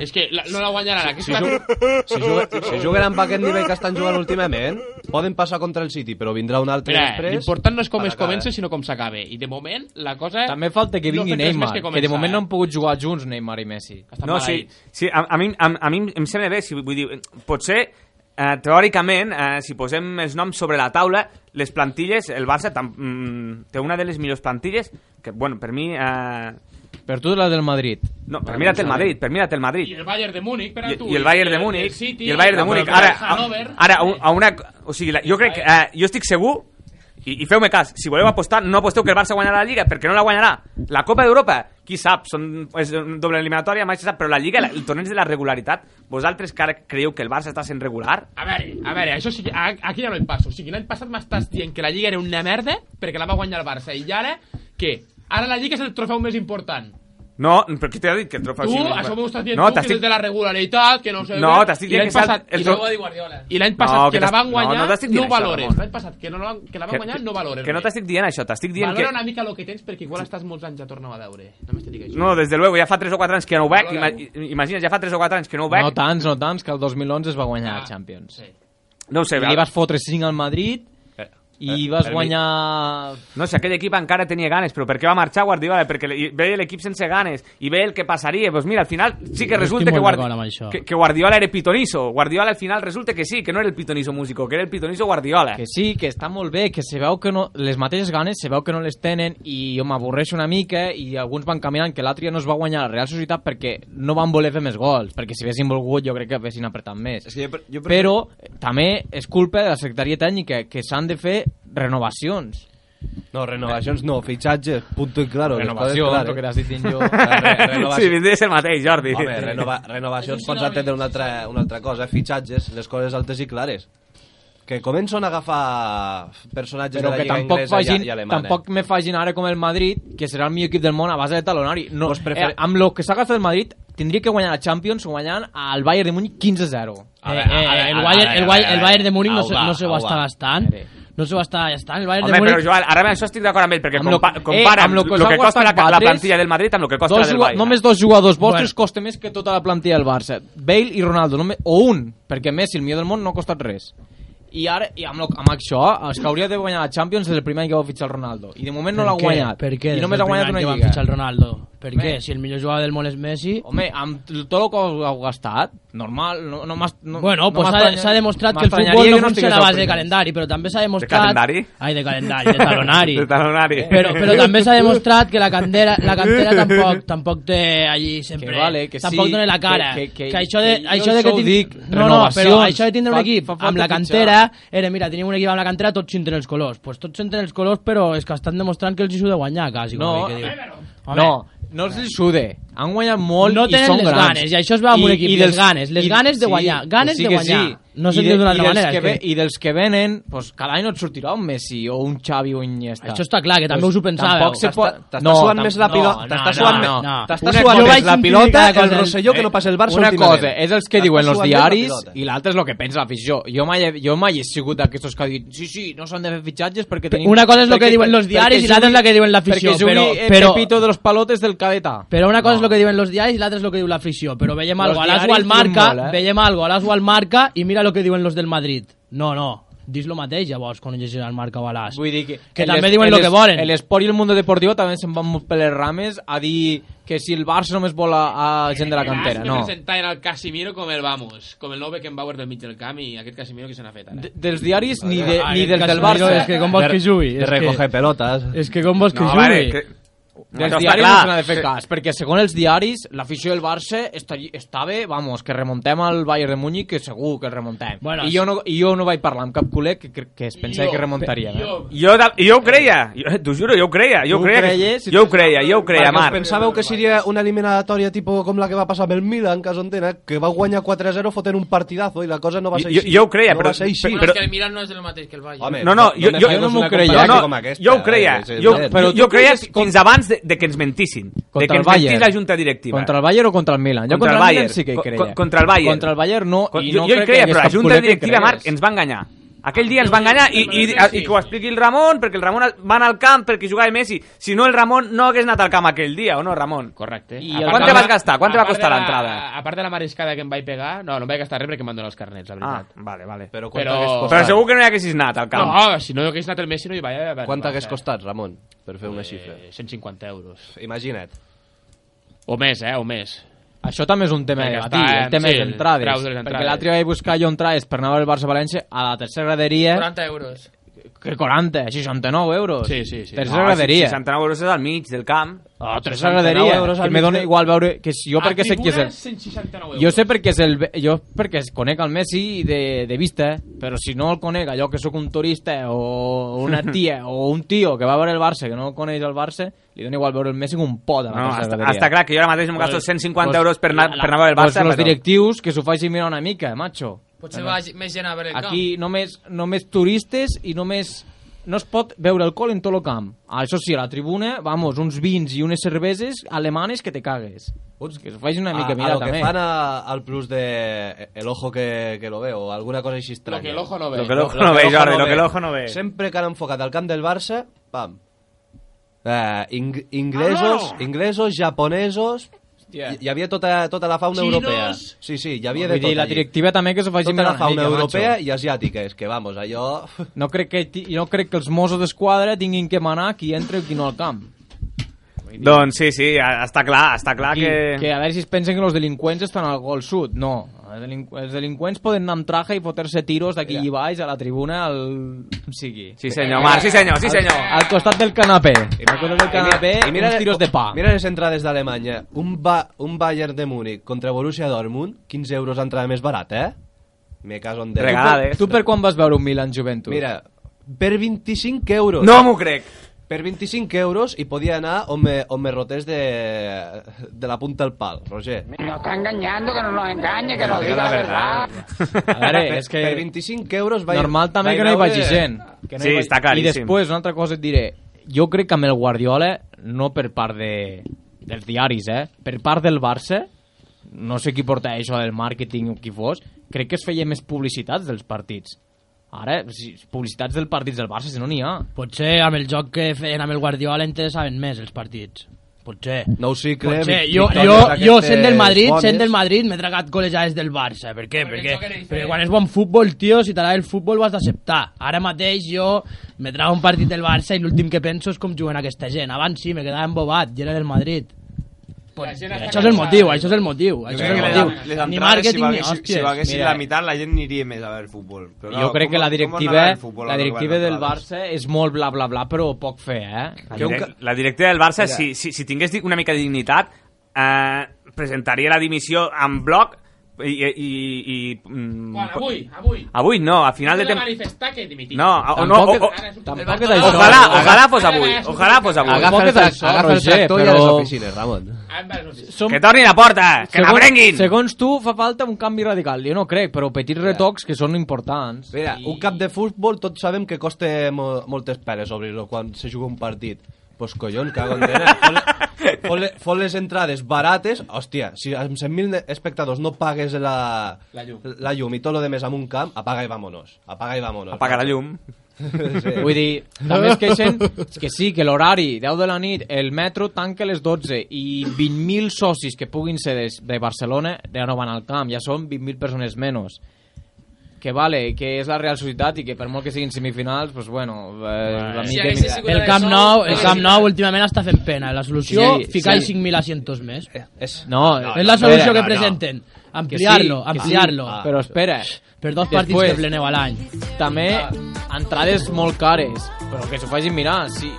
És que la, no la guanyaran. Si, Aquesta... jug... si, juguen, si juguen amb aquest nivell que estan jugant últimament, poden passar contra el City, però vindrà un altre Mira, després... l'important no és com per es acabar. comença, sinó com s'acaba. I de moment, la cosa... També falta que no ha vingui fet res Neymar, més que, de començar, moment no eh? han pogut jugar junts Neymar i Messi. No, sí, sí a, a, mi, a, a mi em sembla bé, si, vull dir, potser eh, teòricament, eh, si posem els noms sobre la taula, les plantilles, el Barça tam, mm, té una de les millors plantilles, que, bueno, per mi... Eh, Per tu la del Madrid. No, per mira't el Madrid, per mira't el Madrid. I el Bayern de Múnich, per a I, tu. i el Bayern de el Múnich. City, I el Bayern de però Múnich. el Ara, Hannover. a, ara a, un- a una... O sigui, la, jo crec que... Eh, jo estic segur, i, i feu-me cas, si voleu apostar, no aposteu que el Barça guanyarà la Lliga, perquè no la guanyarà. La Copa d'Europa, qui sap, són, és un doble eliminatòria, mai se sap, però la Lliga, la- el torneig de la regularitat, vosaltres que ara creieu que el Barça està sent regular? A veure, a veure, això sí que... a- Aquí ja no hi passo. O sigui, l'any passat m'estàs dient que la Lliga era una merda perquè la va guanyar el Barça. I ara, què? Ara la Lliga és el trofeu més important. No, però qui t'ha dit que el trofeu... Tu, sigui- això m'ho estàs dient no, tu, que és el de la regularitat, que no sé... No, què. t'estic I dient l'any que és el- passat- el i l'any- tro- I l'any passat No, que, que la t'estic- van guanyar, no, no, no t'estic dient ho això, valores. Ramon. L'any passat que, no, la van- que la van guanyar, no valores. que no t'estic dient això, t'estic dient Valora que... una mica el que tens perquè igual estàs molts anys a tornar a veure. Només te dic això. No, des de luego, ja fa 3 o 4 anys que no ho veig. Ima- i- Imagina't, ja fa 3 o 4 anys que no ho veig. No tants, no tants, que el 2011 es va guanyar ah, la Champions. Sí. No ho sé, I val. li vas fotre 5 al Madrid eh, i vas per mi- guanyar... No, si aquell equip encara tenia ganes, però per què va marxar Guardiola? Perquè li- veia l'equip sense ganes i veia el que passaria. Doncs mira, al final sí que Jo resulta estic que, molt Guardi- d'acord amb això. Eh, que, que Guardiola era pitonizo. Guardiola al final resulta que sí, que no era el pitonizo músico, que era el pitonizo Guardiola. Que sí, que està molt bé, que se veu que no, les mateixes ganes se veu que no les tenen i jo m'avorreixo una mica i alguns van caminant que l'altre ja no es va guanyar la Real Societat perquè no van voler fer més gols, perquè si haguessin volgut jo crec que haguessin apretat més. És que jo, jo Però eh, també és culpa de la secretaria tècnica que s'han de fer renovacions. No, renovacions no, fitxatges, punto y claro. Renovació, després, el que t'has dit [LAUGHS] jo. Sí, vindria a ser el mateix, Jordi. Home, renova renovacions pots entendre una altra, una altra cosa, fitxatges, les coses altes i clares. Que comencen a agafar personatges Però de la que Lliga tampoc, Inglesa facin, i, i alemana. tampoc me facin ara com el Madrid, que serà el millor equip del món a base de talonari. No, Pues prefer- eh, amb el que s'ha gastat el Madrid, tindria que guanyar la Champions guanyant al Bayern de Múnich 15-0. Eh, eh, el, Bayern, el, Bayern, el Bayern de Múnich no, se, no se ho està gastant. No se ho està gastant. El Bayern Home, de però Múnich... Joan, ara amb això estic d'acord amb ell, perquè Amb lo- compa eh, compara amb amb lo el que que, us ha costa la, costat la Patres, plantilla del Madrid amb el que costa Dos la del jugua- Bayern. només dos jugadors vostres bueno. costa més que tota la plantilla del Barça. Bale i Ronaldo, només, o un, perquè Messi, el millor del món, no ha costat [LAUGHS] res. I ara, i amb, lo, amb això, és que hauria de guanyar la Champions des del primer any que va fitxar el Ronaldo. I de moment no Per l'ha què? guanyat. Per què? I Des només del ha guanyat primer una any que van lliga. fitxar el Ronaldo. Per Home. què? Si el millor jugador del món és Messi... Home, amb tot el que heu gastat, normal, no, no m'has... No, Bueno, no pues s'ha m'estranya- s'ha demostrat que el m'estranyaria futbol no que estigués funciona a al base de primer. calendari, però també s'ha demostrat... calendari? Ai, de calendari, de talonari. De talonari. [LAUGHS] Però, però també s'ha demostrat que la cantera, la cantera tampoc, tampoc té allí sempre... Que vale, que sí, tampoc dona la cara. que- que- que això de, que jo això de que això ho tin- dic, no, no, però renovacions. això de tindre un Fa- equip fa falta amb la fitxar. cantera era, mira, tenim un equip amb la cantera, tots s'entren els colors. Pues tots s'entren els colors, però és que estan demostrant que els hi de guanyar, quasi. com [LAUGHS] No, aquell que diu. Home. no, no els hi sude. Han guanyat molt No i tenen són les grans. ganes, i això es veu amb un equip, les ganes, les ganes de guanyar, ganes que de guanyar. No se'n I diu i d'una altra dels manera, Que és ve, que- I dels que venen, pues, cada any no et sortirà un Messi o un Xavi o un Iniesta. Això està clar, que també us ho pensàveu. Tampoc se pot... T'està- t'està suant tam- més la pilo- t'està suant me- t'està Una suant cosa més és la pilota el del- Rosselló que no passa el Barça Una últimament. cosa és els que T'està diuen els suant més la diaris pilota. i l'altre és el que pensa l'afició. Jo mai, he- jo mai he sigut d'aquests que ha dit sí, sí, no s'han de fer fitxatges perquè tenim... Una cosa és lo que perquè- diuen los diaris perquè i l'altra és la que diuen l'afició, Perquè jugui però- el però- Pepito de los palotes del cadeta. Però una cosa és el que diuen los diaris i l'altra és el que diu l'afició. Però veiem Los algo a l'Asgo diaris al marca, diuen molt, eh? veiem algo a l'Asgo al marca i mira el que diuen los del Madrid. No, no, dis lo mateix llavors quan llegeixen el marca o a l'As. Vull dir que... que el també es- diuen el lo que es- volen. L'esport i el món deportiu també se'n van molt per les rames a dir que si el Barça només vol a, a gent de la cantera, Me no. presentaven el Casimiro com el Vamos, com el nou Beckenbauer del mig del camp i aquest Casimiro que se n'ha fet ara. Dels diaris ni, de, Ai, ni dels del Casemiro, Barça. és que com vols que jugui? És que- És que com vols que jugui? Dels diaris no se n'ha de fer cas, perquè segons els diaris, l'afició del Barça està, estava, vamos, que remontem al Bayern de Múnich, que segur que el remontem. Bueno, I, jo no, I jo no vaig parlar amb cap culer que, crec que es pensava Jo, que eh? remuntaria. Jo, eh? Jo, de- jo ho creia, jo- eh, t'ho juro, jo ho creia, jo ho Tu creia, que- creies? jo ho creia, jo ho creia, Perquè us Marc. Pensàveu que seria una eliminatòria tipo com la que va passar amb el Milan, que s'entén, eh? que va guanyar 4-0 fotent un partidazo i la cosa no va ser Jo- així. jo ho creia, no però- va ser així. però- Bueno, és que El Milan no és el mateix que el Bayern. Home, No, no, jo, no jo, me jo fes una comparació no, com aquesta, jo ho creia, eh, sí, jo, sí. però Però jo tu creia creus fins abans de, de que ens mentissin, de que el ens mentís Bayern. la junta directiva. Contra el Bayern o contra el Milan? Contra Jo el contra, el Milan Bayern. sí que hi Co- creia. co- contra el Bayern. Contra el Bayern no. Con- I jo, no jo hi crec creia, que però la hagués cap junta culer que hi directiva, cregués. Marc, ens va enganyar. Aquell dia ens va enganyar i, i, i que ho expliqui el Ramon, perquè el Ramon va anar al camp perquè jugava Messi. Si no, el Ramon no hagués anat al camp aquell dia, o no, Ramon? Correcte. I Quant te vas gastar? Quant te va costar l'entrada? A part de la mariscada que em vaig pegar, no, no em vaig gastar res perquè em van donar els carnets, la veritat. Ah, vale, vale. Però, quant hagués costat? Però segur que no hi haguessis anat al camp. No, si no hi hagués anat el Messi no hi vaig haver. Quant hagués costat, Ramon, per fer una xifra? 150 Eh, euros. Imagina't. O més, eh, o més. Això també és un tema Perquè de està, debatir, el eh? tema Sí, de les el entrades. preu de les Perquè entrades. l'altre dia vaig buscar jo entrades per anar al Barça-València a la tercera graderia. 40 euros. Que 40, 69 euros. Sí, sí, sí. Tres No, agradaria. 69 euros és al mig del camp. Oh, tres 69 agradaria. euros al Que me mig dona del- igual veure... Que si jo perquè sé qui és el... 169 euros. Jo sé perquè és el... Jo perquè es conec el Messi de, de vista, però si no el conec, allò que sóc un turista o [LAUGHS] una tia o un tio que va a veure el Barça, que no coneix el Barça, li dona igual veure el Messi com un pot a la No, tercera està, graderia. està clar que jo ara mateix em gasto Pues- 150 pues- euros per anar, per anar a veure el Pues Barça, els però... directius que s'ho facin mirar una mica, macho. Potser va més gent a veure el Aquí només, només turistes i només... No es pot veure alcohol en tot el camp. Ah, Això sí, a la tribuna, vamos, uns vins i unes cerveses alemanes que te cagues. Que s'ho facin una mica a, mirar, Ah, a lo també. que fan a- al plus de eh, el ojo que, que lo ve o alguna cosa així estranya. que el ojo no ve. Lo que el ojo no ve, Jordi, lo que el ojo no ve. Sempre que han enfocat al camp del Barça, pam. Eh, ing inglesos, Ah, inglesos, japonesos... Hòstia. Hi, hi havia tota, tota la fauna Xinos. europea. Sí, sí, hi havia de Vull tot dir, la allí. directiva també que s'ho facin Tota la mirar una fauna mica, europea macho. i asiàtica, és que, vamos, allò... No crec que, ti- no crec que els Mossos d'Esquadra tinguin que manar qui entra i qui no al camp. Doncs sí, sí, ja- està clar, està clar I, que... que a veure si es pensen que els delinqüents estan al gol sud. No, els delinqüents, els delinqüents poden anar amb traje i fotre-se tiros d'aquí i baix a la tribuna al... on sigui. Sí senyor, Marc, sí senyor, sí senyor. Al, al costat del canapé. Al costat del canapé, I mira- uns tiros de pa. Mira les entrades d'Alemanya. Un, ba un Bayern de Múnich contra Borussia Dortmund, 15 euros d'entrada més barat, eh? Me caso en Déu. Tu, per, tu per quan vas veure un Milan Juventus? Mira, per 25 euros. No m'ho crec. Per 25 euros i podia anar on me, on me rotés de, de la punta al pal, Roger. Nos está engañando, que no nos engañe, que nos nos diga la diga la verdad. A veure, Per- és que... per 25 euros vaig- Normal també vaig que no hi veure- vagi gent. Que no Sí, hi vagi... està claríssim. I després, una altra cosa et diré. Jo crec que amb el Guardiola, no per part de... dels diaris, eh? Per part del Barça, no sé qui porta això del màrqueting o qui fos, crec que es feia més publicitats dels partits. Ara, si- publicitats dels partits del Barça, si no n'hi ha. Potser amb el joc que feien amb el Eh, Guardiola interessaven més els partits. Potser. Nou cicle, Potser. vic- Jo, victòries jo, jo d'aquestes sent del Madrid, bones. sent del Madrid, m'he tragat golejades del Barça. Per què? Perquè, perquè quan és bon futbol, tio, si t'agrada el futbol ho has d'acceptar. Ara mateix jo me trago un partit del Barça i l'últim que penso és com juguen aquesta gent. Abans sí, me quedava embobat, i era del Madrid. La gent està Això és cansada. el motiu, això és el motiu. Jo Això crec és el que les- motiu. les Ni entrades, màrqueting si ni vaguessin- hòsties. Si vaguessin Mira. la meitat, la gent aniria més a veure el futbol. Però, jo crec com- que la com anava directiva, el futbol a la veure directiva les del entrades? Barça és molt bla bla bla, però poc fer, eh? La, direc la directiva del Barça, si, si, si tingués di- una mica de dignitat, eh, presentaria la dimissió en bloc i... i, i, i mm, Quan, avui, avui. Avui no, a final de Vull temps... manifestar que he dimitit. No, a- o no, o, o, Ara és un- tampoc és això. Ojalà, ojalà fos avui, ojalà fos avui. eh? Agafa el Tampoc és tractor, Roger, i a les però- oficines, Ramon. Som... Que tornin a porta, que la prenguin! Segons tu, fa falta un canvi radical. Jo no crec, però petits retocs que són importants. Mira, un cap de futbol [LAUGHS] tots sabem que costa mo moltes peles obrir-lo quan se juga un partit. Pues collons, cago en [LAUGHS] tena. Fot- Fot, le- fot les entrades barates. Hòstia, si amb 100.000 espectadors no pagues la, La llum. la llum i tot lo de més amb un camp, apaga i vámonos. Apaga i vámonos. Apaga la llum. Sí. Vull dir, també es queixen que sí, que l'horari, 10 de la nit, el metro tanca a les 12 i 20.000 socis que puguin ser de, de Barcelona ja no van al camp, ja són 20.000 persones menys. Que vale, que és la Real Societat i que per molt que siguin semifinals, doncs bueno... Eh, la Si mica- haguessin mica- El Camp Nou, el Camp Nou últimament està fent pena. La solució, Sí, ficar-hi sí. 5.000 asientos més. És, No, és la solució que presenten. Ampliar-lo, que sí, ampliar-lo. que sí, però espera. Per dos partits Després, de pleneu a l'any. També Ah. entrades molt cares, però que s'ho facin mirar. Si,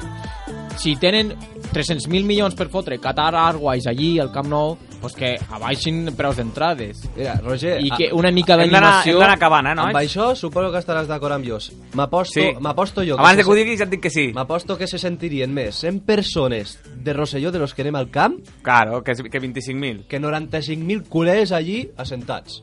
si tenen 300.000 milions per fotre Qatar Airways allí, al Camp Nou, doncs que abaixin preus d'entrades. Mira, Roger... I que a- una mica d'animació... Amb això suposo que estaràs d'acord amb jo. M'aposto eh, Sí. m'aposto jo... Abans de que ho diguis ja et dic que sí. M'aposto que se sentirien més 100 persones de Rosselló de los que anem al camp Claro, que, que 25.000. que 95.000 culers allí assentats.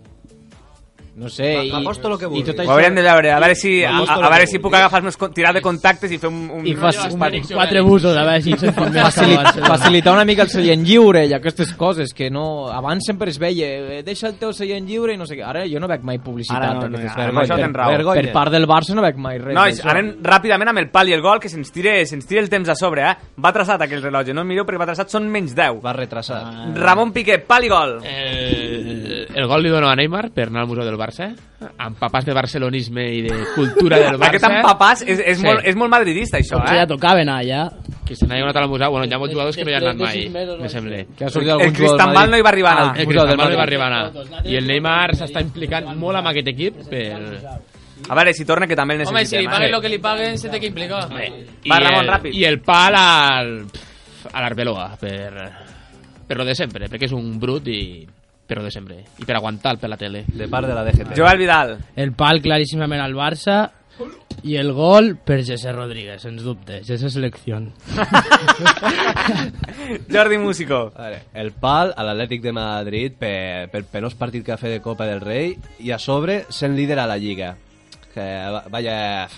No sé, i... M'aposto lo que vulguis. Ho hauríem de veure, a veure si, a, M'aposto a, lo a veure que si puc vulguis. agafar els meus con- tirar de contactes i fer un... un I fas un- Quatre busos, a veure si se'n fan més. Facili- cap a Barcelona. facilitar una mica el seient lliure i aquestes coses que no... Abans sempre es veia eh, deixa el teu seient lliure i no sé què. Ara jo no veig mai publicitat. Ara no, no, d'aquestes ara amb vergonyes. això tens raó. Per, per part del Barça no veig mai res. Nois, d'això. anem ràpidament amb el pal i el gol, que se'ns tire, se tire el temps a sobre, eh? Va traçat aquell rellotge, no el mireu perquè va traçat, són menys 10. Va retrasat. Ah. Ramon Piqué, pal i gol. Eh, El, Eh, el gol li dono a Neymar per anar al Museu del Barça, amb papàs de barcelonisme i de cultura del [LAUGHS] Barça. Aquest amb papàs és, és, molt, és molt madridista, això, Potser eh? ja tocava anar allà. Que se n'ha anat al Museu, bueno, hi ha molts jugadors que no hi han anat Després de sis mai, mesos, me sembla. Que ha sortit algun El jugador Cristian Bal del Madrid. no hi va arribar a anar. Ah, El Museu del Cristian Bal no hi va Madrid. arribar a anar. I el Neymar s'està implicant molt amb aquest equip per, A veure, si torna, que també el eh. Home, si necessitem. li paguen eh? lo que li paguen, se té que implicar. Va, Ramon, el, ràpid. I el pal al, a l'Arbeloa, per, per lo de sempre, perquè és un brut i per lo de sempre, i per aguantar per la tele. De part de la DGT. Joel Vidal. El pal claríssimament al Barça i el gol per Jesse Rodríguez, sens dubte. Jesse Selecció. Jordi Músico. A veure, el pal a l'Atlètic de Madrid per, per penós partit que ha fet de Copa del Rei i a sobre sent líder a la Lliga. Que, va- [LAUGHS] vaya...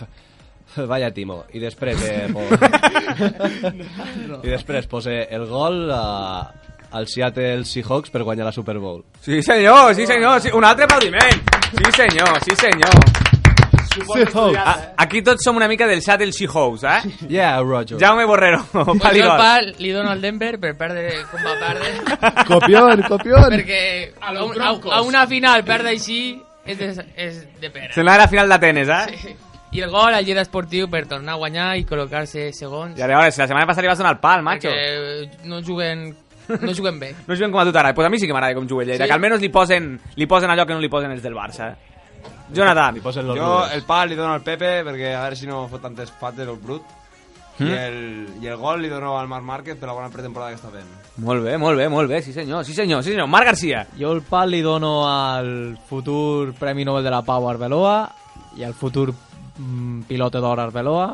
Vaya timo. I després... Eh, po... [LAUGHS] I després, pues, eh, el gol a, al Seattle Seahawks per guanyar la Super Bowl. Sí, senyor, sí, senyor. Sí. Un altre aplaudiment. Sí, senyor, sí, senyor. A, aquí tots som una mica del Seattle Seahawks, eh? Yeah, Roger. Jaume Borrero, Pues jo el Paligol. pal li dono al Denver per perdre com va perdre. [LAUGHS] Copión, copión. Perquè a, un, a, a una final perdre així és de, és de pena. Se n'ha la final d'Atenes, eh? Sí. I el gol al Lleida Esportiu per tornar a guanyar i col·locar-se segons. I a veure, si la setmana passada li vas donar el pal, macho. Perquè no juguen, no juguen bé. No juguen com a tu t'agrada. Pues a mi sí que m'agrada com juga el Lleida, Sí? que almenys li posen, li posen allò que no li posen els del Barça. Jonathan. Li posen Jo el pal li dono al Pepe perquè a veure si no fot tantes pates el brut. Mm. I, el, I el gol li dono al Marc Márquez per la bona pretemporada que està fent. Molt bé, molt bé, molt bé, sí senyor, sí senyor, sí senyor. Marc Garcia. Jo el pal li dono al futur Premi Nobel de la Pau Arbeloa i al futur mm, pilota d'or Arbeloa,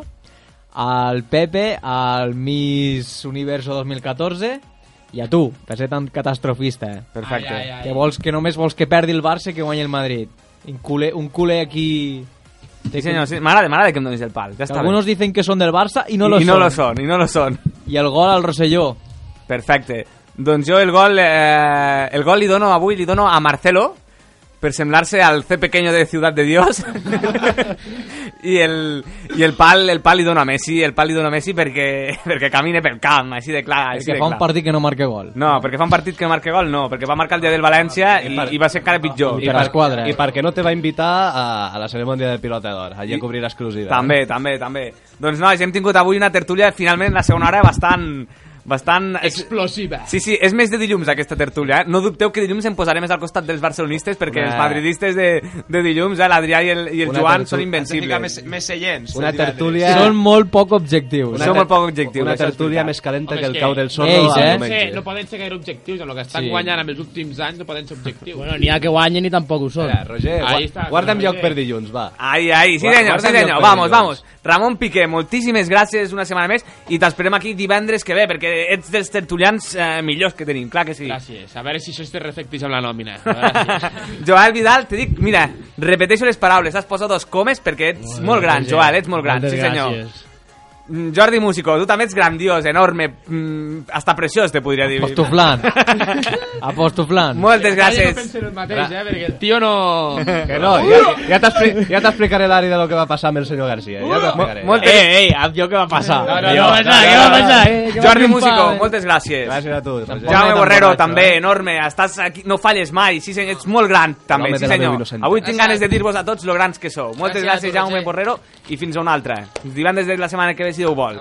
al Pepe, al Miss Universo 2014 i a tu, per ser tan catastrofista. eh? Perfecte. Ai, ai, ai. Que, vols, que només vols que perdi el Barça i que guanyi el Madrid. Un culer, un culer aquí... Sí senyor, sí. m'agrada, m'agrada que em donis el pal. Ja Que està Algunos bé. dicen que son del Barça i no I- lo i son. no lo son, i no lo son. I el gol al Rosselló. Perfecte. Doncs jo el gol, eh, el gol li dono avui, li dono a Marcelo, per semblar-se al C pequeño de Ciudad de Dios. [LAUGHS] I, el, i el, pal, el pal li dono a Messi, el pal li dono a Messi perquè, [LAUGHS] perquè camine pel camp, així de clar. Així que de fa un clar. partit que no marca gol. No, perquè fa un partit que marca gol, no, perquè va marcar el dia del València i, i va ser encara pitjor. I, per, I perquè no te va invitar a, a la cerimònia de pilota d'or, allà a cobrir exclusiva. També, també, també. Doncs nois, hem tingut avui una tertúlia, finalment, la segona hora, bastant... bastant... Explosiva. Sí, sí, és més de dilluns aquesta tertúlia, eh? No dubteu que dilluns em posaré més al costat dels barcelonistes perquè Una- els madridistes de, de dilluns, eh, l'Adrià i el, i el Una Joan tertú- són Ens hem de invencibles. ficar més, més seients. Una el divendres. tertúlia... Són molt poc objectius. Una Són ter- molt poc objectius, Una això és tertúlia veritat. més calenta Home, que és el que- cau del sordo Ells, al eh? diumenge. Sí, no poden ser gaire objectius, amb el que estan Sí. sí. guanyant amb els últims anys no poden ser objectius. Bueno, ni ha que guanyen ni tampoc ho són. Espera, Roger, Ahí gua- está, guarda'm Roger. lloc per dilluns, va. Ai, ai, sí senyor, sí Guarda- guarda'm lloc senyor, per vamos, dilluns. vamos. Ramon Piqué, moltíssimes gràcies una setmana més i t'esperem aquí divendres que ve perquè ets dels tertulians eh, millors que tenim, clar que sí. Gràcies. A veure si això es reflecteix amb la nòmina. A veure si- [LAUGHS] Joel Vidal, te dic, mira, repeteixo les paraules, has posat dos comes perquè ets Molt bé, molt gran, Roger. Joel, ets molt gran, Moltes sí senyor. gràcies. Mm, Jordi Músico, tu també ets grandiós, enorme, mm, hasta preciós, te podria dir. Apostoflant. [LAUGHS] Apostoflant. Moltes gràcies. el mateix, eh, perquè el tio no... Que no, ja, ja t'expli- ja t'explicaré l'àrea de lo que va passar amb el senyor Garcia. eh? Ja t'explicaré. Moltes... Ei, ei, amb jo què va passar? No, no, no, Jo, no, no, no, no, no. no. Eh, que va Jordi triomfar, Músico, eh. moltes gràcies. Gràcies a tu, Roger. Jaume Borrero, Tampoc tan borratxo, també, eh? enorme. Estàs aquí, no falles mai. Sí, senyor, ets molt gran, també. L'home Sí, de la veu senyor. innocent. Avui tinc ganes de dir-vos a tots lo grans que sou. Moltes Gràcies a tu, gràcies, Jaume Roger. Borrero, i fins a una altra. Ens divendres de la setmana que ve, si Déu vol.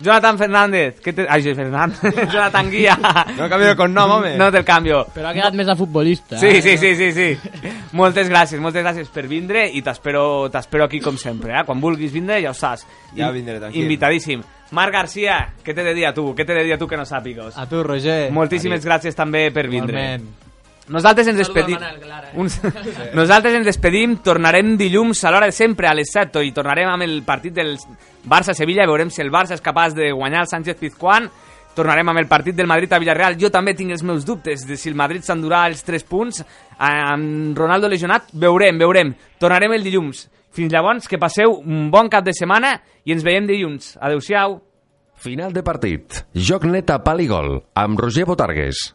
Jonathan Fernández, ¿qué te... Ay, sí, Fernández. [LAUGHS] Jonathan Guía. No cambio de cognom, home. No te'l canvio. Però ha quedat més a futbolista. Sí, eh? sí, sí, sí, sí. moltes gràcies, moltes gràcies per vindre i t'espero t'espero aquí com sempre, eh? Quan vulguis vindre ja ho saps. Ja vindré, tranquil. Invitadíssim. Marc Garcia, què te de dir a tu? Què te de dir a tu que no sàpigues? A tu, Roger. Moltíssimes Adéu. gràcies també per vindre. Igualment. Nosaltres ens Saluda despedim. al Manel Clara, eh? [LAUGHS] Uns... Nosaltres ens despedim, tornarem dilluns a l'hora de sempre a les 7 i tornarem amb el partit del Barça-Sevilla, veurem si el Barça és capaç de guanyar el Sánchez-Pizjuán, tornarem amb el partit del Madrid a Villarreal. Jo també tinc els meus dubtes de si el Madrid s'endurà els 3 punts. Amb Ronaldo lesionat, veurem, veurem. Tornarem el dilluns. Fins llavors, que passeu un bon cap de setmana i ens veiem dilluns. Adeu-siau. Final de partit. Joc net a pal i gol, amb Roger Botargues.